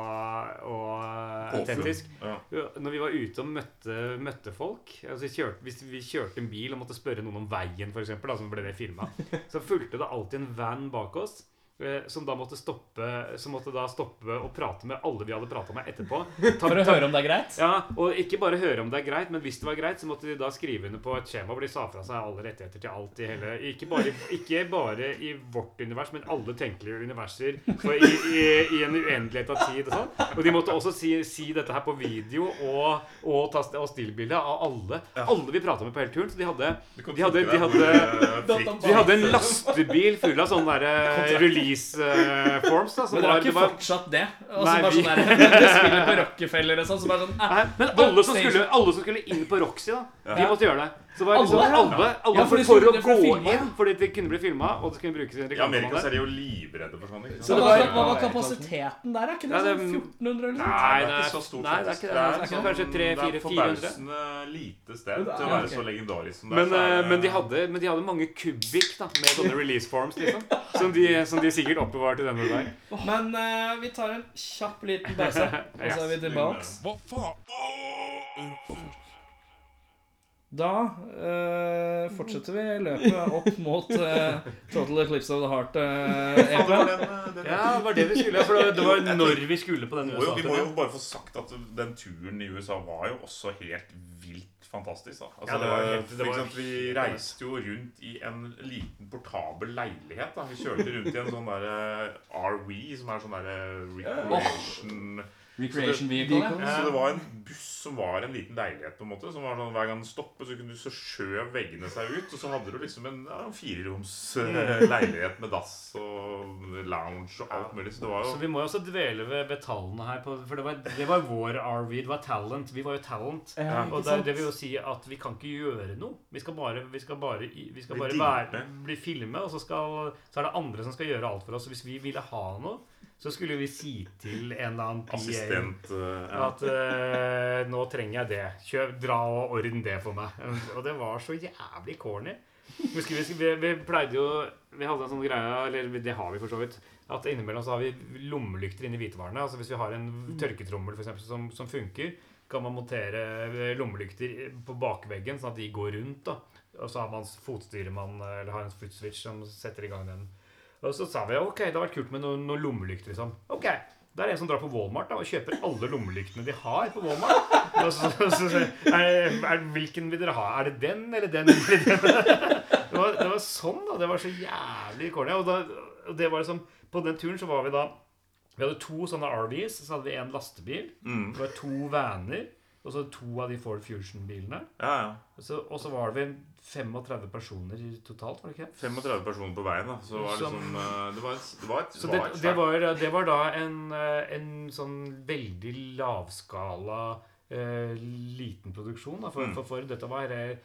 [SPEAKER 4] og eh,
[SPEAKER 5] Påfunn.
[SPEAKER 4] autentisk.
[SPEAKER 5] Ja.
[SPEAKER 4] Ja, Når vi var ute og møtte, møtte folk altså vi kjørte, Hvis vi kjørte en bil og måtte spørre noen om veien, for eksempel, da, så ble det filma, så fulgte det alltid en van bak oss. eh, Som da måtte stoppe Som måtte da stoppe og prate med alle vi hadde prata med etterpå. Ta-
[SPEAKER 2] For å
[SPEAKER 4] ta-
[SPEAKER 2] høre om det er greit?
[SPEAKER 4] ja, Og ikke bare høre om det er greit, men hvis det var greit, så måtte de da skrive under på et skjema hvor de sa fra seg alle rettigheter til alt i hele Ikke bare, ikke bare i vårt univers, men alle tenkelige universer for i, i, i en uendelighet av tid. Og sånn. Og de måtte også si, si dette her på video og, og ta st- og stillbilde av alle. Alle vi prata med på hele turen. Så de hadde,
[SPEAKER 5] Du kan
[SPEAKER 4] de hadde,
[SPEAKER 5] tenke
[SPEAKER 4] de
[SPEAKER 5] deg
[SPEAKER 4] hadde
[SPEAKER 5] hvor, eh, fritt-
[SPEAKER 4] de hadde en lastebil full av sånne der, eh, release eh, forms. Da, som
[SPEAKER 2] Men det
[SPEAKER 4] var-
[SPEAKER 2] er ikke
[SPEAKER 4] det var-
[SPEAKER 2] fortsatt det. Og så
[SPEAKER 4] Nei,
[SPEAKER 2] bare
[SPEAKER 4] vi-
[SPEAKER 2] sånn der, Du spiller på Rockefeller og sånn, så bare sånn eh,
[SPEAKER 4] Nei, men alle som, skulle, alle som skulle inn på Roxy, da de måtte gjøre det. Så det var liksom
[SPEAKER 2] Alle?
[SPEAKER 4] alle, alle
[SPEAKER 2] Ja, for
[SPEAKER 4] for,
[SPEAKER 2] de
[SPEAKER 4] for å
[SPEAKER 2] skulle- for
[SPEAKER 4] gå
[SPEAKER 2] å filme,
[SPEAKER 4] inn, fordi det kunne bli filma og det kunne brukes i en
[SPEAKER 5] I Amerika
[SPEAKER 4] reklamemandag.
[SPEAKER 5] så er de jo livredde for sånne ting.
[SPEAKER 2] Hva
[SPEAKER 5] Så
[SPEAKER 4] det
[SPEAKER 2] var,
[SPEAKER 4] var-
[SPEAKER 2] hva var kapasiteten der? Er ikke det
[SPEAKER 4] Ja, det-
[SPEAKER 2] sånn 1400 eller noe?
[SPEAKER 4] Nei,
[SPEAKER 5] det er
[SPEAKER 4] det
[SPEAKER 5] ikke
[SPEAKER 4] er,
[SPEAKER 5] så stort.
[SPEAKER 4] nei, det er
[SPEAKER 5] faktisk.
[SPEAKER 4] ikke det. Det er
[SPEAKER 5] sånn-
[SPEAKER 4] kanskje tre,
[SPEAKER 5] det er
[SPEAKER 4] fire, 400.
[SPEAKER 5] forbausende lite sted til å
[SPEAKER 2] Ja,
[SPEAKER 5] være
[SPEAKER 2] ok.
[SPEAKER 5] så legendarisk som det er.
[SPEAKER 4] Men,
[SPEAKER 5] så er
[SPEAKER 4] eh,
[SPEAKER 5] det-
[SPEAKER 4] men, de hadde, men de hadde mange kubikk da, med sånne release forms, liksom. Som de, som de sikkert oppbevarte denne dag.
[SPEAKER 2] Men eh, vi tar en kjapp liten pause, og så er vi tilbake.
[SPEAKER 8] Hva faen? Åh!
[SPEAKER 2] Da eh, fortsetter vi løpet opp mot eh, Total Eclipse of the Heart. eh,
[SPEAKER 5] Ja, det
[SPEAKER 2] EP.
[SPEAKER 5] var den, eh, den
[SPEAKER 4] Ja, det var det vi skulle. For det var- det var når vi skulle på den
[SPEAKER 5] Vi må jo- vi må jo
[SPEAKER 4] USA-turen.
[SPEAKER 5] bare få sagt at den turen i USA var jo også helt vilt fantastisk. Da. Altså,
[SPEAKER 4] Ja, det var helt- det
[SPEAKER 5] ikke
[SPEAKER 4] var
[SPEAKER 5] sant, vi
[SPEAKER 4] helt-
[SPEAKER 5] reiste jo rundt i en liten portabel leilighet. Da. Vi kjørte rundt i en sånn der eh, RV, som er sånn der eh, recreation
[SPEAKER 9] Recreation
[SPEAKER 5] Så det-
[SPEAKER 9] vehicle, ja.
[SPEAKER 5] Så det var en buss som var en liten leilighet, på en måte. Som var sånn, Hver gang den stoppet, så kunne du så skjøv veggene seg ut. Og så hadde du liksom en ja, fireroms
[SPEAKER 4] Mm.
[SPEAKER 5] eh, leilighet med dass og lounge og alt mulig. Så det var jo
[SPEAKER 4] Så vi må jo også dvele ved, ved tallene her. På, for det var, det var vår RV. Det var talent. Vi var jo talent.
[SPEAKER 9] Ja, ikke
[SPEAKER 4] og det,
[SPEAKER 9] sant?
[SPEAKER 4] det vil jo si at vi kan ikke gjøre noe. Vi skal bare, vi skal bare, i- vi skal bare
[SPEAKER 5] Bli
[SPEAKER 4] være,
[SPEAKER 5] filmet.
[SPEAKER 4] bli filmet, og så, skal, så er det andre som skal gjøre alt for oss. Så hvis vi ville ha noe, så skulle vi si til en eller annen PA
[SPEAKER 5] assistent. eh, ja.
[SPEAKER 4] At eh, nå trenger jeg det. Kjøp, dra og ordn det for meg. Og det var så jævlig corny. Husker vi, vi, vi pleide jo Vi hadde en sånn greie, eller det har vi for så vidt, at innimellom så har vi lommelykter inni hvitevarene. Altså hvis vi har en tørketrommel for eksempel, som, som funker, kan man montere eh, lommelykter på bakveggen, sånn at de går rundt. da. Og så har man fotstyremann, eller har en footswitch som setter i gang den. Og så sa vi ok, det hadde vært kult med noen, noen lommelykter. liksom. Ok, Det er en som drar på Walmart da, og kjøper alle lommelyktene de har på Walmart. Og så, så, så, så er, er, Hvilken vil dere ha? Er det den eller den? Eller den? Det, var, det var sånn, da. Det var så jævlig corny. Og, da, og det var liksom, på den turen så var vi da Vi hadde to sånne RVs. Så hadde vi en lastebil. Det var to vaner. Og så to av de Ford Fusion-bilene.
[SPEAKER 5] ja, ja.
[SPEAKER 4] Og så- Og så var det vel 35 personer totalt, var det ikke? det?
[SPEAKER 5] 35 personer på veien, da. Så det var
[SPEAKER 4] Som-
[SPEAKER 5] liksom eh, Det var et, det var et,
[SPEAKER 4] Så
[SPEAKER 5] det
[SPEAKER 4] det,
[SPEAKER 5] var et
[SPEAKER 4] det,
[SPEAKER 5] svært-
[SPEAKER 4] var, det var da en, eh, en sånn veldig lavskala eh, liten produksjon. Da, for,
[SPEAKER 5] Mm.
[SPEAKER 4] for, for dette var, eh,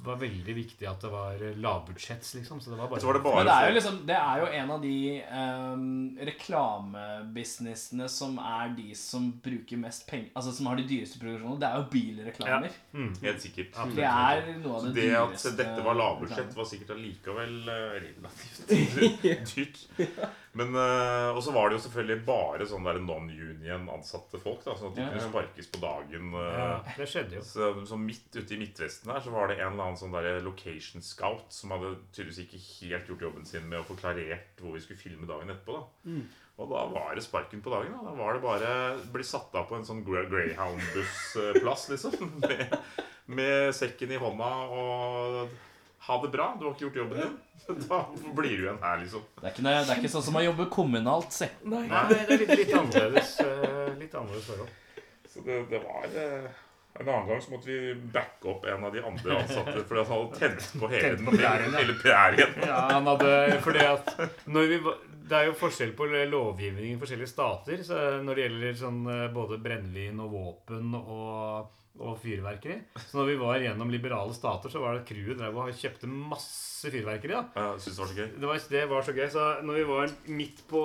[SPEAKER 4] var veldig viktig at det var eh, lavbudsjetts, liksom. Så det var bare,
[SPEAKER 5] Så var det bare
[SPEAKER 2] Men det er jo liksom Det er jo en av de ehm, reklamebusinessene som er de som bruker mest penger Altså som har de dyreste produksjonene. Det er jo bilreklamer.
[SPEAKER 5] Helt sikkert.
[SPEAKER 2] Det er noe av det,
[SPEAKER 5] Det at
[SPEAKER 2] dyreste
[SPEAKER 5] dette var lavbudsjett,
[SPEAKER 2] reklamer.
[SPEAKER 5] var sikkert allikevel eh, relativt dyrt. Men, eh, Og så var det jo selvfølgelig bare sånn der non-union-ansatte folk. da Sånn at de
[SPEAKER 2] Ja.
[SPEAKER 5] kunne sparkes på dagen. eh,
[SPEAKER 4] Ja, det skjedde jo.
[SPEAKER 5] Så, så midt ute i Midtvesten her så var det en eller annen sånn der location scout som hadde tydeligvis ikke helt gjort jobben sin med å få klarert hvor vi skulle filme dagen etterpå. da. Og da var det sparken på dagen. Da, da var det bare bli satt av på en sånn Gre- Greyhound-bussplass, liksom. Med, med sekken i hånda og ha det bra, du har ikke gjort jobben din. Da blir du igjen her, liksom.
[SPEAKER 2] Det er, ikke, noe- det er ikke sånn som å jobbe kommunalt, se.
[SPEAKER 4] Nei, det er litt, litt annerledes eh, Litt annerledes forhold.
[SPEAKER 5] Så det, det var eh, En annen gang så måtte vi backe opp en av de andre ansatte fordi han hadde tent på hele,
[SPEAKER 4] Tent på prærien, ja.
[SPEAKER 5] hele prærien.
[SPEAKER 4] Ja, han hadde Fordi at når vi, var- Det er jo forskjell på lovgivningen i forskjellige stater så når det gjelder sånn eh, både brennevin og våpen og, og fyrverkeri. Så når vi var gjennom liberale stater, så var det crewet drev og kjøpte masse fyrverkeri. da
[SPEAKER 5] Ja, Jeg synes det var så gøy.
[SPEAKER 4] det var, det var så gøy. Så når vi var midt på,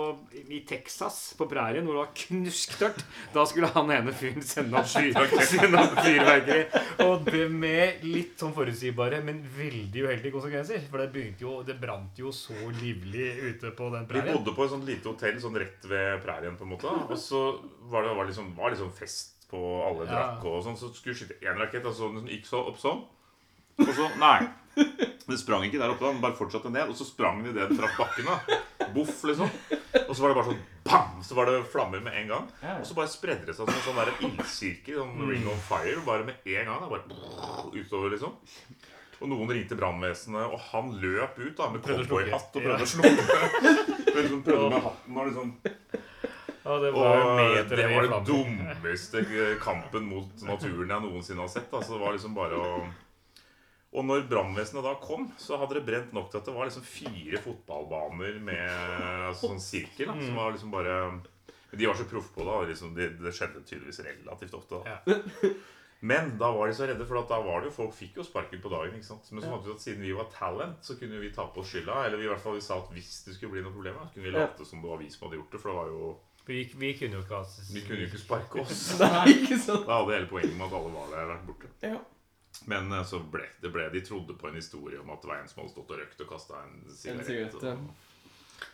[SPEAKER 4] i Texas, på prærien, hvor det var knusktørt, da skulle han ene fyren sende opp fyr, sende opp fyrverkeri. Og det med litt sånn forutsigbare, men veldig uheldige konsekvenser. For det, begynte jo, det brant jo så livlig ute på den
[SPEAKER 5] Vi
[SPEAKER 4] prærien.
[SPEAKER 5] bodde på et sånt lite hotell sånn rett ved prærien, på en måte. Og så var det var liksom, var liksom fest på alle
[SPEAKER 4] Ja.
[SPEAKER 5] drakk og sånn. Så skulle vi skyte én rakett, og så den gikk så opp sånn. Og så Nei. Den sprang ikke der oppe, da. Den bare fortsatte ned. Og så sprang den idet den traff bakken. da Boff, liksom. Og så var det bare sånn bam! Så var det flammer med en gang.
[SPEAKER 2] Ja.
[SPEAKER 5] Og så bare spredde det seg som en sånn der ildsirkel, sånn ring of fire, bare med en gang. Da, bare utover, liksom. Og noen ringte brannvesenet, og han løp ut da med
[SPEAKER 4] Prøvde å slukke.
[SPEAKER 5] cowboyhatt og prøvde å slukke. Men liksom prøvde med hatten og liksom
[SPEAKER 4] Og det var
[SPEAKER 5] Og
[SPEAKER 4] meter
[SPEAKER 5] det
[SPEAKER 4] i
[SPEAKER 5] var den
[SPEAKER 4] flammer.
[SPEAKER 5] dummeste kampen mot naturen jeg noensinne har sett. Altså, det var liksom bare å Og når brannvesenet da kom, så hadde det brent nok til at det var liksom fire fotballbaner med altså, sånn sirkel. Da,
[SPEAKER 4] Mm.
[SPEAKER 5] som var liksom bare Men de var så proffe på det. og Liksom, det, det skjedde tydeligvis relativt ofte. Da. Men da var de så redde, for at da var det jo folk fikk jo sparken på dagen. ikke sant? Men så fant vi ut at siden vi var talent, så kunne jo vi ta på oss skylda. Eller vi i hvert fall vi sa at hvis det skulle bli noen problemer, så kunne vi late som det var vi som hadde gjort det. For det var jo
[SPEAKER 4] Vi, vi kunne jo ikke ha
[SPEAKER 5] Vi kunne jo ikke sparke oss.
[SPEAKER 2] Nei, ikke sant?
[SPEAKER 5] Da hadde hele poenget med at alle var der, vært borte.
[SPEAKER 9] Ja.
[SPEAKER 5] Men eh, så ble det ble De trodde på en historie om at det var en som hadde stått og røkt og kasta en sigarett.
[SPEAKER 2] sigarett, ja.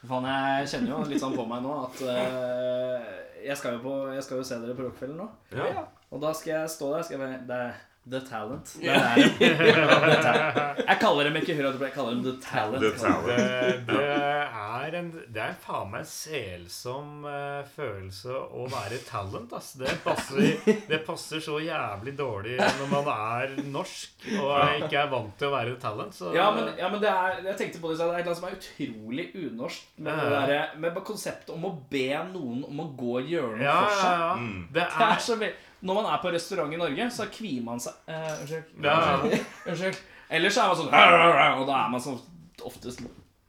[SPEAKER 2] Faen, jeg kjenner jo litt sånn på meg nå at eh, jeg, skal jo på, jeg skal jo se dere på Rockfeller nå.
[SPEAKER 5] og- Ja.
[SPEAKER 2] Og da skal jeg stå der skal jeg, bare- det, The Talent. Det er det. The Talent. Jeg kaller dem ikke Hurra, jeg kaller dem The Talent.
[SPEAKER 5] The Talent.
[SPEAKER 4] Det, Eh, det er en Det er faen meg en selsom eh, følelse å være talent, ass. Det passer, det passer så jævlig dårlig når man er norsk og ikke er vant til å være talent. Så
[SPEAKER 2] Ja, men, ja, men det er, jeg tenkte på det, så det er et eller annet som er utrolig unorsk med, det
[SPEAKER 4] Ja.
[SPEAKER 2] derre- med bare konseptet om å be noen om å gå og gjøre noe
[SPEAKER 4] ja,
[SPEAKER 2] for
[SPEAKER 4] ja,
[SPEAKER 2] seg.
[SPEAKER 4] ja.
[SPEAKER 5] Mm.
[SPEAKER 4] Det
[SPEAKER 2] Det er
[SPEAKER 4] er
[SPEAKER 2] så veld... Når man er på restaurant i Norge, så kvier man seg eh, Unnskyld.
[SPEAKER 4] ja, ja.
[SPEAKER 2] Unnskyld. Ellers så er man sånn "Rar, rar, rar", Og da er man sånn oftest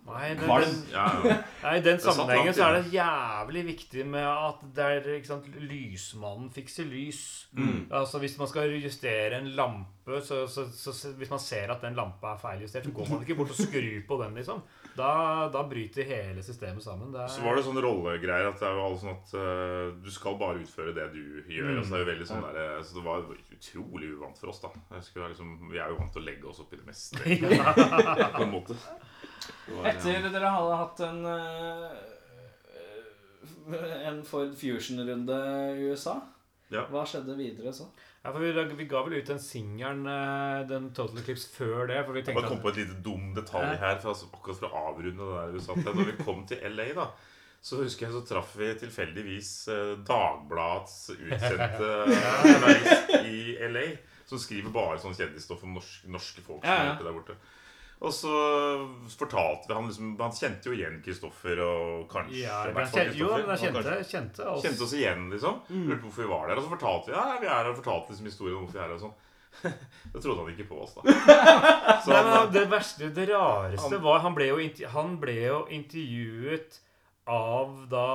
[SPEAKER 4] Nei, det,
[SPEAKER 2] kvalm.
[SPEAKER 5] Ja, ja.
[SPEAKER 4] Nei, I den
[SPEAKER 5] satt
[SPEAKER 4] sammenhengen
[SPEAKER 5] langt
[SPEAKER 4] så er det jævlig viktig med at det er, ikke sant, lysmannen fikser lys.
[SPEAKER 5] Mm.
[SPEAKER 4] Altså Hvis man skal justere en lampe, så, så, så, så hvis man ser at den lampa er feiljustert, så går man ikke bort og skrur på den, liksom. Da, da bryter hele systemet sammen. Det
[SPEAKER 5] Så
[SPEAKER 4] er,
[SPEAKER 5] var det sånne rollegreier at det er jo alle sånn at eh, du skal bare utføre det du gjør. Altså, det er jo veldig
[SPEAKER 2] Mm.
[SPEAKER 5] sånn der, eh, så det var utrolig uvant for oss, da. Jeg husker det er liksom, vi er jo vant til å legge oss opp i det meste. egentlig, på en måte. Det var, eh,
[SPEAKER 2] Etter dere hadde hatt en eh, En Ford Fusion-runde i USA,
[SPEAKER 5] Ja.
[SPEAKER 2] hva skjedde videre så?
[SPEAKER 4] ja, for vi, vi ga vel ut den singelen, eh, den Total Eclipse, før det. For vi
[SPEAKER 5] Jeg
[SPEAKER 4] tenkte
[SPEAKER 5] bare kom
[SPEAKER 4] at
[SPEAKER 5] på et lite dum detalj her, for altså, akkurat for å avrunde det der du satt der. Når vi kom til LA, da, så husker jeg så traff vi tilfeldigvis eh, Dagbladets utsendte journalist i LA, som skriver bare sånn kjendisstoff om norsk, norske folk som
[SPEAKER 2] Ja, ja.
[SPEAKER 5] er ute der borte. Og så fortalte vi han liksom Han kjente jo igjen Kristoffer og kanskje
[SPEAKER 4] ja,
[SPEAKER 5] i
[SPEAKER 4] men
[SPEAKER 5] hvert fall
[SPEAKER 4] kjente, Jo,
[SPEAKER 5] Kristoffer,
[SPEAKER 4] men jeg
[SPEAKER 5] og kanskje-
[SPEAKER 4] kjente, kjente oss. Mm.
[SPEAKER 5] Kjente oss igjen, liksom. Lurte på hvorfor vi var der. Og så fortalte vi ja, vi er her, og fortalte liksom historien om hvorfor vi er her. og sånn. Da trodde han ikke på oss, da. Så
[SPEAKER 4] Nei,
[SPEAKER 5] han-
[SPEAKER 4] men det verste, det rareste var Han ble jo, intervju- han ble jo intervjuet av da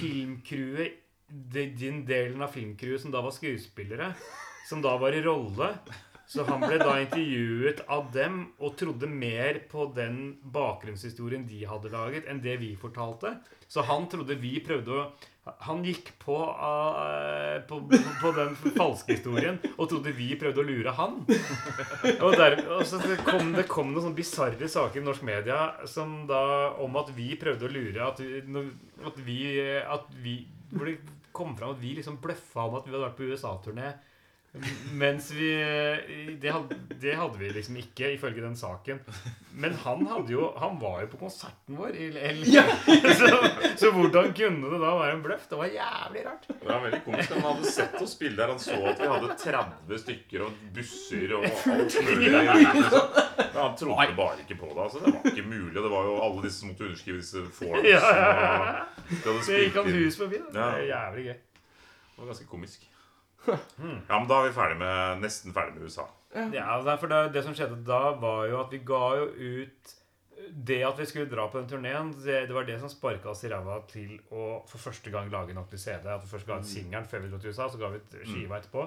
[SPEAKER 4] filmcrewet de- Den delen av filmcrewet som da var skuespillere, som da var i rolle. Så han ble da intervjuet av dem og trodde mer på den bakgrunnshistorien de hadde laget, enn det vi fortalte. Så han trodde vi prøvde å Han gikk på, eh, på, på den falske historien og trodde vi prøvde å lure han. Og, der, og så det kom det kom noen sånne bisarre saker i norsk media som da, om at vi prøvde å lure At vi, når- at vi, at vi Hvor det kom fram at vi liksom bløffa om at vi hadde vært på USA-turné. Mens vi det hadde, det hadde vi liksom ikke, ifølge den saken. Men han hadde jo Han var jo på konserten vår. I, L- så, så hvordan kunne det da være en bløff? Det var jævlig rart.
[SPEAKER 5] Det var veldig komisk. Han hadde sett oss spille der. Han så at vi hadde 30 stykker og busser og alt mulig. Liksom. Men han trodde bare ikke på det. Altså. Det var ikke mulig. Og det var jo alle disse som måtte underskrive disse forms.
[SPEAKER 4] Ja, ja,
[SPEAKER 5] Og de hadde
[SPEAKER 4] Så gikk
[SPEAKER 5] spilt
[SPEAKER 4] han
[SPEAKER 5] inn.
[SPEAKER 4] hus forbi. Da. Det er jævlig gøy.
[SPEAKER 5] Det var ganske komisk. Ja, men da er vi ferdig med, nesten ferdig med USA.
[SPEAKER 4] Ja, nei, for det, det som skjedde da, var jo at vi ga jo ut Det at vi skulle dra på den turneen, det, det var det som sparka oss i ræva til å for første gang lage en ordentlig CD. At vi først ga ut singelen før vi dro til USA, så ga vi ut skiva etterpå.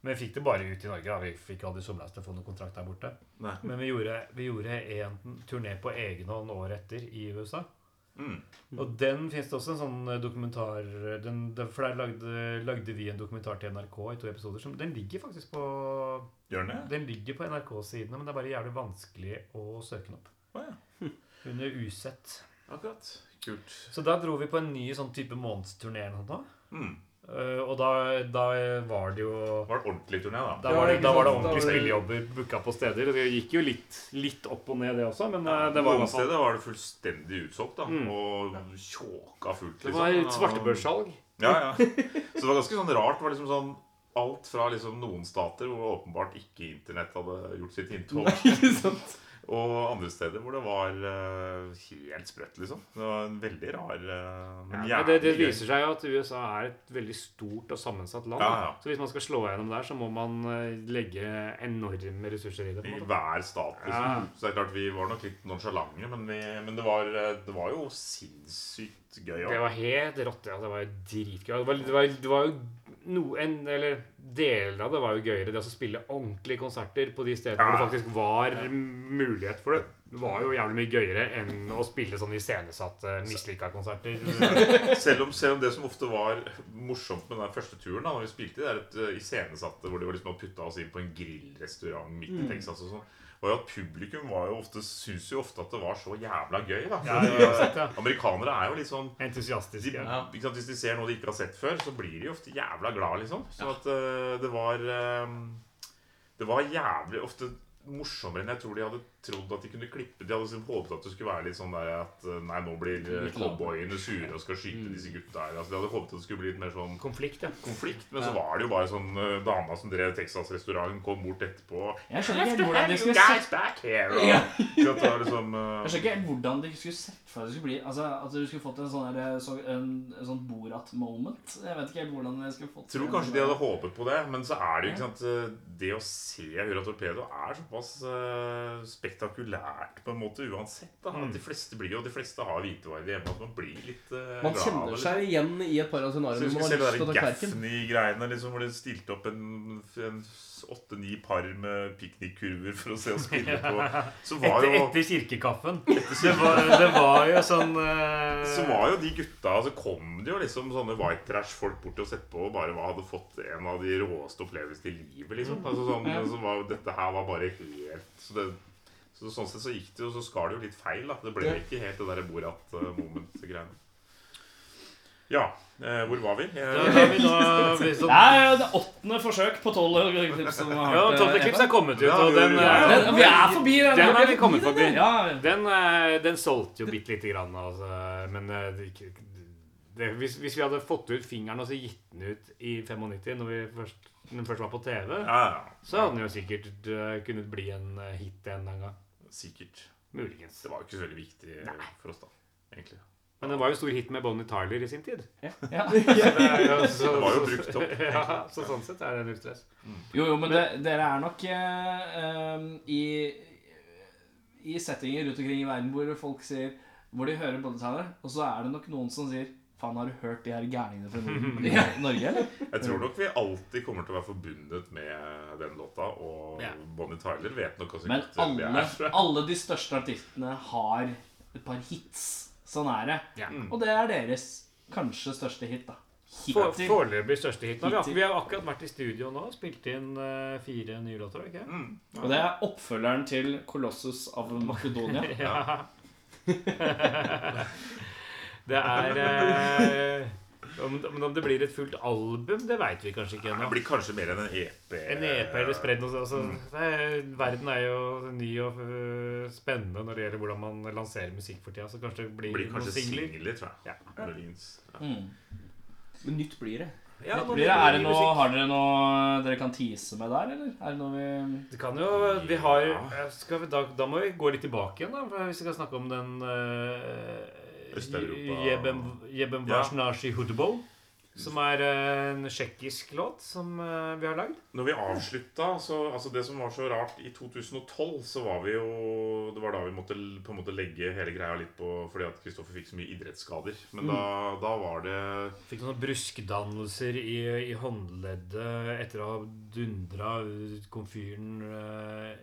[SPEAKER 4] Men vi fikk det bare ut i Norge. da Vi fikk aldri somlet oss til å få noen kontrakt der borte.
[SPEAKER 5] Nei.
[SPEAKER 4] Men vi gjorde, vi gjorde en turné på egen hånd året etter i USA.
[SPEAKER 5] Mm.
[SPEAKER 4] Og den fins det også en sånn dokumentar den, den, For der lagde, lagde vi en dokumentar til NRK i to episoder. Som, den ligger faktisk på
[SPEAKER 5] Gjør den det?
[SPEAKER 4] den ligger på NRK-sidene, men det er bare jævlig vanskelig å søke den opp.
[SPEAKER 5] Å ja. Hm.
[SPEAKER 4] Under usett.
[SPEAKER 5] Akkurat. Kult.
[SPEAKER 4] Så da dro vi på en ny sånn type månedsturné eller noe. sånt
[SPEAKER 5] Mm.
[SPEAKER 4] da. Eh, Og da, da var det jo
[SPEAKER 5] Det var et ordentlig turné, da.
[SPEAKER 4] Da var det, da var
[SPEAKER 2] Ja, ikke sant.
[SPEAKER 4] det ordentlige
[SPEAKER 2] Da var det-
[SPEAKER 4] spillejobber booka på steder. og Det gikk jo litt, litt opp og ned, det også, men eh, det var i
[SPEAKER 5] Noen
[SPEAKER 4] hvert fall
[SPEAKER 5] steder var det fullstendig utsolgt, da.
[SPEAKER 4] Mm.
[SPEAKER 5] Og tjåka fullt.
[SPEAKER 4] Det var et
[SPEAKER 5] liksom.
[SPEAKER 4] svartebørssalg.
[SPEAKER 5] Ja, ja. Så det var ganske sånn rart. Det var liksom sånn alt fra liksom noen stater hvor åpenbart ikke internett hadde gjort sitt inntog,
[SPEAKER 2] Ikke sant?
[SPEAKER 5] og andre steder hvor det var eh, helt sprøtt, liksom. Det var en veldig rar eh, men
[SPEAKER 4] Ja, men det, det
[SPEAKER 5] jævlig gøy.
[SPEAKER 4] viser seg jo at USA er et veldig stort og sammensatt land.
[SPEAKER 5] Ja, ja.
[SPEAKER 4] Så hvis man skal slå gjennom der, så må man eh, legge enorme ressurser i det. på en
[SPEAKER 5] I
[SPEAKER 4] måte.
[SPEAKER 5] hver stat, liksom.
[SPEAKER 4] Ja.
[SPEAKER 5] Så det er klart vi var nok litt nonsjalante, men, vi, men det, var, eh, det var jo sinnssykt gøy. altså.
[SPEAKER 4] Det
[SPEAKER 5] også.
[SPEAKER 4] var helt rått. Ja. Det var jo dritgøy. Det var, det var, det var jo no, en, eller Deler av det var jo gøyere. Det å spille ordentlige konserter på de stedene hvor det faktisk var mulighet for det, var jo jævlig mye gøyere enn å spille sånn iscenesatte, mislykka konserter.
[SPEAKER 5] Selv om, selv om det som ofte var morsomt med den der første turen, da når vi spilte, det er et eh, iscenesatte hvor de var liksom hadde putta oss inn på en grillrestaurant midt
[SPEAKER 4] Mm.
[SPEAKER 5] i Texas og sånn, var jo at publikum var jo ofte, syns jo ofte at det var så jævla gøy. da
[SPEAKER 4] Ja,
[SPEAKER 5] Fordi,
[SPEAKER 4] uansett, ja.
[SPEAKER 5] eh, Amerikanere er jo litt sånn de,
[SPEAKER 4] Entusiastiske.
[SPEAKER 5] ikke sant, Hvis de ser noe de ikke har sett før, så blir de jo ofte jævla glad, liksom. Så at eh, det var eh, Det var jævlig ofte morsommere enn jeg tror de hadde trodd at de kunne klippe. De hadde liksom håpet at det skulle være litt sånn der at eh, Nei, nå blir eh, cowboyene sure og skal skyte disse gutta her. Altså, de hadde håpet at det skulle bli litt mer sånn
[SPEAKER 4] Konflikt, ja.
[SPEAKER 5] konflikt. Men så var det jo bare sånn eh, dama som drev Texas-restauranten, kom bort etterpå.
[SPEAKER 2] Jeg skjønner ikke helt hvordan de
[SPEAKER 5] You
[SPEAKER 2] skulle
[SPEAKER 5] guys
[SPEAKER 2] sett
[SPEAKER 5] back here! Og,
[SPEAKER 2] Ja.
[SPEAKER 5] Så at det var liksom, eh,
[SPEAKER 2] jeg skjønner ikke helt hvordan de skulle sett for at det skulle bli Altså, At du skulle fått en sånn, der, så, en, en sånn Borat-moment. Jeg vet ikke helt hvordan jeg skulle fått sånn-
[SPEAKER 5] Jeg tror kanskje de hadde håpet på det, men så er det jo ikke sant eh, Det å se Hurra Torpedo er såpass eh, spektakulært på en måte uansett. da
[SPEAKER 3] Mm.
[SPEAKER 5] At De fleste blir jo, de fleste har hvitevarer hjemme, at man blir litt uh,
[SPEAKER 3] Man kjenner seg igjen i et par av
[SPEAKER 5] så
[SPEAKER 3] scenarioene
[SPEAKER 5] jeg
[SPEAKER 3] hvor man
[SPEAKER 5] husker
[SPEAKER 3] har
[SPEAKER 5] selv
[SPEAKER 3] lyst til å ta
[SPEAKER 5] det der
[SPEAKER 3] kverken.
[SPEAKER 5] Gaffney-greiene liksom, hvor de stilte opp en en åtte-ni par med piknikkurver for å se oss spille på. Så var
[SPEAKER 4] Etter,
[SPEAKER 5] jo
[SPEAKER 4] etter kirkekaffen. Det var, det var jo sånn eh,
[SPEAKER 5] så var jo de gutta Så kom det jo liksom sånne white trash-folk bort til oss etterpå og bare hadde fått en av de råeste opplevelsene i livet, liksom. Altså, sånn, så var, jo- dette her var bare helt så det, så Sånn sett så gikk det jo, så skar det jo litt feil, da. Det ble jo ikke helt det derre Borat-moment-greiene. eh, Ja, eh, hvor var vi?
[SPEAKER 4] da,
[SPEAKER 5] Eh,
[SPEAKER 4] da vi nå, vi så,
[SPEAKER 10] Nei, det er åttende forsøk på tolv klipp som har
[SPEAKER 4] ja,
[SPEAKER 10] vært, eh,
[SPEAKER 4] Tolte Klips er kommet ut, og den,
[SPEAKER 5] Ja,
[SPEAKER 4] eh,
[SPEAKER 10] Ja, Vi er forbi den.
[SPEAKER 4] den er vi kommet forbi.
[SPEAKER 10] Ja,
[SPEAKER 4] Den, eh, den solgte jo bitte lite grann, altså. Men eh, det, ikke- det, hvis, hvis vi hadde fått ut fingeren og så gitt den ut i 95, når, vi først, når den først var på TV,
[SPEAKER 5] ja, ja,
[SPEAKER 4] så hadde den jo sikkert eh, kunnet bli en eh, hit en eller annen gang.
[SPEAKER 5] sikkert.
[SPEAKER 4] Muligens.
[SPEAKER 5] Det var jo ikke så veldig viktig eh, for oss, da. Egentlig.
[SPEAKER 4] Men den var jo stor hit med Bonnie Tyler i sin tid.
[SPEAKER 2] Ja.
[SPEAKER 4] Så det er jo- så-
[SPEAKER 5] Det var jo brukt opp.
[SPEAKER 4] Ja, så sånn sett er det null stress.
[SPEAKER 2] Jo, jo, men det, dere er nok eh, um, i, i settinger rundt omkring i verden hvor folk sier Hvor de hører bolletaler, og så er det nok noen som sier Faen, har du hørt de her gærningene fra Norden, Norge, eller?
[SPEAKER 5] Jeg tror nok vi alltid kommer til å være forbundet med den låta, og
[SPEAKER 4] Ja.
[SPEAKER 5] Bonnie Tyler vet nok ganske
[SPEAKER 2] Men
[SPEAKER 5] godt hvem vi
[SPEAKER 2] alle,
[SPEAKER 5] er. tror jeg.
[SPEAKER 2] alle de største artistene har et par hits. Sånn er det.
[SPEAKER 4] Ja.
[SPEAKER 2] Og det er deres kanskje største hit, da.
[SPEAKER 4] For-
[SPEAKER 2] Hittil.
[SPEAKER 4] Foreløpig største hit. Nå har
[SPEAKER 2] Hittil.
[SPEAKER 4] Vi, akkurat- vi har akkurat vært i studio nå og spilt inn eh, fire nye låter. ikke?
[SPEAKER 2] Og det er oppfølgeren til Colossus av Makedonia.
[SPEAKER 4] Ja. det er eh, om, om om det blir et fullt album, det veit vi kanskje ikke
[SPEAKER 5] Det
[SPEAKER 4] ennå.
[SPEAKER 5] blir kanskje mer enn en E EP.
[SPEAKER 4] En EP eller spredd noe sånt. altså, det er- Verden er jo ny og øh, spennende når det gjelder hvordan man lanserer musikk for tida. Så kanskje det blir,
[SPEAKER 5] Det blir
[SPEAKER 4] noen
[SPEAKER 5] kanskje
[SPEAKER 4] singler.
[SPEAKER 5] singler, tror jeg.
[SPEAKER 4] Ja.
[SPEAKER 5] Muligens. Ja.
[SPEAKER 2] Mm.
[SPEAKER 3] Men nytt blir det.
[SPEAKER 4] Ja, nå
[SPEAKER 2] Blir det, er det
[SPEAKER 4] ny
[SPEAKER 2] noe,
[SPEAKER 4] musikk.
[SPEAKER 2] har dere noe dere kan tease med der, eller? Er det noe vi
[SPEAKER 4] Det kan jo Vi har skal vi, da, da må vi gå litt tilbake igjen, da, for hvis vi skal snakke om den øh,
[SPEAKER 5] Østeuropa-
[SPEAKER 4] Jebem, Jebem
[SPEAKER 5] Ja.
[SPEAKER 4] Varsnashi Hutubo. Som er øh, en tsjekkisk låt som øh, vi har lagd.
[SPEAKER 5] Når vi avslutta, så altså Det som var så rart I 2012 så var vi jo Det var da vi måtte l- på en måte legge hele greia litt på fordi at Kristoffer fikk så mye idrettsskader. Men da,
[SPEAKER 4] Mm.
[SPEAKER 5] da var det
[SPEAKER 4] Fikk noen bruskdannelser i, i håndleddet etter å ha dundra komfyren eh,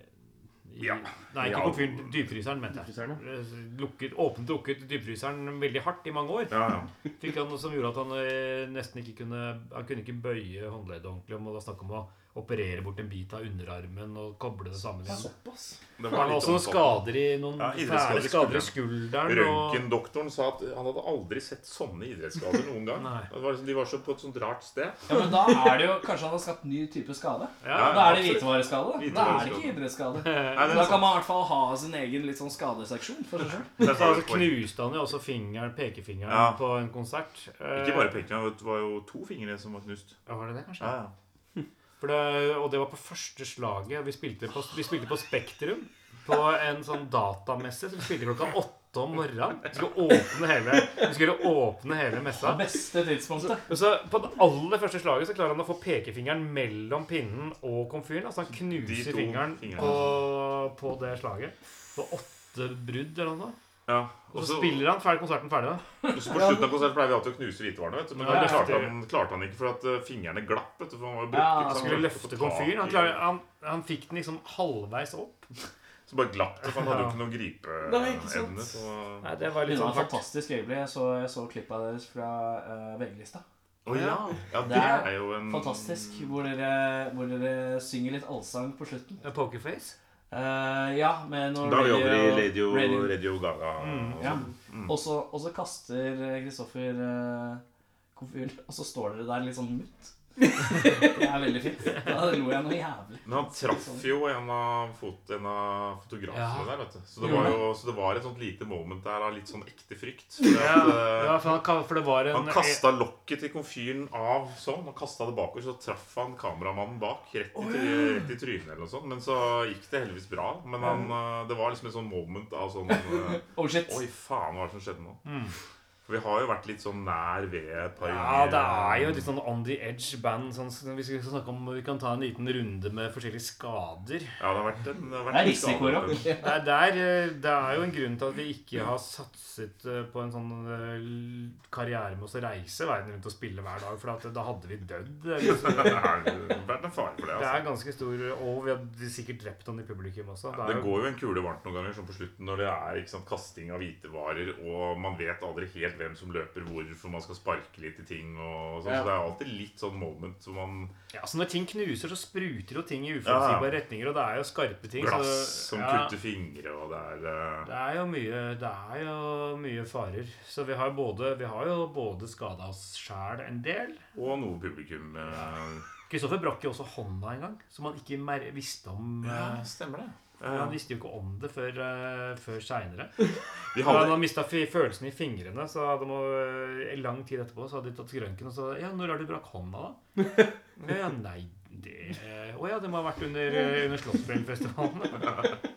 [SPEAKER 4] i,
[SPEAKER 5] Ja.
[SPEAKER 4] Nei, ikke
[SPEAKER 5] Ja.
[SPEAKER 4] komfyren. Dypfryseren, mente jeg. Eh, Lukket, åpent lukket dypfryseren veldig hardt i mange år.
[SPEAKER 5] Ja, ja.
[SPEAKER 4] Fikk han noe som gjorde at han eh, nesten ikke kunne Han kunne ikke bøye håndleddet ordentlig. Og da snakk om å operere bort en bit av underarmen og koble det sammen igjen.
[SPEAKER 5] Det
[SPEAKER 4] Han
[SPEAKER 5] var
[SPEAKER 4] har
[SPEAKER 5] litt
[SPEAKER 4] også noen
[SPEAKER 5] omfattende.
[SPEAKER 4] skader i noen
[SPEAKER 5] Ja,
[SPEAKER 4] fæle
[SPEAKER 5] idrettsskader i
[SPEAKER 4] skader i skulderen. og-
[SPEAKER 5] Røntgendoktoren sa at han hadde aldri sett sånne idrettsskader noen gang.
[SPEAKER 4] Nei.
[SPEAKER 5] Det var, liksom- de var så på et sånt rart sted.
[SPEAKER 2] Ja, men da er det jo Kanskje han har skapt ny type skade?
[SPEAKER 5] Ja,
[SPEAKER 2] da er det
[SPEAKER 5] absolutt.
[SPEAKER 2] hvitevareskade. Da. da er det ikke idrettsskade.
[SPEAKER 5] Nei,
[SPEAKER 2] Da kan
[SPEAKER 5] det er sant.
[SPEAKER 2] man i hvert fall ha sin egen litt sånn skadeseksjon for seg selv.
[SPEAKER 5] Det
[SPEAKER 4] Så
[SPEAKER 5] er
[SPEAKER 4] altså,
[SPEAKER 5] sant.
[SPEAKER 4] knuste han jo også fingeren, pekefingeren
[SPEAKER 5] Ja.
[SPEAKER 4] på en konsert. Eh,
[SPEAKER 5] Ikke bare pekene, det var jo to fingre som var knust.
[SPEAKER 4] ja, Var det det, kanskje?
[SPEAKER 5] Ja, ja.
[SPEAKER 4] For det, og det var på første slaget. Vi spilte på, vi spilte på Spektrum. På en sånn datamesse. Så vi spilte klokka åtte om morgenen. Vi skulle åpne hele, vi skulle åpne hele messa.
[SPEAKER 2] Beste tidspunktet.
[SPEAKER 4] Og så på det aller første slaget så klarer han å få pekefingeren mellom pinnen og komfyren. Altså han
[SPEAKER 5] De
[SPEAKER 4] knuser
[SPEAKER 5] to
[SPEAKER 4] fingeren
[SPEAKER 5] fingrene.
[SPEAKER 4] på, på det slaget. Det var åtte brudd eller noe.
[SPEAKER 5] ja.
[SPEAKER 4] Og så spiller han ferdig konserten ferdig. da.
[SPEAKER 5] Så på slutten av konserten pleier vi alltid å knuse hvitevarene. vet du, Men
[SPEAKER 4] Ja,
[SPEAKER 5] det
[SPEAKER 4] ja.
[SPEAKER 5] klarte han, klarte han ikke, for at eh, fingrene glapp. vet du, for han var
[SPEAKER 2] Ja,
[SPEAKER 5] jo brukket,
[SPEAKER 2] han
[SPEAKER 5] så
[SPEAKER 4] Han skulle
[SPEAKER 5] klarte ikke å få
[SPEAKER 4] løfte
[SPEAKER 5] tak
[SPEAKER 4] komfyren. Han,
[SPEAKER 5] i-
[SPEAKER 4] klarer, han, han fikk den liksom halvveis opp.
[SPEAKER 5] Så bare glapp det, for han hadde
[SPEAKER 4] Ja.
[SPEAKER 5] jo ikke noen
[SPEAKER 3] Nei, ikke sant.
[SPEAKER 5] gripeevne. Så...
[SPEAKER 4] Nei, det var
[SPEAKER 2] Det
[SPEAKER 4] litt
[SPEAKER 2] var
[SPEAKER 4] sånn
[SPEAKER 2] et
[SPEAKER 4] hardt.
[SPEAKER 2] fantastisk øyeblikk. Jeg så, jeg så klippet deres fra eh, VG-lista.
[SPEAKER 5] Å ja. ja, det
[SPEAKER 2] Det er
[SPEAKER 5] er jo en
[SPEAKER 2] Fantastisk. Hvor dere, hvor dere synger litt allsang på slutten.
[SPEAKER 4] Pokerface.
[SPEAKER 2] Eh, ja, med noe
[SPEAKER 5] Da er vi over i Radio,
[SPEAKER 2] radio-
[SPEAKER 5] radio Gaga. og
[SPEAKER 2] Ja.
[SPEAKER 5] sånn.
[SPEAKER 2] Og så, eh, og så kaster Kristoffer eh, komfyren, og så står dere der litt sånn mutt.
[SPEAKER 11] Det er veldig fint. Da lo jeg noe jævlig.
[SPEAKER 5] Men han traff jo en av, fot, en av fotografene der, vet du. Så det, var jo, så det var et sånt lite moment der av litt sånn ekte frykt. Fordi
[SPEAKER 4] Ja,
[SPEAKER 5] at, eh,
[SPEAKER 4] ja for, han, ka- for det var en
[SPEAKER 5] han kasta lokket til komfyren av sånn, og kasta det bakover. Så traff han kameramannen bak rett i, rett i trynet eller noe sånt. Men så gikk det heldigvis bra. Men han, eh, det var liksom et sånn moment av sånn eh,
[SPEAKER 11] Oh shit.
[SPEAKER 5] Oi, faen, hva er det som skjedde nå? For vi har jo vært litt sånn nær ved et par
[SPEAKER 4] Mm. Ja, det er jo et litt sånn on the edge-band. Sånn, så hvis vi skal snakke om Vi kan ta en liten runde med forskjellige skader.
[SPEAKER 5] Ja, det har vært en Det, har
[SPEAKER 11] Det
[SPEAKER 5] vært
[SPEAKER 11] er
[SPEAKER 5] en skade.
[SPEAKER 11] risikorock.
[SPEAKER 4] Det er, der, eh, det er jo en grunn til at vi ikke har satset eh, på en sånn eh, l- karriere med oss å reise verden rundt og spille hver dag, for at da hadde vi dødd. eh, liksom.
[SPEAKER 5] Det har vært en fare for det,
[SPEAKER 4] Det
[SPEAKER 5] altså.
[SPEAKER 4] er ganske stor Og vi hadde sikkert drept han i publikum også. Det
[SPEAKER 5] Det
[SPEAKER 4] er jo,
[SPEAKER 5] går jo en kule varmt noen ganger, som på slutten når det er ikke sant, kasting av hvitevarer, og man vet aldri helt hvem som løper hvor, for man skal sparke litt i ting og sånn.
[SPEAKER 11] Ja.
[SPEAKER 5] Så det er alltid litt sånn moment som man
[SPEAKER 4] ja, så når ting knuser, så spruter jo ting i
[SPEAKER 5] Ja, ja.
[SPEAKER 4] uforutsigbare retninger, og det er jo skarpe ting.
[SPEAKER 5] Glass
[SPEAKER 4] så,
[SPEAKER 5] som
[SPEAKER 4] ja,
[SPEAKER 5] kutter fingre, og det er eh,
[SPEAKER 4] Det er jo mye, det er jo mye farer. Så vi har, både, vi har jo både skada oss sjæl en del.
[SPEAKER 5] Og noe publikum eh,
[SPEAKER 4] Kristoffer brakk jo også hånda en gang, som han ikke mer visste om. eh,
[SPEAKER 5] stemmer det.
[SPEAKER 4] Han visste jo ikke om det før, eh, før seinere.
[SPEAKER 5] Vi
[SPEAKER 4] Da
[SPEAKER 5] hadde
[SPEAKER 4] han mista følelsen i fingrene, så hadde man, eh, en lang tid etterpå så hadde de tatt røntgen og så Ja, når har du brakk hånda, da? ja, nei, det Å ja, det må ha vært under, eh, under Slottsfjellfestivalen.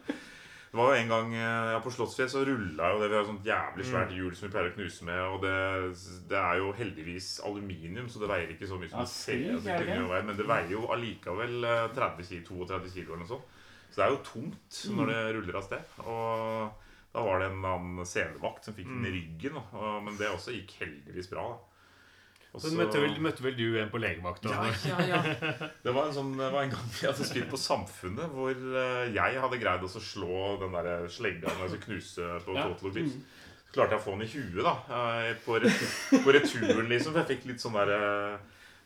[SPEAKER 5] Det var jo en gang eh, ja, På Slottsfjell så rulla jo det. Vi har et sånt jævlig svært hjul som vi pleier å knuse med. Og det, det er jo heldigvis aluminium, så det veier ikke så mye som
[SPEAKER 11] Ja,
[SPEAKER 5] det ser
[SPEAKER 11] fy,
[SPEAKER 5] ut. som
[SPEAKER 11] er
[SPEAKER 5] det
[SPEAKER 11] det
[SPEAKER 5] kunne
[SPEAKER 11] det?
[SPEAKER 5] veie, Men det veier jo allikevel eh, 30 kilo, 32 kilo eller noe sånt. Så det er jo tungt når det ruller av sted. Og da var det en annen selevakt som fikk den i ryggen. da. Og- Men det også gikk heldigvis bra. da. Og
[SPEAKER 4] Så møtte vel, møtte vel du en på legevakta?
[SPEAKER 5] det var, en sånn, det var en gang vi hadde spilt på Samfunnet, hvor eh, jeg hadde greid å så slå den der slegga med å knuse på Total Beat.
[SPEAKER 4] Mm.
[SPEAKER 5] Så klarte jeg å få den i huet da, eh, på, retu- på returen, liksom. For jeg fikk litt sånn der eh,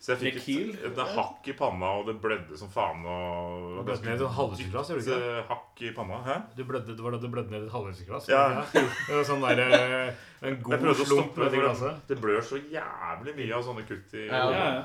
[SPEAKER 5] Så jeg fikk et, et, hakk i panna, og det blødde som faen. Og
[SPEAKER 4] Det blødde ned et halvglass, gjorde det ikke
[SPEAKER 5] eh, Hakk i panna. Hæ?
[SPEAKER 4] Du blødde, det var da du blødde ned et halvlitersglass?
[SPEAKER 5] Ja.
[SPEAKER 4] ikke det? Det var Sånn der, eh, en
[SPEAKER 5] Jeg
[SPEAKER 4] god
[SPEAKER 5] prøvde å
[SPEAKER 4] slump med
[SPEAKER 5] stoppe,
[SPEAKER 4] det
[SPEAKER 5] for det,
[SPEAKER 4] glasset?
[SPEAKER 5] det blør så jævlig mye av sånne kutt i
[SPEAKER 11] Ja, ja, ja.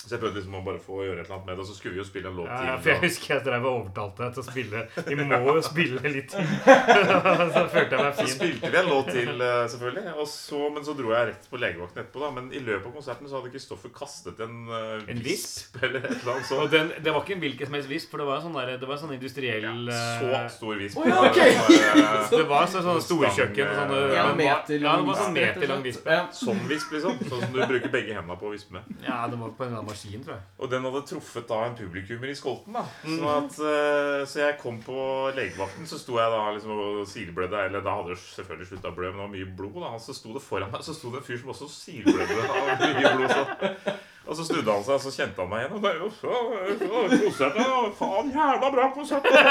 [SPEAKER 5] Så jeg prøvde liksom å bare få gjøre et eller annet med det, og så skulle vi jo spille en låt
[SPEAKER 4] Ja, ja, for
[SPEAKER 5] til.
[SPEAKER 4] jeg
[SPEAKER 5] og-
[SPEAKER 4] husker jeg drev og overtalte deg til å spille. Vi må jo spille litt. Så følte jeg meg
[SPEAKER 5] Så
[SPEAKER 4] fin.
[SPEAKER 5] spilte vi en låt til, eh, selvfølgelig. Og så, men så dro jeg rett på legevakten etterpå. da Men i løpet av konserten så hadde Kristoffer kastet en, eh,
[SPEAKER 4] En visp?
[SPEAKER 5] eller et eller
[SPEAKER 4] Og
[SPEAKER 5] annet sånt.
[SPEAKER 4] den, det var ikke en hvilken som helst visp, for det var en sånn, der, det var en sånn industriell
[SPEAKER 5] Så
[SPEAKER 4] eh,
[SPEAKER 5] stor visp.
[SPEAKER 11] Å ja, ok.
[SPEAKER 5] Eh,
[SPEAKER 4] Det var sånn, sånn storkjøkken. Sånn, eh,
[SPEAKER 11] Ja,
[SPEAKER 4] den var-
[SPEAKER 11] meter lang
[SPEAKER 4] ja, det var sånn
[SPEAKER 11] visp, rett og
[SPEAKER 4] meter lang
[SPEAKER 11] slett.
[SPEAKER 4] visp.
[SPEAKER 11] Ja.
[SPEAKER 5] Sånn visp, liksom. Sånn som du bruker begge hendene på å vispe med.
[SPEAKER 4] Ja, det var på en eller annen maskin, tror jeg.
[SPEAKER 5] Og den hadde truffet da en publikummer i skolten. da Sånn
[SPEAKER 4] Mm.
[SPEAKER 5] at, eh, Så jeg kom på legevakten, så sto jeg da liksom og silblødde. Eller da hadde det selvfølgelig slutta å blø, men det var mye blod. da Så sto det foran meg Så sto det en fyr som også silblødde av mye blod. Så. Og så snudde han seg, og så kjente han meg igjen. Og det er jo så, så konsert, da. Faen, jævla bra konsert! da.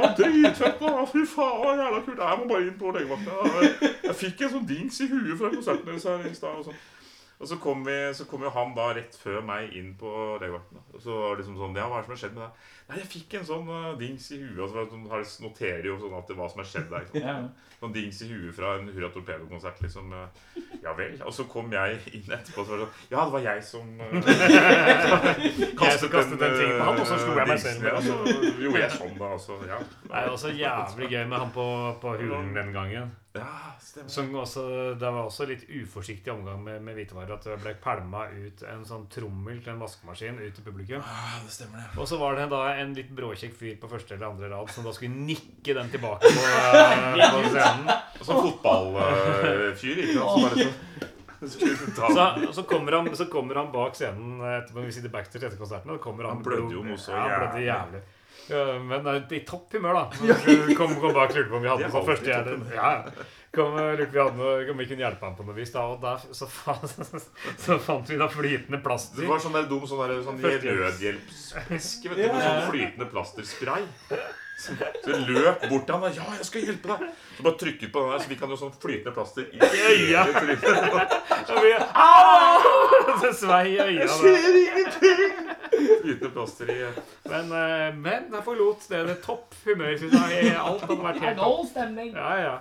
[SPEAKER 5] Å, Dritfett! da. Fy faen, jævla kult! Jeg må bare inn på legevakta. da. Jeg fikk en sånn dings i huet fra konserten deres her i stad. og sånn. Og så kom, vi, så kom jo han da rett før meg inn på legevakten. da. Og så var det liksom sånn Ja, hva er det som har skjedd med deg? Nei, jeg fikk en sånn eh, dings i huet. Og så var det sånn, har de- noterer jo sånn at det hva som har skjedd der. Ikke sant?
[SPEAKER 11] Ja.
[SPEAKER 5] Sånn dings i huet fra en Hurra Torpedo-konsert, liksom. eh, Ja vel. Og så kom jeg inn etterpå, og så var det sånn Ja, det var jeg som eh,
[SPEAKER 4] som kastet den ting på han, og så slo jeg meg
[SPEAKER 5] dingsen,
[SPEAKER 4] selv. altså.
[SPEAKER 5] Ja, så gjorde jeg sånn, da. Og så, ja.
[SPEAKER 4] Det er jo også jævlig gøy med han på, på hulen den gangen.
[SPEAKER 5] ja, stemmer.
[SPEAKER 4] Som også, det var også litt uforsiktig omgang med, med hvitevarer. At det ble pælma ut en sånn trommel til en vaskemaskin ut til publikum.
[SPEAKER 5] det stemmer, det.
[SPEAKER 4] Og så var det da en litt bråkjekk fyr på første eller andre rad som da skulle nikke den tilbake på, eh, på scenen.
[SPEAKER 5] Og så fotballfyr, ikke sant. Så bare så skulle ta
[SPEAKER 4] Så, og så, kommer han, så kommer han bak scenen eh, etterpå, vi sitter backstage etter konserten. Og da kommer han,
[SPEAKER 5] Han blødde jo noe så
[SPEAKER 4] ja, han blødde
[SPEAKER 5] jævlig.
[SPEAKER 4] jævlig. Ja, men eh, i topp humør, da. Så Kom, kom bak, lurte på om vi
[SPEAKER 5] De
[SPEAKER 4] hadde
[SPEAKER 5] er
[SPEAKER 4] noe sånn første
[SPEAKER 5] alltid i
[SPEAKER 4] ja, ja. Kom, eh, lurte på om vi hadde noe, om vi kunne hjelpe ham på noe vis. Da, og der, så, faen, så, så fant vi da flytende
[SPEAKER 5] Det
[SPEAKER 4] plaster.
[SPEAKER 5] var sånn der dum sånn der, sånn nødhjelpseske vet du, med sånn flytende plasterspray. Så så løp bort til han og 'Ja, jeg skal hjelpe deg.' Så bare trykket på den der, så fikk han jo sånn flytende plaster i
[SPEAKER 4] Ja.
[SPEAKER 5] hele trynet.
[SPEAKER 4] Og vi, Au! Så svei i øya. da.
[SPEAKER 5] Flytende plaster i
[SPEAKER 4] Men, eh, men jeg forlot det, det topp humør. synes jeg. Alt hadde vært helt topp.
[SPEAKER 11] stemning!
[SPEAKER 4] Ja, ja.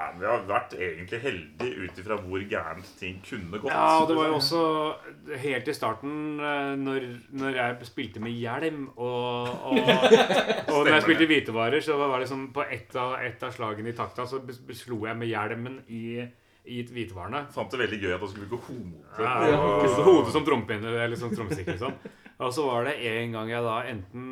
[SPEAKER 5] Ja, men vi har vært egentlig heldige ut ifra hvor gærent ting kunne gått.
[SPEAKER 4] Ja, og det var jo også helt i starten, eh, når, når jeg spilte med hjelm og, og, og når jeg spilte hvitevarer, så var det liksom på ett av, ett av slagene i takta, så bes- slo jeg med hjelmen i, i hvitevarene.
[SPEAKER 5] Jeg fant det veldig gøy at han skulle bruke hodet.
[SPEAKER 4] Ja, og- Hodet som trompinne eller som trommestikke, liksom. Og så var det en gang jeg da enten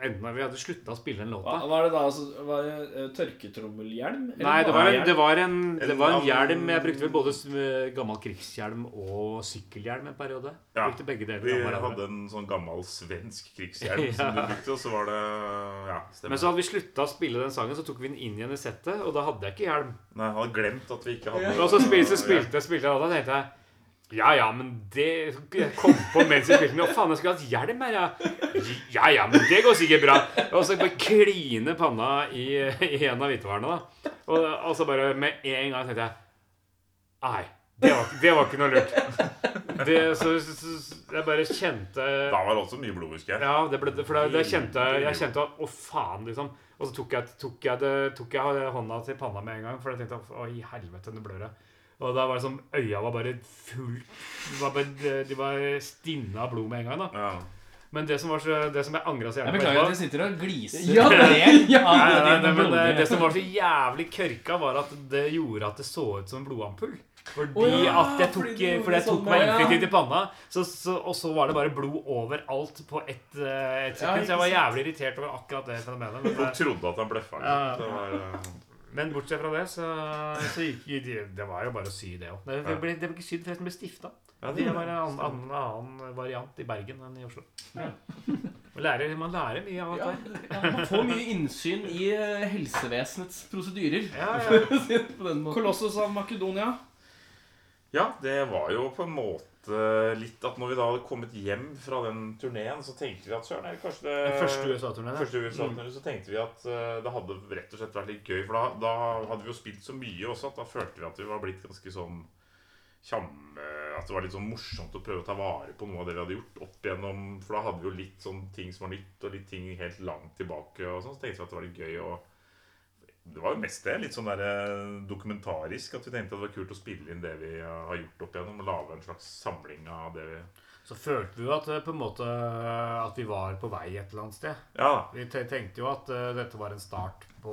[SPEAKER 4] Enten vi hadde slutta å spille den låta
[SPEAKER 12] Hva var det da? Altså, var det eh, tørketrommelhjelm? eller
[SPEAKER 4] Nei, det
[SPEAKER 12] bare
[SPEAKER 4] var, en,
[SPEAKER 12] hjelm?
[SPEAKER 4] det, var en, det
[SPEAKER 5] En
[SPEAKER 4] var en
[SPEAKER 5] lang-
[SPEAKER 4] hjelm. Jeg brukte vel både s- gammel krigshjelm og sykkelhjelm en periode.
[SPEAKER 5] Ja.
[SPEAKER 4] Brukte begge deler.
[SPEAKER 5] Vi
[SPEAKER 4] av hverandre.
[SPEAKER 5] hadde en sånn gammel svensk krigshjelm som du brukte, og så var det Ja, stemmer.
[SPEAKER 4] Men så hadde vi slutta å spille den sangen, så tok vi den inn igjen i settet, og da hadde jeg ikke hjelm.
[SPEAKER 5] Nei, han hadde glemt at vi ikke hadde
[SPEAKER 4] Og så spilte, så spilte jeg spilte, jeg, og da tenkte jeg ja, ja, men det Jeg kom på mens jeg spilte den. Å, faen, jeg skulle hatt hjelm her, ja. Ja, ja, men det går sikkert bra. Og så bare kline panna i, i en av hvitevarene, da. Og, og så bare med en gang tenkte jeg Nei, det var, det var ikke noe lurt. Det, så, så, så jeg bare kjente
[SPEAKER 5] Da var det også mye blod, husker jeg.
[SPEAKER 4] ja, det ble, for da, da kjente jeg Jeg kjente at Å, faen, liksom. Og så tok jeg, tok, jeg det, tok jeg hånda til panna med en gang, for jeg tenkte Å, i helvete, nå blør jeg. Og da var det som Øya var bare fullt De var, bare, de var stinne av blod med en gang. da
[SPEAKER 5] Ja.
[SPEAKER 4] Men det som, var så, det som jeg angra så
[SPEAKER 2] Jeg
[SPEAKER 4] jævlig
[SPEAKER 2] beklager at
[SPEAKER 4] etterpå-
[SPEAKER 2] jeg sitter og gliser.
[SPEAKER 3] Ja,
[SPEAKER 2] det,
[SPEAKER 4] Nei, nei, nei, men det, det som var så jævlig kørka, var at det gjorde at det så ut som en blodampull. Fordi
[SPEAKER 2] Å ja,
[SPEAKER 4] at jeg tok,
[SPEAKER 2] fordi det gjorde
[SPEAKER 4] fordi jeg tok
[SPEAKER 2] sånn,
[SPEAKER 4] meg
[SPEAKER 2] ja.
[SPEAKER 4] infektivt i panna, så, så, og så var det bare blod overalt på ett eh, ett sekund. så jeg var jævlig irritert over akkurat det fenomenet. Men,
[SPEAKER 5] Folk trodde at han bløffa.
[SPEAKER 4] Ja.
[SPEAKER 5] Det var, eh,
[SPEAKER 4] men bortsett fra det, så, så gikk det Det var jo bare å sy, det òg. Det, det, ble- det ble ikke sydd, forresten ble stifta.
[SPEAKER 5] ja,
[SPEAKER 4] Det
[SPEAKER 5] det
[SPEAKER 4] var
[SPEAKER 5] var
[SPEAKER 4] en annen, annen, annen variant i Bergen enn i Oslo. Man lærer, man lærer mye av
[SPEAKER 3] Ja,
[SPEAKER 4] dette.
[SPEAKER 3] Man får mye innsyn i eh, helsevesenets prosedyrer.
[SPEAKER 4] Ja, ja.
[SPEAKER 3] for å si det på den måten.
[SPEAKER 12] Kolossus av Makedonia.
[SPEAKER 5] Ja, det var jo på en måte litt at når vi da hadde kommet hjem fra den turneen, så tenkte vi at søren, er det kanskje det
[SPEAKER 4] Den første USA-turneen.
[SPEAKER 5] Første USA-turneen, så tenkte vi at eh, det hadde rett og slett vært litt gøy. For da, da hadde vi jo spilt så mye også at da følte vi at vi var blitt ganske sånn tjamme At det var litt sånn morsomt å prøve å ta vare på noe av det vi hadde gjort opp igjennom. For da hadde vi jo litt sånn ting som var nytt, og litt ting helt langt tilbake og sånn. Så tenkte vi at det var litt gøy å det var jo mest det. Litt sånn der eh, dokumentarisk. At vi tenkte at det var kult å spille inn det vi eh, har gjort opp igjennom. Og lage en slags samling av det vi
[SPEAKER 4] Så følte vi jo at, eh, på en måte, eh, at vi var på vei et eller annet sted.
[SPEAKER 5] Ja da.
[SPEAKER 4] Vi te- tenkte jo at eh, dette var en start på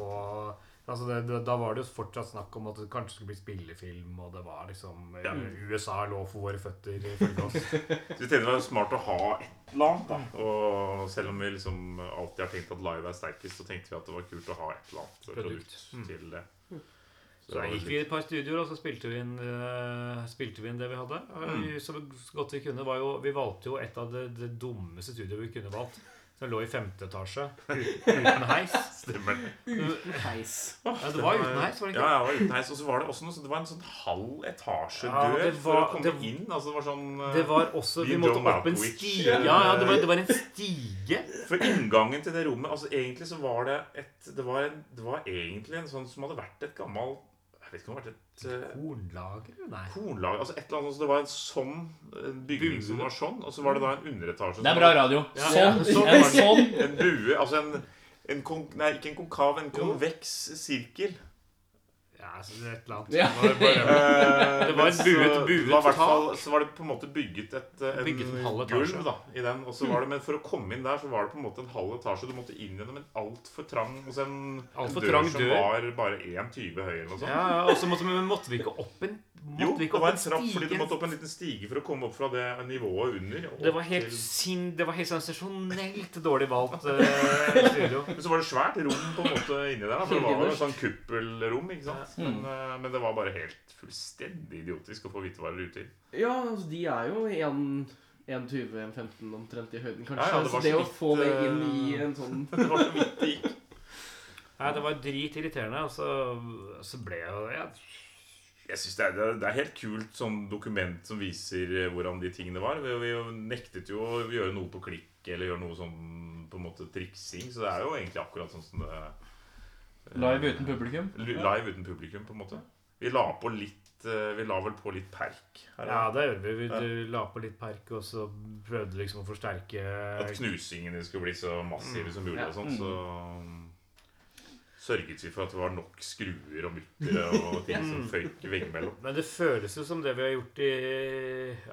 [SPEAKER 4] Altså det, det, da var det jo fortsatt snakk om at det kanskje skulle bli spillefilm, og det var liksom eh, USA lå for våre føtter, ifølge oss.
[SPEAKER 5] Så vi tenkte det var smart å ha et eller annet. da Og selv om vi liksom alltid har tenkt at live er sterkest, så tenkte vi at det var kult å ha et eller annet produkt, til det. Så
[SPEAKER 4] Mm. Så
[SPEAKER 5] det var
[SPEAKER 4] gikk vi i et par studioer, og så spilte vi inn, eh, spilte vi inn det vi hadde. Og vi- Så godt vi kunne. Var jo, vi valgte jo et av det, det dummeste studioet vi kunne valgt. Som lå i femte etasje, ut- uten heis.
[SPEAKER 5] Stemmer det.
[SPEAKER 4] Ja, det var uten heis, var det ikke?
[SPEAKER 5] Ja, ja, det var uten heis. Og så var det også noe sånn Det var en sånn halv etasje
[SPEAKER 4] Ja,
[SPEAKER 5] dør
[SPEAKER 4] det
[SPEAKER 5] for å
[SPEAKER 4] var-
[SPEAKER 5] komme
[SPEAKER 4] det-
[SPEAKER 5] inn. Altså det var sånn eh,
[SPEAKER 4] Det var også Vi
[SPEAKER 5] Vi
[SPEAKER 4] måtte
[SPEAKER 5] John
[SPEAKER 4] opp en
[SPEAKER 5] Malkovich.
[SPEAKER 4] stige. Ja, ja, det var, det var en stige.
[SPEAKER 5] For inngangen til det rommet Altså egentlig så var det et Det var, en, det var egentlig en sånn som hadde vært et gammelt Jeg vet ikke om det hadde vært et eh,
[SPEAKER 4] Kornlager? Nei.
[SPEAKER 5] kornlager Altså et eller annet sånt. så Det var en sånn eh, bygning som var sånn, og så var det da en underetasje
[SPEAKER 2] det
[SPEAKER 5] som
[SPEAKER 2] er bra radio. Sånn. En
[SPEAKER 5] sånn var det.
[SPEAKER 2] sånn.
[SPEAKER 5] En bue, altså en, en kon, Nei, ikke en konkav, en konveks sirkel.
[SPEAKER 4] Ja, så det er et eller annet.
[SPEAKER 2] Ja.
[SPEAKER 4] Det var bare,
[SPEAKER 5] det
[SPEAKER 4] var et buet- buet
[SPEAKER 5] Eh, det var i hvert fall, Så var det på en måte bygget et eh, en
[SPEAKER 4] Bygget en halv
[SPEAKER 5] gulv
[SPEAKER 4] etasje.
[SPEAKER 5] da, i den. Og så var det, men for å komme inn der, så var det på en måte en halv etasje. Du måtte inn gjennom en altfor trang altså en,
[SPEAKER 4] Alt for
[SPEAKER 5] en dør
[SPEAKER 4] trang
[SPEAKER 5] som
[SPEAKER 4] dør.
[SPEAKER 5] var bare 1,20 høy eller noe sånt.
[SPEAKER 4] ja, ja, og så måtte, vi- men måtte vi ikke opp en måtte
[SPEAKER 5] Jo,
[SPEAKER 4] vi
[SPEAKER 5] det
[SPEAKER 4] ikke opp
[SPEAKER 5] var
[SPEAKER 4] en
[SPEAKER 5] en trapp fordi du
[SPEAKER 4] stige?
[SPEAKER 5] måtte opp en liten stige for å komme opp fra det nivået under. og
[SPEAKER 4] Det var
[SPEAKER 5] opp
[SPEAKER 4] helt
[SPEAKER 5] til-
[SPEAKER 4] sin, det var helt sånn sensasjonelt dårlig valgt eh, studio.
[SPEAKER 5] Men så var det svært rom på en måte inni der. da, For det var jo et sånn kuppelrom. ikke sant? Men, eh, men det var bare helt fullstendig idiotisk å få hvitevarer ute i.
[SPEAKER 3] Ja, altså, de er jo 1,20-1,15 omtrent i høyden, kanskje.
[SPEAKER 5] Ja, ja, det
[SPEAKER 3] så
[SPEAKER 5] var
[SPEAKER 3] det
[SPEAKER 5] så
[SPEAKER 3] å få det
[SPEAKER 5] vidt,
[SPEAKER 3] inn i
[SPEAKER 5] eh,
[SPEAKER 3] en sånn
[SPEAKER 5] Det var så vidt det gikk.
[SPEAKER 4] Nei, det var dritirriterende, og så, så ble jeg jo ja.
[SPEAKER 5] Jeg synes det, er- det er, det er helt kult sånn dokument som viser eh, hvordan de tingene var. Vi, vi nektet jo å gjøre noe på klikk eller gjøre noe sånn på en måte triksing. Så det er jo egentlig akkurat sånn som det er.
[SPEAKER 2] Live uten publikum.
[SPEAKER 5] Live uten publikum, på en måte. Vi la på litt eh, Vi la vel på litt perk. her,
[SPEAKER 4] ja, det gjorde vi. Vi du la på litt park, og så prøvde liksom å forsterke
[SPEAKER 5] At knusingene skulle bli så massive som mulig og sånt, så mm, sørget vi for at det var nok skruer og muttere og ting som føyk veggimellom.
[SPEAKER 4] Men det føles jo som det vi har gjort i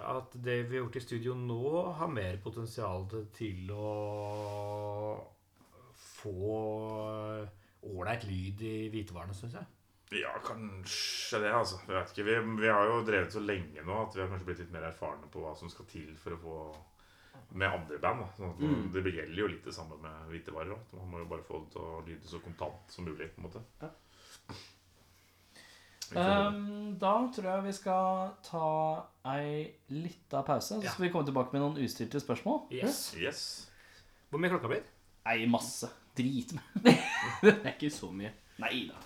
[SPEAKER 4] At det vi har gjort i studio nå, har mer potensial til- til å få ålreit lyd i hvitevarene, syns jeg.
[SPEAKER 5] Ja, kanskje det, altså. Jeg vet ikke. Vi, vi har jo drevet så lenge nå at vi har kanskje blitt litt mer erfarne på hva som skal til for å få med andre band. Da. Sånn at man- Det gjelder jo litt det samme med hvitevarer. da. Man må jo bare få det til å lyde så kontant som mulig. på en måte.
[SPEAKER 2] Ehm, da tror jeg vi skal ta ei lita pause, så skal vi komme tilbake med noen ustilte spørsmål.
[SPEAKER 4] Yes.
[SPEAKER 5] Yes.
[SPEAKER 4] Hvor mye er klokka blitt?
[SPEAKER 2] Nei, masse. Drit med.
[SPEAKER 13] Det er ikke så mye.
[SPEAKER 2] Nei da.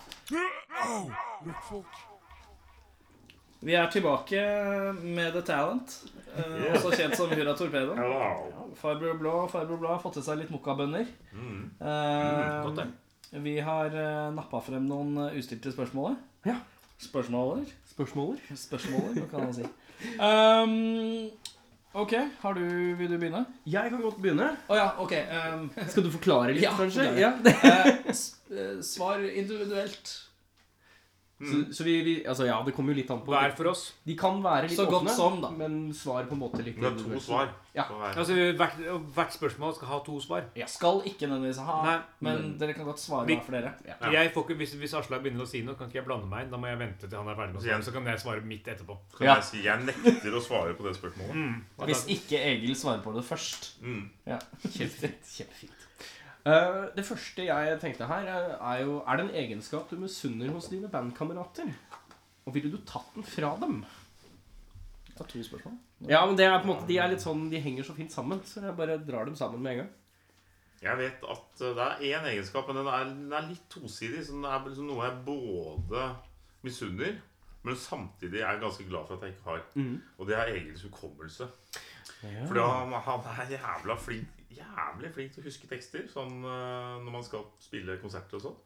[SPEAKER 2] Vi er tilbake med The Talent, eh, også kjent som Hurra Torpedo.
[SPEAKER 5] Wow.
[SPEAKER 2] Farbror Blå Farbror Blå har fått til seg litt mokkabønner. Eh,
[SPEAKER 4] Mm. Godt, det.
[SPEAKER 2] vi har uh, nappa frem noen eh, ustilte spørsmål.
[SPEAKER 3] Ja.
[SPEAKER 2] Spørsmåler?
[SPEAKER 3] Spørsmåler?
[SPEAKER 2] Spørsmåler, hva kan man si. Ehm, ok, har du, vil du begynne?
[SPEAKER 3] Jeg kan godt begynne.
[SPEAKER 2] Å ja, ok. ehm,
[SPEAKER 3] Skal du forklare litt,
[SPEAKER 2] Ja,
[SPEAKER 3] kanskje?
[SPEAKER 2] forklare.
[SPEAKER 3] Ja.
[SPEAKER 2] eh, s- eh, svar individuelt.
[SPEAKER 5] Mm.
[SPEAKER 3] Så, så vi, vi Altså, ja, det kommer jo litt an på
[SPEAKER 4] Hver for oss.
[SPEAKER 3] De kan være litt
[SPEAKER 2] Så godt
[SPEAKER 3] åpne,
[SPEAKER 2] som, da.
[SPEAKER 3] men svar på en måte litt
[SPEAKER 5] Det er to
[SPEAKER 3] individuelt.
[SPEAKER 5] svar.
[SPEAKER 3] Ja.
[SPEAKER 5] på hver.
[SPEAKER 4] Altså, hvert, hvert spørsmål skal ha to svar.
[SPEAKER 2] Skal ikke nødvendigvis ha,
[SPEAKER 4] Nei,
[SPEAKER 2] men
[SPEAKER 3] men-
[SPEAKER 2] dere kan godt svare
[SPEAKER 4] Vi-
[SPEAKER 2] hver for dere.
[SPEAKER 5] Ja.
[SPEAKER 4] Jeg får ikke, hvis hvis Aslaug begynner å si noe, kan ikke jeg blande meg inn. Da må jeg vente til han er ferdig med å svare, så kan jeg svare mitt etterpå.
[SPEAKER 5] Kan
[SPEAKER 2] Ja.
[SPEAKER 5] jeg si jeg nekter å svare på det spørsmålet?
[SPEAKER 2] Hvis ikke Egil svarer på det først.
[SPEAKER 5] Mm.
[SPEAKER 3] Kjempefint. kjempefint. Eh, det første jeg tenkte her, eh, er jo Er det en egenskap du misunner hos dine bandkamerater? Og ville du tatt den fra dem?
[SPEAKER 2] Det er to spørsmål.
[SPEAKER 3] Ja, men det er på en måte De er litt sånn De henger så fint sammen, så jeg bare drar dem sammen med en gang.
[SPEAKER 5] Jeg vet at eh, det er én egenskap, men den er, den er litt tosidig. Så den er liksom noe jeg både misunner, men samtidig er jeg ganske glad for at jeg ikke har. Og det er Egils hukommelse. Fordi han, han er jævla flink, jævlig flink til å huske tekster sånn, eh, når man skal spille konserter og sånn.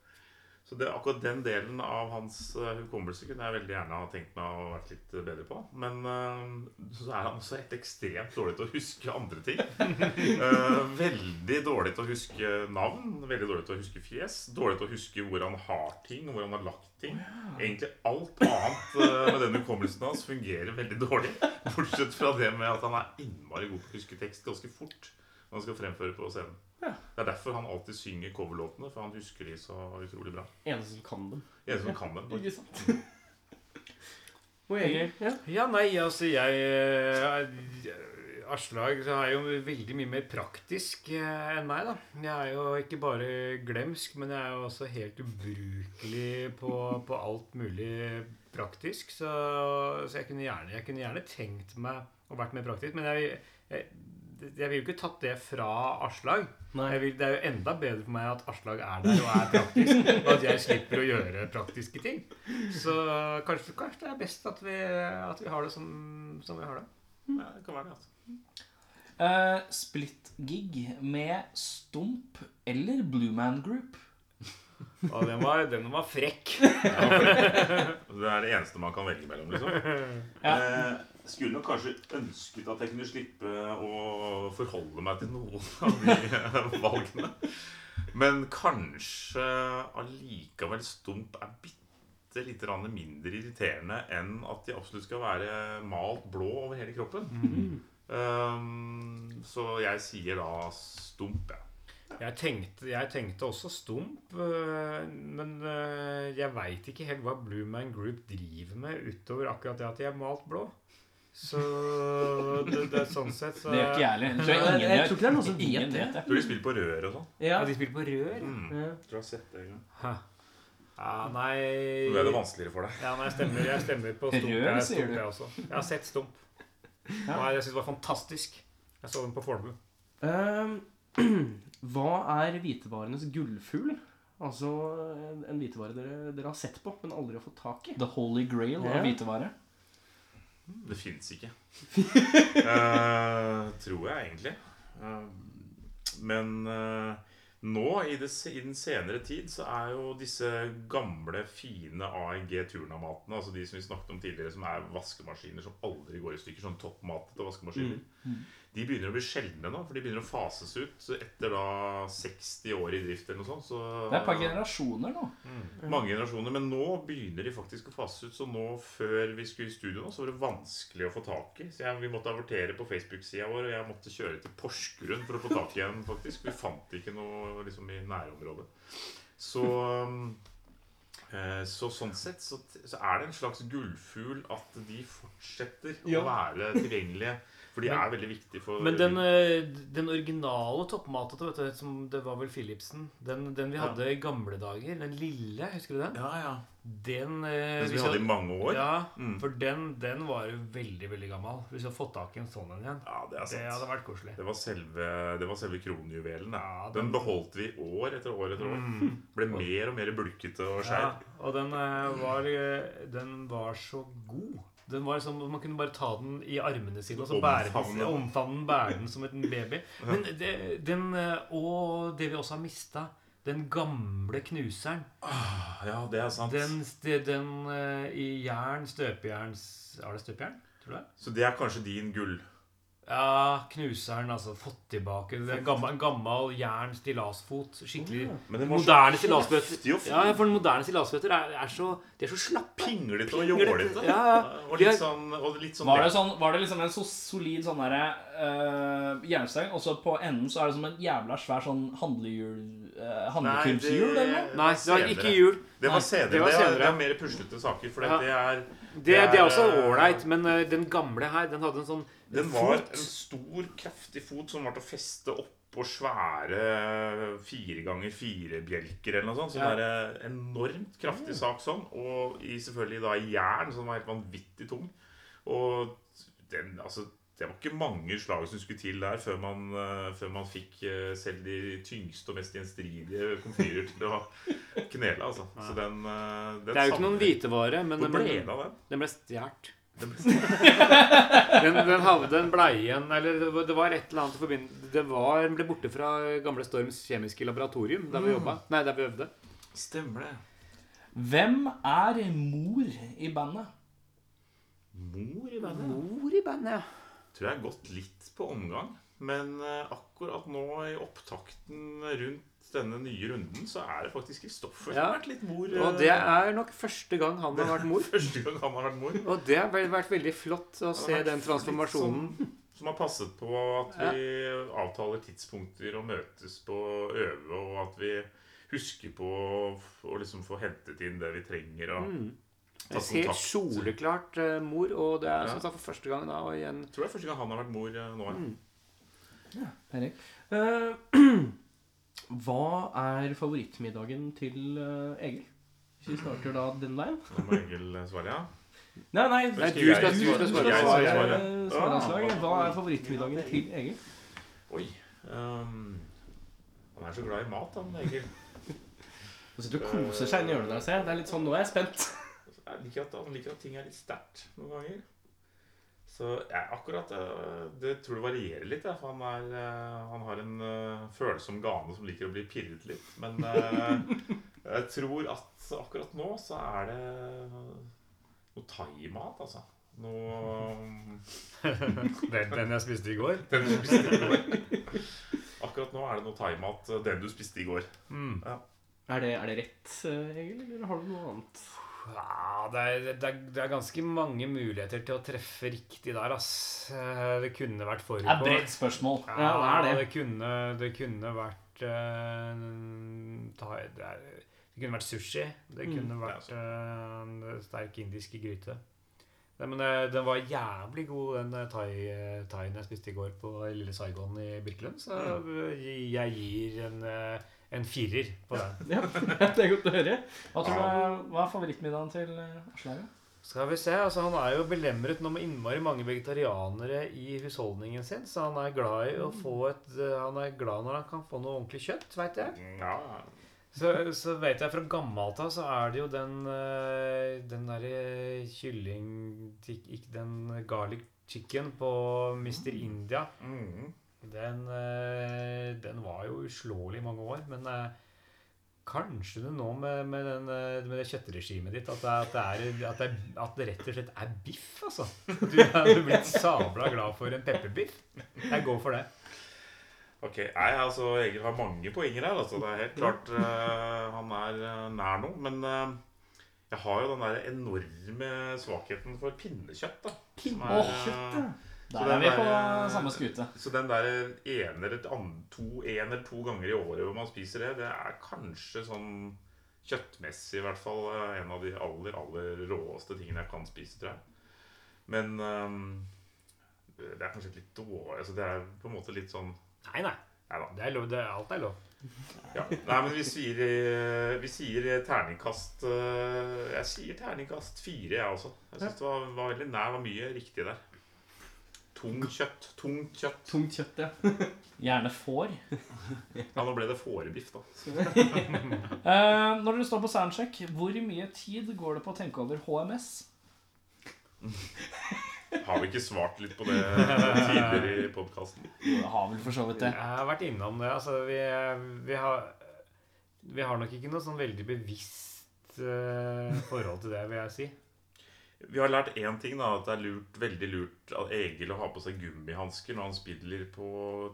[SPEAKER 5] Så det, akkurat den delen av hans eh, hukommelse kunne jeg veldig gjerne ha tenkt meg å vært litt bedre på. Men eh, så er han også helt ekstremt dårlig til å huske andre ting. Eh, veldig dårlig til å huske navn, veldig dårlig til å huske fjes. Dårlig til å huske hvor han har ting, og hvor han har lagt ting. Egentlig alt annet eh, med den hukommelsen hans fungerer veldig dårlig. Bortsett fra det med at han er innmari god til å huske tekst ganske fort når han skal fremføre på scenen. Det er derfor han alltid synger coverlåtene, for han husker de så utrolig bra.
[SPEAKER 3] Eneste som kan dem.
[SPEAKER 5] En som kan dem. faktisk.
[SPEAKER 3] Ikke sant? Og Egil? Ja.
[SPEAKER 4] Ja, nei, altså jeg eh, Aslag så er jo veldig mye mer praktisk eh, enn meg, da. Jeg er jo ikke bare glemsk, men jeg er jo også helt ubrukelig på, på alt mulig praktisk. Så, så jeg, kunne gjerne, jeg kunne gjerne tenkt meg å vært mer praktisk, men jeg, jeg, jeg vil jo ikke tatt det fra Aslag.
[SPEAKER 3] Nei.
[SPEAKER 4] Jeg vil, det er jo enda bedre for meg at Aslag er der og er praktisk, og at jeg slipper å gjøre praktiske ting. Så kanskje, kanskje det er best at vi, at vi har det som, som vi har det.
[SPEAKER 5] Ja, det kan være det, altså.
[SPEAKER 2] Eh, Split-gig med Stump eller Blueman Group.
[SPEAKER 4] Og den var, den var frekk.
[SPEAKER 5] Det er det eneste man kan velge mellom, liksom. Eh, skulle nok kanskje ønsket at jeg kunne slippe å forholde meg til noen av de eh, valgene. Men kanskje allikevel stump er bitte lite grann mindre irriterende enn at de absolutt skal være malt blå over hele kroppen.
[SPEAKER 4] Mm.
[SPEAKER 5] Eh, så jeg sier da stump, jeg.
[SPEAKER 4] Jeg tenkte, jeg tenkte også stump, øh, men øh, jeg veit ikke helt hva Blue Man Group driver med utover akkurat det at de er malt blå. Så det, det er sånn sett så
[SPEAKER 2] Det gjør ikke jeg heller. Det tror jeg
[SPEAKER 3] Jeg,
[SPEAKER 2] ingen
[SPEAKER 3] jeg
[SPEAKER 2] gjør.
[SPEAKER 3] tror ikke det er noen som
[SPEAKER 2] Ingen
[SPEAKER 3] vet det.
[SPEAKER 2] vet det.
[SPEAKER 5] Jeg tror de spiller på rør og sånn.
[SPEAKER 3] Ja.
[SPEAKER 4] Ja, de spiller på rør.
[SPEAKER 3] Ja.
[SPEAKER 5] Jeg tror jeg har sett det en gang.
[SPEAKER 4] Ja,
[SPEAKER 5] Nå ble det
[SPEAKER 4] nei,
[SPEAKER 5] vanskeligere for deg.
[SPEAKER 4] ja, nei jeg, stemmer, jeg stemmer på stump.
[SPEAKER 2] Rør,
[SPEAKER 4] jeg, er
[SPEAKER 2] sier
[SPEAKER 4] stump,
[SPEAKER 2] du?
[SPEAKER 4] jeg, også. jeg har sett stump. Nei, jeg syns det var fantastisk. Jeg så den på Fornebu.
[SPEAKER 3] Ehm, hva er hvitevarenes gullfugl? Altså en, en hvitevare dere, dere har sett på, men aldri har fått tak i.
[SPEAKER 2] The Holy Grail av
[SPEAKER 3] Ja.
[SPEAKER 2] hvitevare.
[SPEAKER 5] Det fins ikke. Eh, tror jeg egentlig. Eh, men eh, Nå, i, det, se- i den senere tid, så er jo disse gamle, fine AEG-turnamatene, altså de som vi snakket om tidligere, som er vaskemaskiner som aldri går i stykker, sånn toppmatete vaskemaskiner,
[SPEAKER 2] Mm,
[SPEAKER 5] de begynner å bli sjeldne nå, for de begynner å fases ut Så etter da 60 år i drift eller noe sånt. Så
[SPEAKER 2] Det er et par generasjoner nå.
[SPEAKER 5] mange generasjoner, men nå begynner de faktisk å fase ut. Så nå før vi skulle i studio nå, så var det vanskelig å få tak i. Så jeg, vi måtte avertere på Facebook-sida vår, og jeg måtte kjøre til Porsgrunn for å få tak i en, faktisk. Vi fant ikke noe liksom, i nærområdet. Så um, eh, så sånn sett så, så er det en slags gullfugl at de fortsetter å være tilgjengelige. For de er veldig viktige for
[SPEAKER 4] Men den, eh, den originale toppmatete, vet du, som det var vel Philipsen Den, den vi hadde i gamle dager, den lille, husker du den?
[SPEAKER 5] eh, Ja, ja.
[SPEAKER 4] Den, eh,
[SPEAKER 5] Den som
[SPEAKER 4] hvis
[SPEAKER 5] vi
[SPEAKER 4] jeg-
[SPEAKER 5] hadde i mange år. Ja,
[SPEAKER 4] Ja,
[SPEAKER 5] Mm.
[SPEAKER 4] for den, den var jo veldig, veldig gammel. Hvis vi hadde fått tak i en sånn en igjen,
[SPEAKER 5] det er
[SPEAKER 4] det
[SPEAKER 5] sant.
[SPEAKER 4] hadde vært koselig.
[SPEAKER 5] Det var selve, det var selve kronjuvelen. da.
[SPEAKER 4] Ja, den-
[SPEAKER 5] den... beholdt vi år etter år etter år. Ble mer og mer bulkete og
[SPEAKER 4] Ja,
[SPEAKER 5] skeiv.
[SPEAKER 4] og den eh, var, eh, den var så god. Den var liksom, Man kunne bare ta den i armene sine og så bære den,
[SPEAKER 5] Omfavne.
[SPEAKER 4] omfavne den, bære den som en baby. Men det, den, eh, Og det vi også har mista, den gamle knuseren.
[SPEAKER 5] Ja. det er sant.
[SPEAKER 4] Den, st- den eh, i jern, støpejerns Er det støpejern? Tror du det?
[SPEAKER 5] Så det er kanskje din gull.
[SPEAKER 4] Ja, knuseren, altså. Fått tilbake. Det er gammel, gammel jern stillasfot. Skikkelig
[SPEAKER 5] Men den var så
[SPEAKER 4] moderne stillasbøtter.
[SPEAKER 5] heftig og
[SPEAKER 4] Ja, for moderne stillasbøtter er, er så De er så slappe.
[SPEAKER 5] pinglete og jålete.
[SPEAKER 4] Ja,
[SPEAKER 5] Og
[SPEAKER 4] de er-
[SPEAKER 5] litt sånn, og litt sånn
[SPEAKER 2] Var det, sånn, var det liksom en så solid sånn derre øh, jernstang, og så på enden så er det som en jævla svær sånn handlehjul øh,
[SPEAKER 4] sånn
[SPEAKER 2] Handlekurvshjul eller noe?
[SPEAKER 4] Nei, det var
[SPEAKER 5] senere.
[SPEAKER 4] ikke jul.
[SPEAKER 2] Nei,
[SPEAKER 5] Det var senere.
[SPEAKER 4] det
[SPEAKER 5] Det,
[SPEAKER 4] var
[SPEAKER 5] er,
[SPEAKER 4] senere.
[SPEAKER 5] det er mer puslete saker. For
[SPEAKER 4] Ja.
[SPEAKER 5] det er
[SPEAKER 4] Det,
[SPEAKER 5] Det
[SPEAKER 4] det
[SPEAKER 5] er,
[SPEAKER 4] er, også
[SPEAKER 5] eh,
[SPEAKER 4] ålreit, men eh, den gamle her, den hadde en sånn
[SPEAKER 5] Den var
[SPEAKER 4] fot.
[SPEAKER 5] en stor, kraftig fot som var til å feste oppå svære fire ganger fire-bjelker eller noe sånt. Sånn
[SPEAKER 4] Ja. Mm.
[SPEAKER 5] der, eh, enormt kraftig sak sånn. Og i, selvfølgelig da i jern, som var helt vanvittig tung. Og den, altså, det var ikke mange slag som skulle til der før man, eh, før man fikk eh, selv de tyngste og mest gjenstridige komfyrer til å knele. Altså. Så den, eh, den
[SPEAKER 4] Det er jo ikke noen hvitevare, men
[SPEAKER 5] Hvor
[SPEAKER 4] den
[SPEAKER 5] ble
[SPEAKER 4] ble,
[SPEAKER 5] det av den?
[SPEAKER 4] den ble stjålet. den, den hadde en bleie igjen, eller det var- det var et eller annet i forbindelse Det var, den ble borte fra gamle Storms kjemiske laboratorium, der vi jobba. Nei, der vi øvde.
[SPEAKER 5] Stemmer det.
[SPEAKER 2] Hvem er mor i bandet?
[SPEAKER 5] Mor i bandet.
[SPEAKER 4] Mor i bandet, ja.
[SPEAKER 5] tror jeg har gått litt på omgang. Men eh, akkurat nå i opptakten rundt denne nye runden, så er det faktisk Kristoffer som
[SPEAKER 4] Ja.
[SPEAKER 5] har vært litt mor. eh,
[SPEAKER 4] Og det er nok første gang han har vært mor.
[SPEAKER 5] Første gang han har vært mor.
[SPEAKER 4] Og det har vel vært veldig flott å se
[SPEAKER 5] vært
[SPEAKER 4] den
[SPEAKER 5] litt sånn-
[SPEAKER 4] transformasjonen.
[SPEAKER 5] Som har passet på at vi avtaler tidspunkter og møtes på å øve, og at vi husker på å f- å liksom få hentet inn det vi trenger. Og ta
[SPEAKER 4] Jeg Mm. ser
[SPEAKER 5] kontakt.
[SPEAKER 4] soleklart eh, mor, og det er som
[SPEAKER 5] Ja.
[SPEAKER 4] sagt for første gang da, og igjen
[SPEAKER 5] Jeg tror det er første gang han har vært mor eh, nå. ja.
[SPEAKER 4] Mm.
[SPEAKER 3] Eh, hva er favorittmiddagen til eh, Egil? Hvis vi starter da den veien.
[SPEAKER 5] Nå må Egil eh, svare, ja.
[SPEAKER 3] Nei, nei.
[SPEAKER 4] Nei,
[SPEAKER 5] Skal
[SPEAKER 4] du
[SPEAKER 5] jeg
[SPEAKER 4] skal, du
[SPEAKER 5] svare?
[SPEAKER 4] skal
[SPEAKER 5] Skal
[SPEAKER 4] svare.
[SPEAKER 5] jeg
[SPEAKER 3] Svar,
[SPEAKER 5] svare? Ah,
[SPEAKER 3] eh, svaranslag. Hva er favorittmiddagen til Egil?
[SPEAKER 5] Oi. ehm, han er så glad i mat, han Egil.
[SPEAKER 3] Nå sitter du og koser seg inni hjørnet der, ser jeg. Det er litt sånn, nå er jeg spent.
[SPEAKER 5] Jeg liker at, han liker at ting er litt sterkt noen ganger. Så jeg, akkurat eh, det tror jeg varierer litt. jeg, For han, er, eh, han har en eh, følsom gane som liker å bli pirret litt. Men eh, jeg tror at akkurat nå så er det noe thaimat, altså. Noe
[SPEAKER 4] Den, jeg spiste i går.
[SPEAKER 5] Den du spiste i går. Akkurat nå er det noe thaimat. eh, Den du spiste i går.
[SPEAKER 3] Er det, er det rett, eh, Egil, eller har du noe annet?
[SPEAKER 4] Ja, det, er, det, er, det er ganske mange muligheter til å treffe riktig der, ass. Eh, Det kunne vært forrige
[SPEAKER 2] Det er et bredt spørsmål.
[SPEAKER 4] Ja,
[SPEAKER 3] Ja, det er
[SPEAKER 4] Ah, det kunne, det kunne vært eh, thai, det, er, det kunne vært sushi. Det
[SPEAKER 3] Mm.
[SPEAKER 4] kunne vært eh, en sterk indisk gryte. Nei, men eh, den var jævlig god, den eh, thai- thaien jeg spiste i går på Lille Saigon i Birkelund. Så eh, jeg gir en, eh, en firer på den.
[SPEAKER 3] Mm. Ja, det er godt å høre.
[SPEAKER 2] Hva tror du er, hva er favorittmiddagen til eh, Aslaug?
[SPEAKER 4] Skal vi se, altså Han er jo belemret nå med innmari mange vegetarianere i husholdningen sin. Så han er glad i å få et eh, Han er glad når han kan få noe ordentlig kjøtt, veit jeg.
[SPEAKER 5] Ja,
[SPEAKER 4] Så, så vet jeg fra gammelt av så er det jo den eh, Den derre kylling... tik- Ikke den garlic chicken på Mr. India.
[SPEAKER 5] mm,
[SPEAKER 4] Den, eh, den var jo uslåelig i mange år, men eh, kanskje det nå med, med, den, eh, med det kjøttregimet ditt at det, at, det er, at, det er, at det rett og slett er biff, altså. Du er blitt sabla glad for en pepperbiff. Jeg går for det.
[SPEAKER 5] Ok, nei, altså Egil har mange poenger her. altså Det er helt klart
[SPEAKER 11] Mm.
[SPEAKER 5] eh, han er eh, nær noe. Men eh, jeg har jo den der enorme svakheten for pinnekjøtt. da som er, eh,
[SPEAKER 11] Der
[SPEAKER 5] det
[SPEAKER 11] er vi
[SPEAKER 5] er
[SPEAKER 11] på
[SPEAKER 5] bare-
[SPEAKER 11] samme skute.
[SPEAKER 5] Så den der ener, an- to, en eller to ganger i året hvor man spiser det, det er kanskje sånn kjøttmessig i hvert fall eh, en av de aller, aller råeste tingene jeg kan spise, tror jeg. Men ehm, det er kanskje litt dårlig altså Det er på en måte litt sånn
[SPEAKER 4] Nei, nei.
[SPEAKER 5] Nei da.
[SPEAKER 4] Det er lov, det er, alt er lov.
[SPEAKER 5] Ja. Nei, men vi sier, eh, vi sier terningkast eh, Jeg sier terningkast fire, jeg også. Jeg syns det var, var veldig nær. Det var mye riktig der. Tung kjøtt. Tungt kjøtt.
[SPEAKER 11] Tungt kjøtt, ja. Gjerne får.
[SPEAKER 5] Ja, nå ble det fårebiff, da.
[SPEAKER 11] Eh, når dere står på soundcheck, hvor mye tid går det på å tenke over HMS?
[SPEAKER 5] Har vi ikke svart litt på det tidligere i podkasten?
[SPEAKER 11] Jeg har vel for så vidt det.
[SPEAKER 4] Jeg har vært innom det. Altså, vi, vi, har, vi har nok ikke noe sånn veldig bevisst eh, forhold til det, vil jeg si.
[SPEAKER 5] Vi har lært én ting, da. At det er lurt, veldig lurt av Egil å ha på seg gummihansker når han spiller på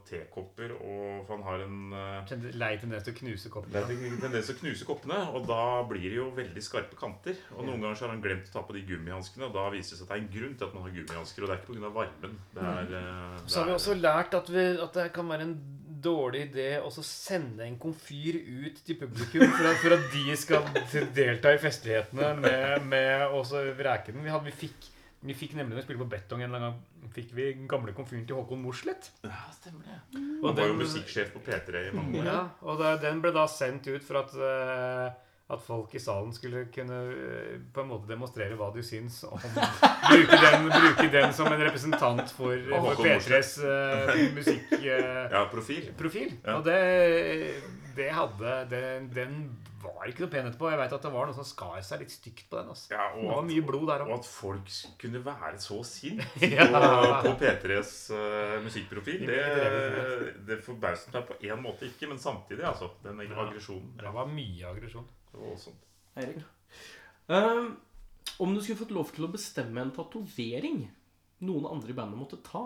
[SPEAKER 5] tekopper, og for han har en eh,
[SPEAKER 4] Kjente Lei tendens til å knuse koppen.
[SPEAKER 5] det er en tendens til å knuse koppene, og da blir det jo veldig skarpe kanter. Og noen ganger så har han glemt å ta på de gummihanskene, og da viser det seg at det er en grunn til at man har gummihansker, og det er ikke pga. varmen. Det er, eh,
[SPEAKER 4] Så har vi
[SPEAKER 5] det er-
[SPEAKER 4] også lært at, vi, at det kan være en dårlig idé å så sende en komfyr ut til publikum for at, for at de skal t- delta i festlighetene med, med også vreke den. Vi, hadde, vi, fikk, vi fikk nemlig når vi spilte på Betong en eller annen gang, fikk vi gamle komfyren til Håkon Mosleth.
[SPEAKER 5] Han var jo musikksjef på P3 i mange år.
[SPEAKER 4] Ja, og da, den ble da sendt ut for at, eh, at folk i salen skulle kunne eh, på en måte demonstrere hva de syns om Bruke den, bruke den som en representant for,
[SPEAKER 5] Håkon
[SPEAKER 4] for P3s eh, musikkprofil.
[SPEAKER 5] Ja, profil. Ja.
[SPEAKER 4] Og det, det hadde det, Den var ikke noe pen etterpå. Jeg vet at det var noe som skar seg litt stygt på den. Altså.
[SPEAKER 5] Ja,
[SPEAKER 4] Det
[SPEAKER 5] og
[SPEAKER 4] var
[SPEAKER 5] at
[SPEAKER 4] mye blod der
[SPEAKER 5] Og
[SPEAKER 4] òg.
[SPEAKER 5] at folk kunne være så sint
[SPEAKER 4] Ja.
[SPEAKER 5] på, på P3s eh, musikkprofil, det,
[SPEAKER 4] drevet
[SPEAKER 5] det forbauset meg på én måte ikke, men samtidig, altså. Den aggresjonen.
[SPEAKER 4] Det var mye aggresjon.
[SPEAKER 5] Det var voldsomt.
[SPEAKER 3] Eirik? Eh, om du skulle fått lov til å bestemme en tatovering noen andre i bandet måtte ta,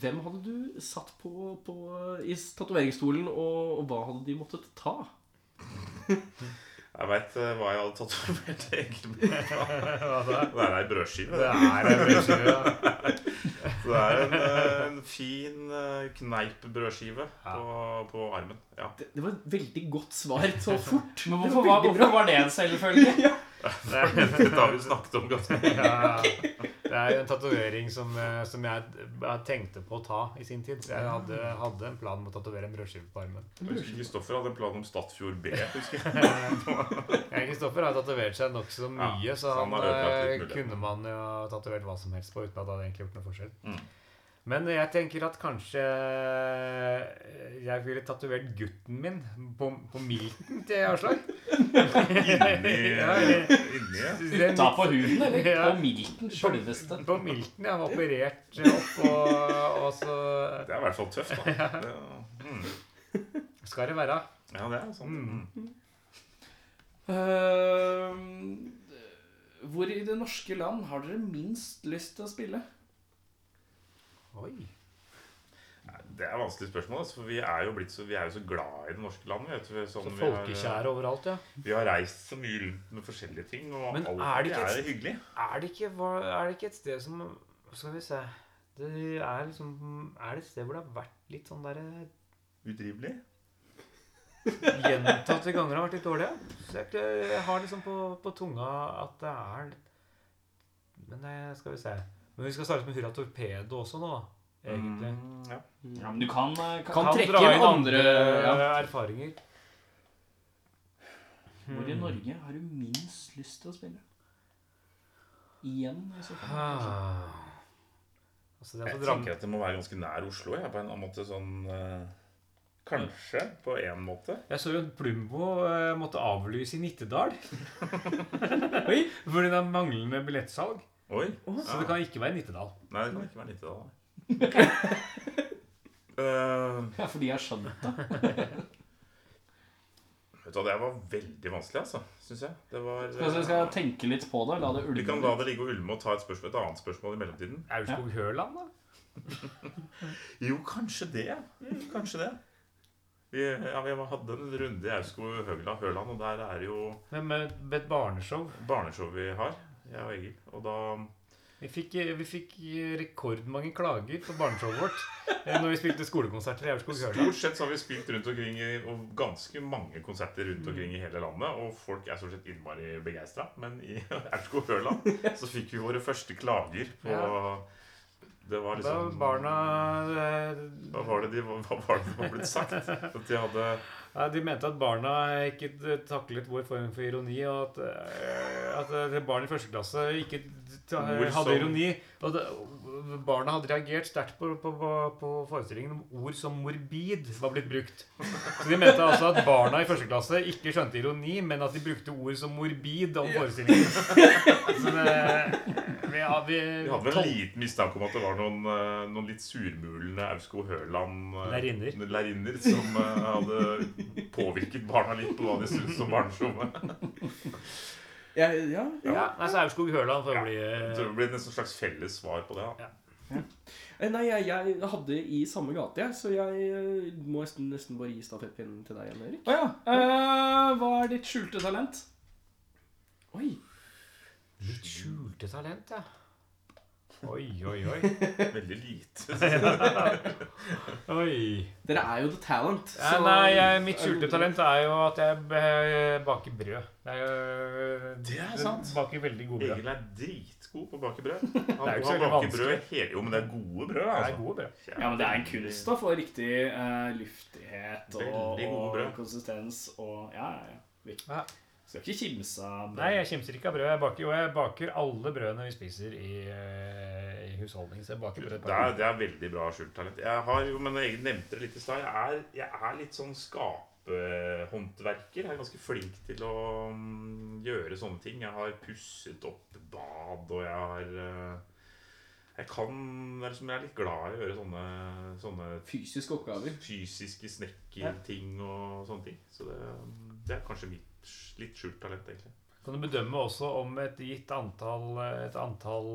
[SPEAKER 3] hvem hadde du satt på, på i tatoveringsstolen, og, og hva hadde de måttet ta?
[SPEAKER 5] Jeg veit hva jeg hadde tatovert egentlig med. Det er ei brødskive.
[SPEAKER 4] Det er en brødskive. da.
[SPEAKER 5] Det er en, eh, en fin eh, kneipbrødskive på, på armen. Ja.
[SPEAKER 3] Det, det var et veldig godt svar så fort.
[SPEAKER 11] Men hvorfor var, hvorfor var det en selvfølge?
[SPEAKER 5] Dette har vi snakket om ganske mye.
[SPEAKER 4] Ja. Det er jo en tatovering som, eh, som jeg, jeg tenkte på å ta i sin tid. Jeg hadde, hadde en plan om å tatovere en brødskive på armen.
[SPEAKER 5] Jeg husker Kristoffer hadde en plan om Stadfjord B. husker jeg.
[SPEAKER 4] Jeg, Kristoffer har tatovert seg nokså mye,
[SPEAKER 5] Ja,
[SPEAKER 4] så
[SPEAKER 5] så
[SPEAKER 4] han,
[SPEAKER 5] han har ødelagt
[SPEAKER 4] eh,
[SPEAKER 5] litt muligheter.
[SPEAKER 4] kunne man jo ha tatovert hva som helst på uten at det hadde egentlig gjort noe forskjell.
[SPEAKER 5] Mm.
[SPEAKER 4] Men jeg tenker at kanskje eh, jeg ville tatovert gutten min på, på milten til Aslak.
[SPEAKER 5] Inni,
[SPEAKER 4] Ja, jeg-
[SPEAKER 5] inni ja.
[SPEAKER 4] Den-
[SPEAKER 11] Ta på huden, eller?
[SPEAKER 4] Ja.
[SPEAKER 11] På milten, sjølveste.
[SPEAKER 4] På milten. Jeg har operert opp, og, og så
[SPEAKER 5] Det er i hvert fall tøft, da. Det, mm.
[SPEAKER 4] skal det være.
[SPEAKER 5] Ja, det er sant. Mm.
[SPEAKER 11] Eh, Ehm, hvor i det norske land har dere minst lyst til å spille?
[SPEAKER 4] Oi.
[SPEAKER 5] Det er et vanskelig spørsmål, altså, for vi er, jo blitt så, vi er jo så glad i det norske landet. Vet du, som
[SPEAKER 4] Så
[SPEAKER 5] vi har- eh,
[SPEAKER 11] eh,
[SPEAKER 4] folkekjære overalt, ja.
[SPEAKER 5] Vi har reist så mye rundt med forskjellige ting, og
[SPEAKER 4] Men
[SPEAKER 5] alt
[SPEAKER 4] er det ikke et-
[SPEAKER 5] hyggelig.
[SPEAKER 4] Er det ikke, hva- er det ikke et sted som Skal vi se det er, liksom, er det et sted hvor det har vært litt sånn derre
[SPEAKER 5] Utrivelig.
[SPEAKER 4] gjentatte ganger har vært litt dårlige. Så jeg, jeg har liksom på, på tunga at det er Men det skal vi se. Men vi skal starte med Hurra Torpedo også nå, da. Egentlig.
[SPEAKER 5] Mm, ja.
[SPEAKER 11] Ja, men du kan, eh, kan,
[SPEAKER 4] Kan
[SPEAKER 11] trekke
[SPEAKER 4] dra
[SPEAKER 11] inn
[SPEAKER 4] inn eh,
[SPEAKER 11] andre ja.
[SPEAKER 4] erfaringer.
[SPEAKER 11] Hvor i Norge har du minst lyst til å spille? Igjen, i så fall.
[SPEAKER 4] Ah. Altså, det er
[SPEAKER 5] Jeg
[SPEAKER 4] så dram-
[SPEAKER 5] tenker at det må være ganske nær Oslo. Jeg, på en annen måte sånn eh, Kanskje på én måte.
[SPEAKER 4] Jeg så jo at Plumbo eh, måtte avlyse i Nittedal. Oi, Fordi det er manglende billettsalg.
[SPEAKER 5] Oi.
[SPEAKER 4] Så det kan ikke være i Nittedal.
[SPEAKER 5] Nei, det kan ikke være Nittedal. da. Eh,
[SPEAKER 11] Ja, for de har skjønt det.
[SPEAKER 5] vet du hva, det var veldig vanskelig, altså. Syns jeg. Det var eh,
[SPEAKER 11] Så jeg skal tenke litt på det. La det
[SPEAKER 5] Vi kan
[SPEAKER 11] ulme.
[SPEAKER 5] la det ligge og ulme og ta et, spørsmål, et annet spørsmål i mellomtiden.
[SPEAKER 6] Aurskog Høland, da?
[SPEAKER 5] Jo, kanskje det. Mm, kanskje det. Vi, ja, vi hadde en runde i Aurskog-Høland, og der er det jo
[SPEAKER 4] Men med med et barneshow
[SPEAKER 5] barneshow vi har, jeg og Egil. Og da
[SPEAKER 4] Vi fikk, eh, vi fikk rekordmange klager på barneshowet vårt eh, når vi spilte skolekonserter i Aurskog Høland.
[SPEAKER 5] Stort sett så har vi spilt rundt omkring i og ganske mange konserter rundt omkring i hele landet, og folk er stort sett innmari begeistra. Men i Aurskog-Høland så fikk vi våre første klager på Det
[SPEAKER 4] Da
[SPEAKER 5] var liksom
[SPEAKER 4] barna eh,
[SPEAKER 5] Hva var det de hva var, det som var blitt sagt? At de hadde
[SPEAKER 4] Ja, De mente at barna ikke t- taklet vår form for ironi, og at, eh, at eh, barn i første klasse ikke t-
[SPEAKER 5] Ord som-
[SPEAKER 4] hadde ironi. Og det, barna hadde reagert sterkt på, på, på, på forestillingen om ord som morbid var blitt brukt. Så de mente altså at barna i første klasse ikke skjønte ironi, men at de brukte ord som morbid om forestillingen. Så det, vi, ja, vi,
[SPEAKER 5] Vi hadde vel en liten mistanke om at det var noen, eh, noen litt surmulende Aurskog-Høland eh,
[SPEAKER 4] Lærerinner.
[SPEAKER 5] lærerinner som eh, hadde påvirket barna litt på hva de syntes om barneshowet.
[SPEAKER 3] Ja, ja, ja.
[SPEAKER 4] Ja, nei, så Aurskog Høland får bli eh,
[SPEAKER 5] Så det ble et slags felles svar på det. da.
[SPEAKER 3] Eh, Nei, jeg, jeg hadde i samme gate, jeg, så jeg eh, må nesten, nesten bare gi stafettpinnen til deg igjen, Erik.
[SPEAKER 11] Å ja. eh, hva er ditt skjulte talent?
[SPEAKER 3] Oi.
[SPEAKER 4] Mitt skjulte talent, ja. Oi, oi, oi.
[SPEAKER 5] Veldig lite.
[SPEAKER 4] oi.
[SPEAKER 3] Dere er jo The Talent.
[SPEAKER 4] Ja,
[SPEAKER 3] så-
[SPEAKER 4] Eh,
[SPEAKER 3] eh,
[SPEAKER 4] nei, jeg, mitt skjulte talent er jo at jeg eh, baker brød. Det er jo
[SPEAKER 5] Det er sant.
[SPEAKER 4] Baker veldig gode brød.
[SPEAKER 5] Egil er dritgod på å bake brød. Han,
[SPEAKER 4] Det er jo ikke så
[SPEAKER 5] han
[SPEAKER 4] veldig
[SPEAKER 5] baker
[SPEAKER 4] vanskelig.
[SPEAKER 5] brød hele Jo, men det er gode brød.
[SPEAKER 4] Det er
[SPEAKER 5] Altså.
[SPEAKER 4] gode brød.
[SPEAKER 11] Ja, men det er en kunst da, for riktig eh, luftighet og,
[SPEAKER 5] Veldig gode
[SPEAKER 11] og
[SPEAKER 5] brød.
[SPEAKER 11] konsistens og Ja, ja, ja. Viktig.
[SPEAKER 4] Ja.
[SPEAKER 11] Skal ikke kimse av
[SPEAKER 4] Nei, jeg kimser ikke av brød. Jeg baker jo jeg baker alle brødene vi spiser i, eh, i husholdningen. Så jeg baker brød.
[SPEAKER 5] Det er, det er veldig bra skjult talent. Jeg har jo, men Egil nevnte det litt i stad. Jeg, er- jeg er litt sånn skapehåndverker. Jeg er ganske flink til å mm, gjøre sånne ting. Jeg har pusset opp bad, og jeg har eh, Jeg kan eller som Jeg er litt glad i å gjøre sånne, sånne
[SPEAKER 11] fysiske oppgaver.
[SPEAKER 5] fysiske snekkerting og sånne ting. Så det, mm, det er kanskje mitt litt skjult talent, egentlig.
[SPEAKER 4] Kan du bedømme også om et gitt antall, et antall